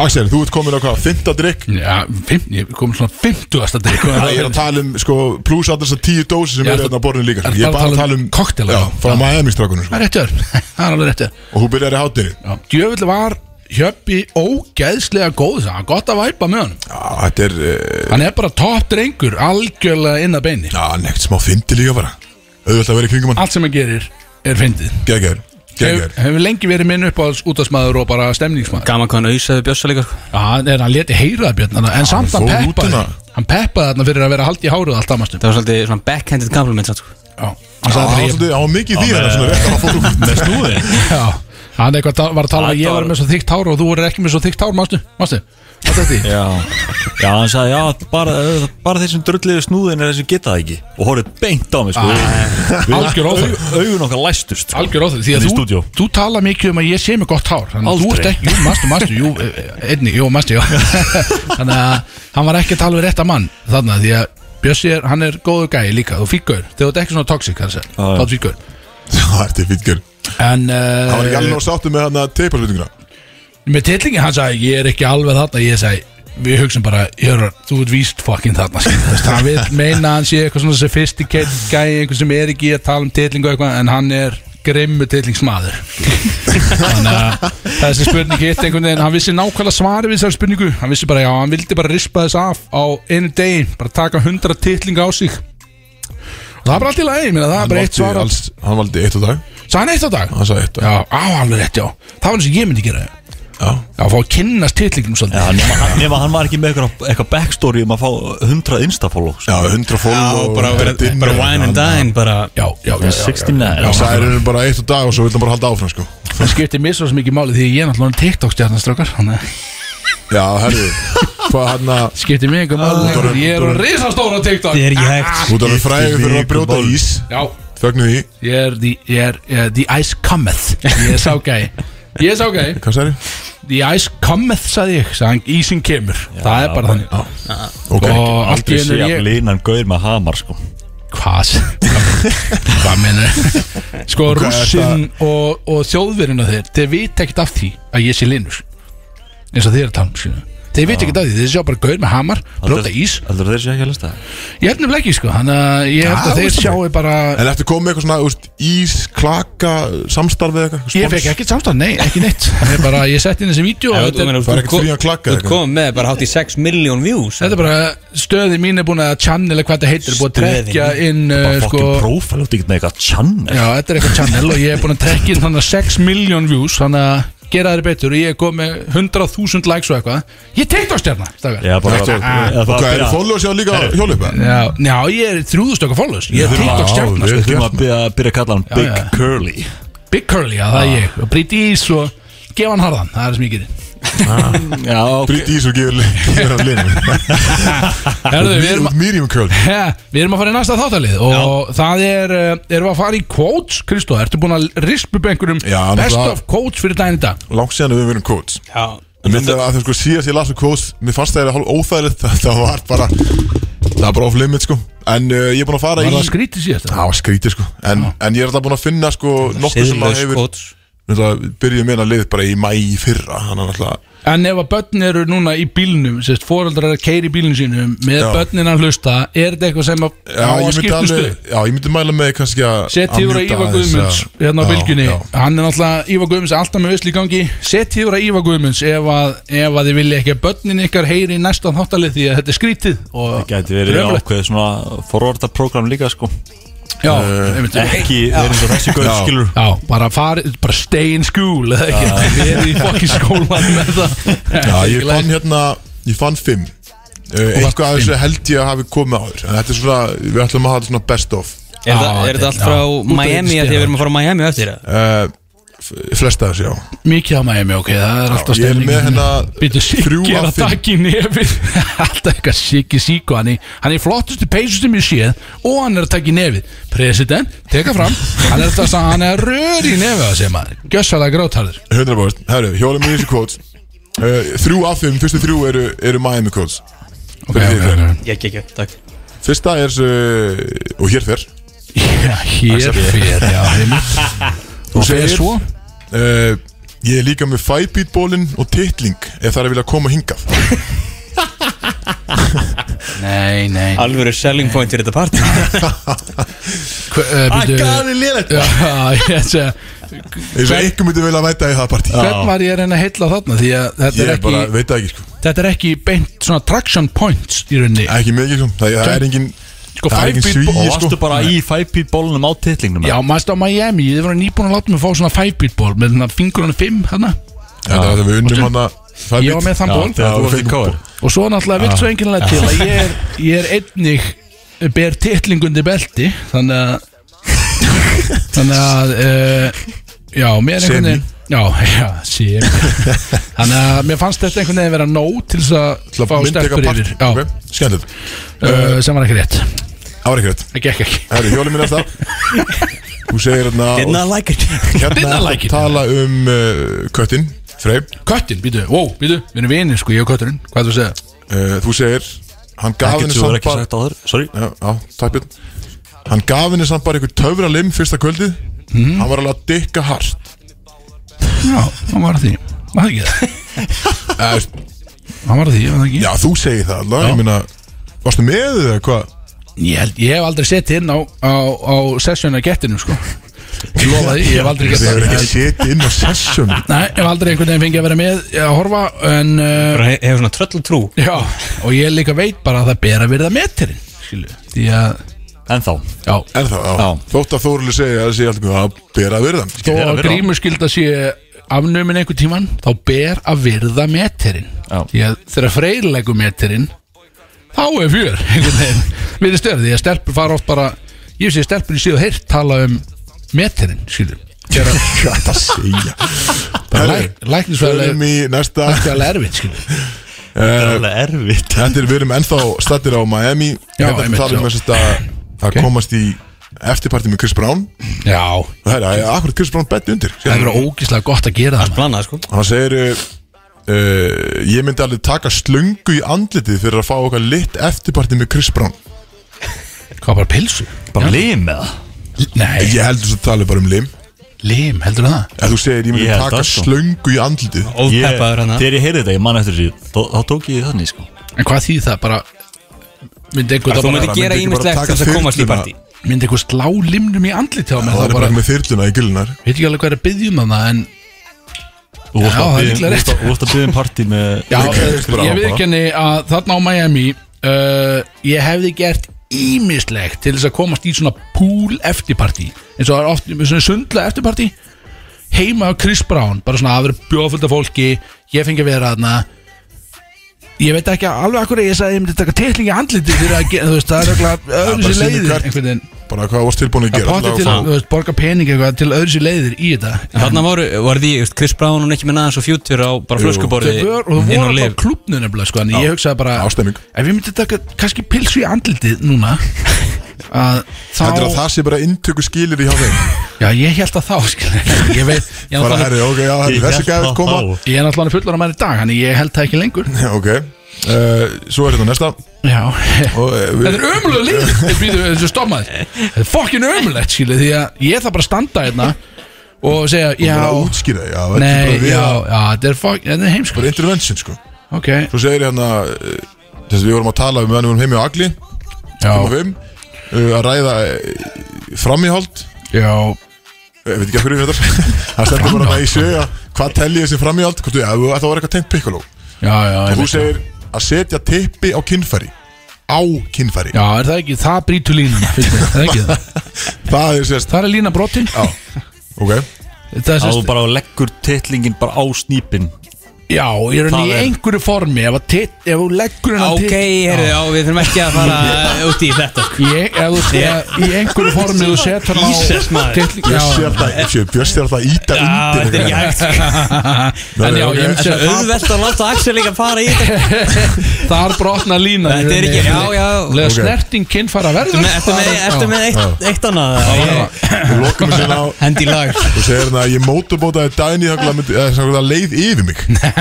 A: Axel, þú ert komin á hvað, fymta drikk?
E: Já, fimm, ég kom svona fymtugasta drikk
A: Það er að tala um, sko, pluss alltaf þessar tíu dósi sem
E: Já,
A: eru
E: það-
A: hérna á borðinu líka
E: er
A: Ég er bara að tala um
E: cocktaila.
A: Já, frá
E: Já.
A: Miami-strákunum,
E: Það er rétt hjör, það er alveg rétt hjör
A: Og hún byrjar í hátinu
E: Djöfull var Hjöppi ógeðslega góð það var Gott að væpa með honum
A: Já, þetta er uh,
E: Hann er bara topp drengur, algjörlega inn að beini
A: Já, neitt smá fyndi líka bara Auðvitað að vera í kringum hann
E: Allt sem hann gerir er fyndið
A: Gægjar,
E: Hef-
A: gægjar
E: Hefur lengi verið minn upp á útastmaður og bara stemningsmaður
D: Gaman hvað hann auðsaði bjössa líka sko.
E: Já, hann er- hann leti heyra það björn En samt hann
D: fór út
E: peppaði
D: hérna.
E: Hann peppaði þarna fyrir að vera haldi í hárið allt amastu
D: Það var svolítið svona backhanded compliment samt, sko.
E: Já, hann sagði bara, ég-
A: Það var mikið í því hérna, svona rétt að hann fór út
C: Með snúði
E: Já, hann eitthvað ta- var að tala um að Ég
C: Þetta
E: var
C: var-
E: með svo þykkt hár og þú voru ekki með svo þykkt hár Mastu, mastu, mastu þetta í
C: Já, já hann sagði já, bara, eh, bara þeir sem drulliðu snúðin er þeir sem geta það ekki og horfið beint á mig sko. Við-
E: Algjör óþarfi.
C: au- Augun okkar læstust sko.
E: Algjör óþví, því
C: Inn
E: að
C: í
E: þú,
C: stúdíó.
E: þú tala mikið um að ég sé með gott hár Þannig að þú
C: Aldrei.
E: ert ekki, jú, mastu, mastu, jú, eh, eh, einni, jú, mastu, já Þannig að hann var ekki að tala við rétta mann Þannig að því að Bjössi er, hann er góðu gæi líka, þú fíkur Þegar þú ert ekki svona toxic, þannig að
A: já.
E: segja, þá fíkur
A: Það er þetta fýtt gjörn
E: En uh,
A: Það var ekki alveg sáttu með hérna, hann að teiparsvitinguna
E: Með tillingin, hann sagði, ég er ekki alveg þarna Ég sagði, við hugsaum bara, Jörgur, þú ert víst fucking þarna skilur." Þú veist, Hann vil meina að hann sé eitthvað svona sophisticated gæi Einhver sem er ekki að tala um tillingu eitthvað En hann er grimmu tillingsmaður Þannig að þessi spurning hitt einhvern veginn Hann vissi nákvæmlega svari við þessari spurningu Hann vissi bara, já, hann vildi bara rispa þess af Á einu degi, bara taka hundra tillinga á sig Og það er bara allt í lagi, ég meina, það er bara eitt svar á-
A: alls, Hann valdi eitt á dag
E: Sagði hann eitt á dag?
A: Hann sagði eitt á dag
E: Já, á, alveg rétt, já Það var eins og ég myndi gera
A: Já
E: Já, fá að kynnast titlingum svolítið
C: Já, nema, hann- nema hann var ekki með eitthvað, eitthvað backstory um að fá 100 instafollow sko.
A: Já, 100 follow og dimmer.
D: bara
E: Já, já, já, já, já.
C: 69
A: Já, það er bara eitt á dag og svo vil hann bara halda áfram sko
E: Það skiptir mér svo sem ekki máli því ég er náttúrulega TikTok-stjarnar strákar Þannig að
A: Já, herri Hvað hann að
E: skiptir mér einhver
C: Ah.
E: máli Ég er á risastóra TikTok
A: Þetta er
E: Ah,
A: ekki hægt Þú talar fræðið fyrir að brjóta ís
E: Já,
A: Fögnu því
E: ég er the, ég er, uh, the ice cometh Ég er sá gæi Ég er sá gæi
A: Hvað sagði?
E: The ice cometh, sagði ég Sagði hann, ísinn kemur Það er bara þannig
A: Ok.
E: Og allt í
C: Aldrei sé
E: einu er
C: að
E: ég
C: línan gauð með hamar sko.
E: Hvað? Hvað mennur? Sko,
C: Hvað er
E: rússinn og, og þjóðverina þeir Þeir vita ekkert af því að ég sé linur eins og þeir eru tánum skilju um, Þeir vita ekkert af því, þeir sjá bara gaur með hamar Brjóta ís
C: Aldrei þeir sé ekki að lista það
E: Ég held nefnilega ekki sko, þannig að ég held
A: Já,
E: að þeir
A: veistu
E: sjáu bara
A: En eftir komið eitthvað svona, úst, ís, klaka, samstarfið eitthvað
E: Ég fekk ekkert samstæð, nei, ekki neitt Ég, bara, ég sett inn þessi vídeo og þetta er-
A: Það er ekkert frí að klaka
D: Þú kom með bara hátt í 6 miljón views
E: Þetta er bara, stöði mín er búin að channel eða hvað þetta heitir, er búin að
C: Stöðin.
E: trekja inn
C: Bara
E: uh, sko,
C: fucking profile, þú ert ekki með eitthvað channel
E: Já, þetta er eitthvað channel og ég er búin að trekja inn þannig að 6 miljón views þannig að gera þeir betur og ég er komið með 100.000 likes og eitthvað Ég er TikTok-stjarna, stakkar
C: Já, bara-
E: Ah.
C: eða bara-
A: Og hvað, eru followers hjá líka hjólipa?
E: Já, já, ég er 3000 okkar followers Ég er TikTok-stjarna
C: Við
E: sko.
C: þurfum að byrja, byrja að kalla hann
E: Já,
C: Big
E: já.
C: Curly
E: Big Curly, já, það er ég og Bríti Ís og gefa hann harðan það er sem ég gerir
C: Já, ok
A: Brýtt ís og gefur gefur hann
E: Herðu, við erum
A: linum Miriam Curl
E: Ha, Við erum að fara í næsta þáttalið og það er, eh, erum við að fara í quotes Kristó, ertu búin að rispa upp einhverjum
A: Já,
E: best
A: náttúrulega-
E: of quotes fyrir daginn í dag
A: Langt síðan við verðum coach
D: Já
A: En myndi að það sko síðast ég las um kvóts Mér fannst það er hálf óþægilegt það- Það var bara Það var bara off limit sko En uh, ég er búinn að fara
E: Var
A: í
E: það skrítið síðast?
A: Það var skrítið sko En, en ég er alltaf búinn að finna sko Nokkuð sem að
D: siðlaus
A: hefur
D: quotes.
A: Náttúrulega byrjuðum meina lið bara í mæ í fyrra Þannig að náttúrulega
B: En ef að börn eru núna í bílnum sérst, foreldrar eru að keiri í bílnum sínum með
A: Já.
B: börnin að hlusta, er þetta eitthvað sem að,
A: Já,
B: á að
A: ég myndi,
B: skipta um
A: alveg,
B: stuð?
A: já, ég myndi mæla með kannski að
B: Sett
A: að
B: yfir að
A: mjúta
B: Ívar
A: aðeins,
B: Guðmunds
A: já.
B: hérna á
A: Já,
B: bylgjunni,
A: já.
B: hann er náttúrulega Ívar Guðmunds er alltaf með vissli í gangi Sett yfir að Ívar Guðmunds ef að, ef að þið vilja ekki að börnin ykkar heyri í næsta þáttalið því að þetta er skrítið og
C: Það gæti verið
B: Dröflegt.
C: ákveð svona forvarta program líka sko
B: Já,
C: Eh,
B: einmitt.
C: Ekki
B: Já.
C: verið eins og þessi gauð
B: Já.
C: skilur
B: Já, bara, fari, bara stay in school eða ekki, verið í fokki skólan með það
A: Já, ég fann hérna, ég fann fimm Eh, Eitthvað að þessu held ég að hafi komið áður En þetta er svona, við ætlum að hafa þetta svona best of
D: Er það- er þetta allt frá Miami að því að við erum að fara á Miami á eftir það?
A: Eh, fara Flesta þessu, já
B: Mikið á Miami, ok, það er alltaf
A: Ég er
B: stemning
A: með hérna
B: Býtu
A: þrjú
B: Siggi er
A: af
B: að
A: fimm.
B: takk í nefið Alltaf eitthvað Siggi Siggo Hann er, hann er flottustu peysu sem ég séð Og hann er að takk í nefið President, teka fram Hann er að, hann er að röra í nefið að segja maður Gjössalega grátarður
A: 100% Herru, hjólum við þessu quotes uh, Þrjú af þeim, fyrstu þrjú eru, eru Miami quotes Ok,
B: ok,
A: ok Ég, ég, ég, takk Fyrsta er, uh, og hér fer
B: Já, hér fyrir, já, einmitt
A: Þú
B: Og fer
A: segir
B: svo?
A: uh, Ég er líka með fæbítbólinn og titling Ef það er að vilja koma hingað
B: Nei, nei
D: Alvöru selling point fyrir þetta part
B: Akkaði
A: liðlegt
B: eh, Já, ég ætla að segja
A: Eins og einhver myndi vilja mæta í það partí
B: Hvern var ég að reyna að heilla þarna Því að þetta
A: Ég
B: er
A: bara
B: ekki
A: veit það ekki sko
B: Þetta er ekki beint svona traction points í rauninni
A: Ekki mikið sko Það, það er engin
B: Sko,
A: það er
B: five
A: engin
B: beat
A: svíi
B: ball-
A: sko
C: Og varstu bara í fæpít bólunum á titlingnum
B: Já, maður stáð á Miami, þið voru nýbúin að láta mig fá svona 5 beat ból með svona fingurinn 5 hérna
A: Já, það er það við unnum hann að
B: Ég var með þann ból. Já, þú fengir
C: kóður
B: og svo náttúrulega vilt
C: Já.
B: svo enginlega til að ég er, ég er einnig ber titlingundi belti þannig að þannig að uh, já, mér er einhvern
A: Semi.
B: veginn já, já, sem þannig að mér fannst þetta einhvern veginn vera nóg til þess að fá sterkur yfir já,
A: okay. Skendil
B: uh, sem var ekki rétt
A: Það var ekki rétt
B: það gekk ekki
A: Herru, hjóli minn eftir Þú segir hérna
D: Didn't I like it
A: Hérna
B: Didn't I
A: ertu
B: like it?
A: að tala um uh, köttin Frey
B: köttin, býtu, wow, býtu, við erum vinir sko, ég og kötturinn hvað þú segja?
A: uh, Þú segir Hann gaf
C: Ekkert
A: henni
C: sem þú er ekki
A: bara-
C: sagt áður, sorry.
A: Já, já, takk björn Hann gaf henni samt bara einhver töfra lim fyrsta kvöldið Hann var alveg að dykka hart
B: já, hann var að því, var það ekki það? hann var að því, var það ekki?
A: Já, þú segir það alveg Ég meina, varstu með eða hvað?
B: Ég, held, ég hef aldrei sett inn á, á, á sessjónu að gettinu sko Ég lofa því, ég hef aldrei gert
A: Þið hefur ekki
B: það
A: setið inn á sessjum
B: Nei, ég hef aldrei einhvern veginn fengið að vera með að horfa en uh,
D: Bara he- hefur svona tröll trú
B: Já, og ég líka veit bara að það ber að verða metirinn Skilu, því að
C: En þá
B: Já,
A: En þá, já. Þótt að Þóruli segja að það sé alltaf að bera að virða
B: þó að grímuskylda sé afnömin einhvern tíman þá ber að verða metirinn Því að þegar freyðlegu metirinn þá er fjör einhvern veginn Við erum stjörði, því að stelpur fara oft bara Ég sé stelpur í síðu heyrt tala um metirinn, skilu
A: Hvað það segja Herri,
B: Læknisfræðilega
A: Förum í næsta
B: Þetta er alveg erfitt, skilur
A: Þetta er
C: alveg erfitt
A: Þetta er, við erum ennþá stattir á Miami
B: Já,
A: Hérna
B: einmitt,
A: við talum
B: já.
A: þess að að komast í eftirparti með Chris Brown
B: Já
A: Það er akkurat Chris Brown bett undir
B: Það er verið ógíslega gott að gera það
D: Blanað sko
A: Hann segir uh, uh, Ég myndi alveg taka slöngu í andlitið fyrir að fá okkar litt eftirparti með Chris Brown
B: Hvað bara pilsu?
C: Bara lim eða?
B: Nei,
A: Ég heldur þess að tala bara um lim
B: lim, heldur það?
A: Ef þú segir ég myndi
C: Ég held
A: taka
C: það, sko.
A: slöngu í andlitið
C: Ég-
D: Ópeppaður
B: hérna.
D: hana
C: Þegar ég heyrði þetta, ég man eftir því Þá þá tók ég þannig sko
B: En hvað þýð það bara Myndi einhver
D: Þú myndir
A: bara-
D: gera
A: myndi ekki bara
D: ímislegt
A: taka
D: til þess að komast í
A: þyrluna.
D: partí
B: Myndi einhver slá limnum í andlit hjá mér
A: Það
B: Það
A: er bara með þyrluna í gullunar
B: Veit ekki alveg hvað er að byggja um það En
C: Þú vorst
B: Já,
C: að
B: það er
C: biðja-
B: líklega
C: þú
B: rétt.
C: vorst að- Þú vorst að byggja um partí með
B: Já,
A: Ég-
B: ég,
A: bara-
B: ég við ekki henni að þarna á Miami uh, Ég hefði gert ímislegt til þess að komast í svona pool eftirparti eins og það er oft svona sundla eftirparti heima á Chris Brown bara svona að vera bjóðfullt af fólki ég fengi að vera þarna ég veit ekki alveg akkur ég sagði að ég myndi taka titling í andliti fyrir að gera þú veist það er örugglega öðru sér
A: bara sýnir
B: leiðir
A: hvert-
B: einhvern veginn
A: Bara hvað varst tilbúin að
B: að
A: gera
B: potta til að þú veist, borga pening eitthvað til öðru sér leiðir í þetta
D: Þarna voru, var því, veist, Chris Brown hún ekki með naðans og fjútur á bara flöskuborði
B: Þau vor- og þú
D: inn á
B: voru
D: liv
B: alltaf klubnu nefnilega sko, en ég hugsaði bara
A: Ástemming
B: ef ég myndi taka kannski pilsu í andlitið núna að þá
A: Þetta er að það sé bara inntöku skilir í hjá þeim
B: já ég held að þá skil ég veit ég er
A: Bara herri,
B: náttúrulega
A: ok, já, herri,
C: Ég
A: þessi
C: hélt
A: gæði
C: það
A: koma
C: þá.
B: ég er náttúrulega fullan að maður í dag hann ég held það ekki lengur
A: Ok, uh, svo er þetta næsta
B: já
A: og, uh,
B: þetta er ömulega líð þetta er býtu- þetta er stoppaði þetta er fokkin ömulegt skil því að ég þarf bara að standa hérna og segja
A: Hún
B: já
A: er að útskýra því, já, þetta er bara
B: nei,
A: við
B: já,
A: að-
B: já, þetta er, fuck- þetta er heimsko
A: bara intervention sko
B: Ok
A: Svo segir hérna eh, þess að við vorum að tala um meðan við vorum heim í Agli
B: Já.
A: Komum heim eh, Að ræða eh, framíhald
B: Já
A: Ég veit ekki af hverju við þetta Það stendur bara það í sögja Hvað telji þessi framíhald Hvort þú, ja, þú ætti að vera eitthvað tengt pikkuló
B: Já, já,
A: Og
B: ég
A: þú
B: veit
A: segir að setja tippi á kynfæri Á kynfæri
B: Já, er það ekki, það brýtur línuna finnst mér, Það er ekki það
A: Það er sérst
B: Það er lína brotin
A: Já, ok
B: Það er
C: Þá
B: sérst
C: bara leggur titlingin bara á snýpin
B: Já, ég er
C: Það
B: í
C: er-
B: einhverju formi Ef að tit- ef þú leggur hennar
D: Ok, heyrðu, já, við þurfum ekki að fara út í þetta sko.
B: Ég, ef þú ef- í einhverju formi þú setur hann á
D: Jesus, maður.
B: titling- já,
A: Bjössi er
B: já.
A: alltaf- Sjö, Bjössi er alltaf að íta undir
D: þetta er ekki hægt
B: En já,
A: ok.
B: ég myndi
D: Það er
B: að
D: auðvelt að láta Axel líka fara í þetta
B: það er brotna lína
D: Þetta er ekki, já, já
B: Lega
A: Ok.
B: snerting kynfara verður
D: Ertu með, ertu með eitt, eitt annað
A: Þú lokum þessi á
D: Hendi lag
A: Þú segir hérna að ég mótubótaði dæni Þannig að það leið yfir mig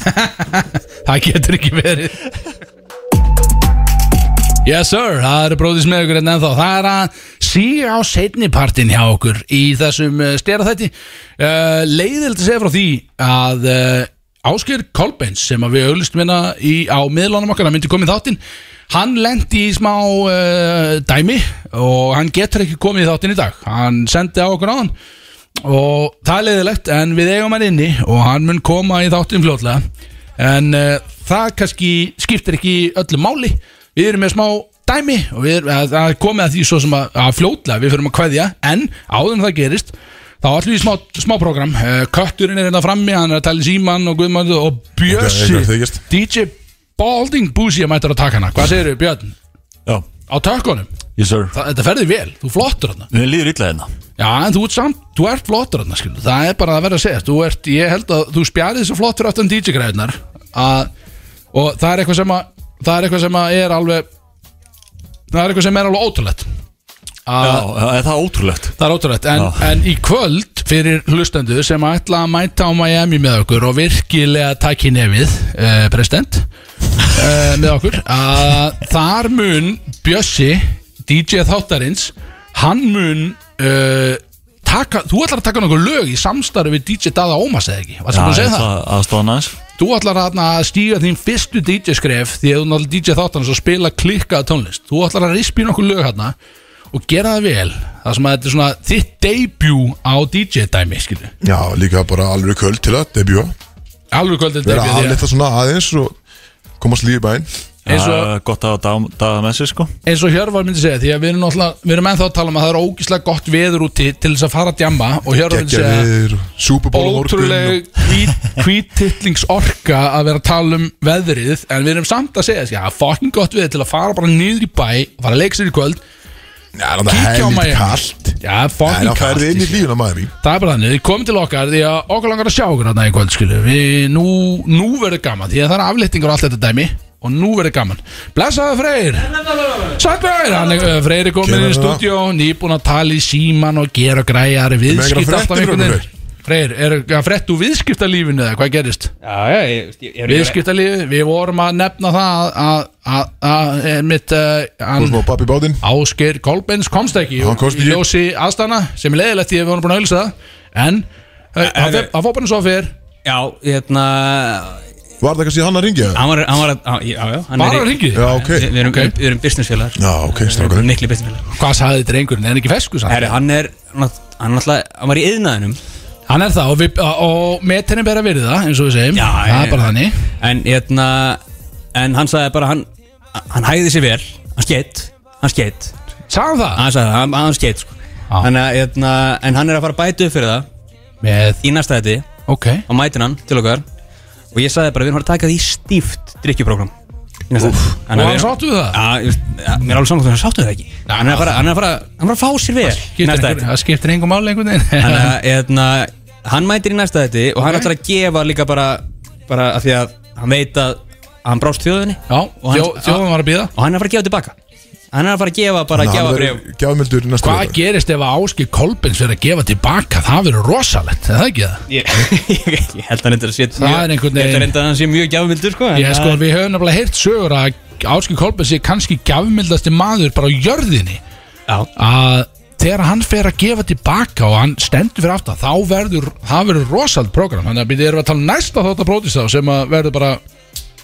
B: Það getur ekki verið Yes sir, það eru bróðis með ykkur en hérna ennþá Það er að síga á setni partin hjá okkur í þessum uh, stera þætti uh, Leiðild að segja frá því að uh, Ásker Kolbens sem að við auðlist minna í, á miðlunum okkar að myndi komið þáttinn Hann lendi í smá uh, dæmi og hann getur ekki komið í þáttinn í dag Hann sendi á okkur á hann og það er leiðilegt en við eigum hann inni og hann mun koma í þáttinn fljótlega en uh, það kannski skiptir ekki öllu máli við erum með smá dæmi og við erum, að, að komið að því svo sem að, að fljótlega við fyrir að kveðja en áður en það gerist þá ætlum við í smá, smá program uh, Kötturinn er hérna frammi, hann er að tala í síman og Guðmann og Bjössi
A: Ok, eitthvað þykist.
B: DJ Balding Búsi að mættur að taka hana hvað segirðu Björn?
C: Já,
B: Á tökkunum?
C: yes sir
B: Þa, þetta ferði vel, þú flottur hana
C: Mér líður illa hérna
B: Já, en þú ert samt, þú ert flottur hann skilu. Það er bara að vera að segja Þú ert, ég held að þú spjarið þessu flottur aftan DJ-græðunar Og það er eitthvað sem að Það er eitthvað sem að er alveg Það er eitthvað sem er alveg ótrúlegt
C: Já,
B: að,
C: er það ótrúlegt
B: Það er ótrúlegt en,
C: Já.
B: en í kvöld fyrir hlustendu sem að ætla að mæta á Miami með okkur Og virkilega takk í nefið uh, President uh, Með okkur að Þar mun Bjössi DJ þáttarins Hann mun uh, taka, Þú ætlar að taka nokkuð lög í samstarfi við DJ Dada Ómas eða ekki Varstu búin að segja það?
C: Aðstofan aðeins
B: Þú ætlar þarna að stíga þín fyrstu DJ-skref því að þú náttúrulega DJ þáttan og spila klikkaða tónlist. Þú ætlar að rispi nokkuð lög hérna og gera það vel. Það sem að þetta er svona þitt debut á DJ-dæmi, skilu.
A: Já, líka bara alveg köld til að debjúa
B: Alveg kvöldið
A: Verða
B: debut. því að-
A: aflita svona aðeins og komast lífi í bæinn
B: Eins og-
C: Já, Gott að hafa daga með sér sko
B: Eins og Hjörvar myndi segja, því að við erum náttúrulega, við erum ennþá að tala um að það er ógíslega gott veður úti til þess að fara að djamba og Hjörvar myndi
A: Gekkja
B: segja
A: viður, súpuból á morgun og-
B: ótrúleg hvítitlings orka að vera að tala um veðrið en við erum samt að segja, já, fucking gott veður til að fara bara niður í bæ, fara að leika sér í kvöld
A: Já, það er
B: kíkja á
A: helvítið
B: Miami.
A: kallt
B: Já,
A: En
B: fucking
A: það færði inn í
B: kast
A: lífuna maður í
B: Það er bara þannig, þið komum til okkar því að okkur langar að sjá okkur þarna í kvöld skilu Við, nú, nú verður gaman því að það er aflýttingar og allt þetta dæmi og nú verður gaman Blessaðu Freyr Sætbjörn, hann er, uh, Freyr er komin
A: Kemur
B: inn í
A: það.
B: stúdíó nýbúin að tala í síman og gera græjar
A: einhverjar
B: viðskipt
A: fréttir
B: alltaf
A: frá
B: einhvern
A: okkur,
B: veginn Freyr, er að fréttu viðskiptalífinu eða hvað gerist?
D: Já, já, ég, ég, ég, ég,
B: Viðskiptalífi, við vorum að nefna það að, að, að, að mitt uh,
A: Þú
B: hann,
A: smá babb í bátinn
B: Ásgeir Kolbens komst ekki
A: Hann komst
B: í
A: ekki.
B: ljósi aðstana sem er leiðilegt því að við vorum búin að auðvisa það en eh, hann fer- hann fór bara eins og fyrr
D: Já, hérna
A: Var það kannski hann að ringja?
D: Hann var, hann var, að- á- já, já hann er
B: bara
D: í-
B: að ringi
A: Já, ok
D: Við við erum,
B: Ok.
D: við erum businessfélagar
A: Já, ok, strákur
D: Mikli businessfélagar
B: hvað sagði drengurinn, er hann ekki fesku
D: Herri,
B: hann,
D: hann er, nátt- hann náttúrulega, hann var í yðnaðinum
B: hann er það og, við, og metinni ber að verið það eins og við segjum,
D: Já,
B: það
D: já,
B: er bara
D: já.
B: þannig
D: En hérna, en hann sagði bara, hann, hann hægði sér vel Hann skeitt, hann skeitt
B: sagði hann það
D: Hann sagði, hann, hann skeitt, sko
B: Já.
D: Þannig að, hérna, en hann er að fara að bæta upp fyrir það
B: með,
D: Í næsta þetta,
B: ok,
D: á mætin hann til okkar Og ég sagði bara, við erum að taka því stíft drikkjuprógram
B: og
D: Þannig
B: hann sáttu við það
D: Já, ég veist, já, mér er alveg saman hvernig hann sáttu það ekki Hann er að fara, hann er að fara, hann er að fá sér vel í
B: skiptir
D: næsta
B: einhver,
D: þætti.
B: það skiptir einhver máli einhvern veginn
D: Þannig að hérna, hann mætir í næsta þetta og hann ætlar að gefa líka bara bara af því að hann veit að hann brást þjóðinni
B: já,
D: og hann-
B: þjó, þjóðum var að býða
D: og hann er að fara að gefa tilbaka Hann er að fara að gefa bara að gefa bref
A: Gjafamildur næstu
B: hvað gerist ef að Áski Kolbens fyrir að gefa tilbaka, það verður rosalegt er það ekki það?
D: Ég ég held að hann eitthvað sé
B: Það er
D: Ég
B: einhvern
D: held
B: veginn-
D: að reyndar að hann sé mjög gjafmildur sko en
B: Ég sko,
D: það-
B: við höfum nefnilega heyrt sögur að Áskil Kolbens sé kannski gjafmildasti maður bara á jörðinni
D: Já.
B: að þegar hann fer að gefa tilbaka og hann stendur fyrir aftan þá verður, það verður rosald program þannig að býtið erum við að tala um næsta þótt að brótist þá sem að verður bara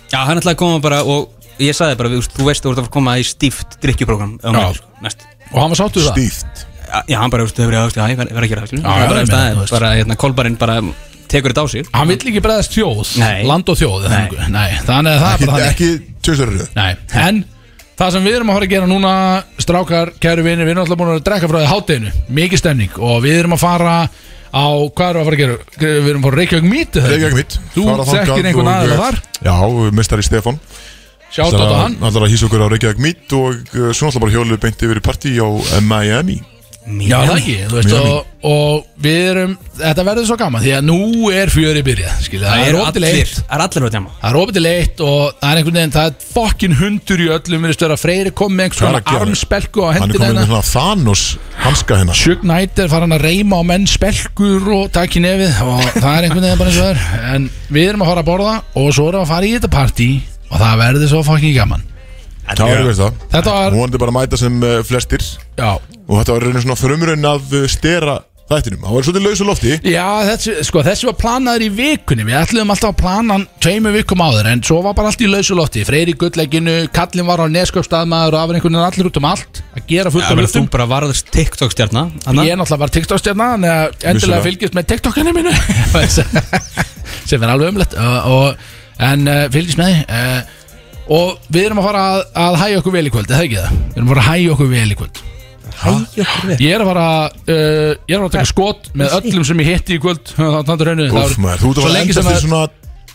D: Já, hann ætlaði að koma bara og ég sagði bara, þú veist, þú veist þú ert að fara að koma í stíft drikkjuprógram
B: Já. Og hann var sáttur við það?
A: Stíft
D: sko, Já, hann bara, þú veist, þau verið aðeins, já, ég verð verð að gera það, skilur
B: Já, já,
D: Hann bara, þú
B: ég meina, þú
D: veist, það er bara, hérna, kolbarinn bara tekur þetta á sig
B: Hann vill ekki bregðast þjóð,
D: Nei.
B: land og þjóð
D: Nei.
B: Nei. Nei, þannig að það er
A: Ekki-
B: bara þannig
A: Ekki tjóðsverður
B: Nei, en það sem við erum að fara að gera núna strákar, kæru vinir, við erum alltaf búin að drekka frá því hátteginu, mikið stemning og við erum að fara á, hvað erum við að fara að gera? Við erum að fara á Reykjavík Meet er það ekki?
A: Reykjavík mitt
B: Þú
A: Fara þangað
B: þekkir einhvern
A: og-
B: aðeins þar
A: Já, mestari Stefan
B: Sjátt á hann
A: Allar að hýsa okkur á Reykjavík mitt Og uh, svo náttúrulega bara hjóluðu beint yfir í partí á eh, Miami
B: Já, það ekki, þú veist,
A: Miami.
B: og, og við erum, þetta verður svo gaman, því að nú er fjöri byrjað, skilja, það,
D: Það
B: er
D: eru
B: opið
D: allir-
B: leitt
D: það eru allir að djama.
B: Það er opið leitt og það er einhvern veginn, það er fokkin hundur í öllum, við stöður að Freyri kom með einhvers
A: Hvað er að
B: konar
A: gera?
B: armspelku á
A: Hann er
B: hendina hérna.
A: komin með
B: hennar.
A: svona Thanos hanska hérna. hennar
B: Shug Knight er farin að reyma á menn spelkur og takk í nefið og það er einhvern veginn bara eins og það er en við erum að fara að borða og svo erum við að fara í þetta partí og það verður svo fokkin gaman
A: Kjári veist það
B: Þetta var-
A: Hún vondi bara að mæta sem uh, flestir
B: Já
A: Og þetta var raunin svona frumrun af uh, stera þættinum Það var svolítið lausu lofti
B: Já, þessi, sko, þessi var planaður í vikunni Við ætlum alltaf að plana hann tveimu vikum áður En svo var bara allt í lausulótti Freyri í gulllegginu, kallinn var á neskjöpstaðmaður Og það var einhvern veginn allir út um allt Að gera fullt
D: Já,
B: af
D: bara, þú
B: hlutum
D: bara varðist TikTok-stjarna Anna?
B: Ég er náttúrulega var TikTok-stjarna Þannig að eh, endilega
D: Vissulega.
B: fylgjast með TikTokinu mínu Sem er alveg umlegt uh, og, En uh, fylgjast með því uh, Og við erum að fara að, að hæja okkur vel í kvöld Er það ekki það? Við erum að fara að hæja okkur vel í kvöld Hæja okkur vel? Ég er að fara uh, Ég er að fara að taka skot með öllum sem ég hitti í kvöld Þannig að rauninu
A: Úf maður, þú ert að fara að endast í svona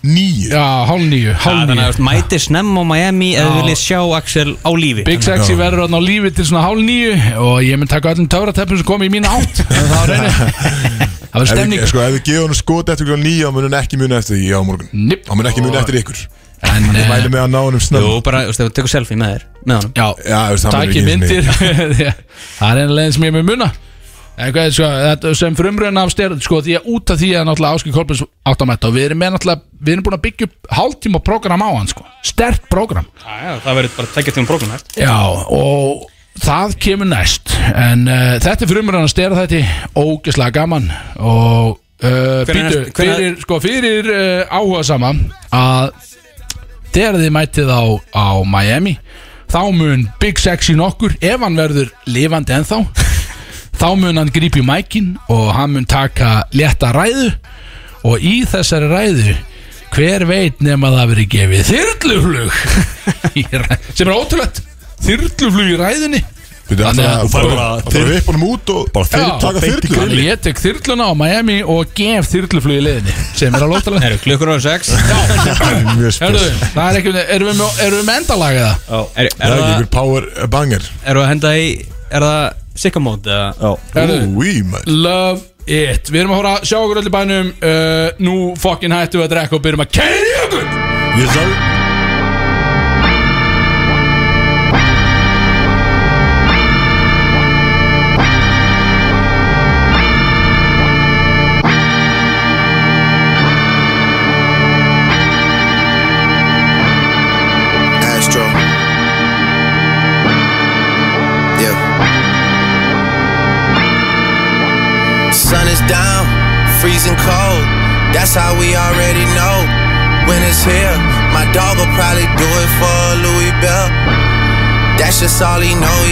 A: Níu
B: Já, hálf níu,
D: Já,
B: hálf
D: þannig að
B: níu
D: þú veist, mæti snemm á Miami ef
B: Já.
D: þið viljið sjá Axel á lífi
B: Big Sexy verður þarna á lífi til svona hálf níu og ég mun taka öllum töfrateppum sem kom í mína átt Það var reynið Það verður stemning.
A: Ef við- Sko, ef við gefum hann skot eftir klokkan nýja Þá mun hann ekki muna eftir því á morgun
B: Nip.
A: Hann mun ekki muna eftir ykkur
B: En eh,
A: Ég mæli með að ná honum snemma.
D: Jú, bara, þú veist, ef þú tekur selfie með þér Með honum
B: Já,
A: Já, þú veist, hann verður ekki
B: Takk í
A: einu sinni-
B: myndir Því að Það er eina leiðin sem ég er með muna En hvað, sko, þetta sem frumröðin af styrn sko, því að út af því að náttúrulega Áskil Kolbens áttamætt og við erum með náttúrulega við erum búin að byggja upp hálftíma program á hann sko. stert program
D: Já, það verður bara tveggja tíma prógram hægt
B: Já, og það kemur næst en uh, þetta er frumröðin af styrn þetta ógeslega gaman og uh,
D: Hvenær
B: býtu,
D: næst- hvenær-
B: fyrir, sko, fyrir uh, áhuga sama að þegar þið mætið á, á Miami þá mun Big Sexy nokkur ef hann verður lifandi ennþá þá mun hann grípi mækin og hann mun taka létta ræðu og í þessari ræðu hver veit nema það verið gefið þyrluflug í ræ- sem er ótrúlegt þyrluflug í ræðinni
A: Þú
B: Þannig að-
A: veist,
B: Bara-
A: bara Það er upp honum út og Bara
B: Já,
A: taka þyrlu
B: Þannig ég tek þyrluna á Miami og gef þyrluflug í leiðinni sem er alveg ótrúlegt
D: Eru klukkur á sex
A: Mjög spes.
B: Herðu, það er ekki, erum við með, erum við með endalaga það?
D: Er,
A: Það
D: er
A: er ekki
D: það,
A: ykkur power banger
D: er það að henda í, er það sikkamót eða?
B: Herðu.
A: Úi, maður
B: Love it Við erum að hóra að sjá okkur öll í bænum uh, Nú fokkin hættum við að drekka og byrjum að kæri okkur
A: Ég sá
N: Astro. Yeah. Sun is down, freezing cold. That's how we already know when it's here. My dog will probably do it for a Louis Bell. That's just all he know he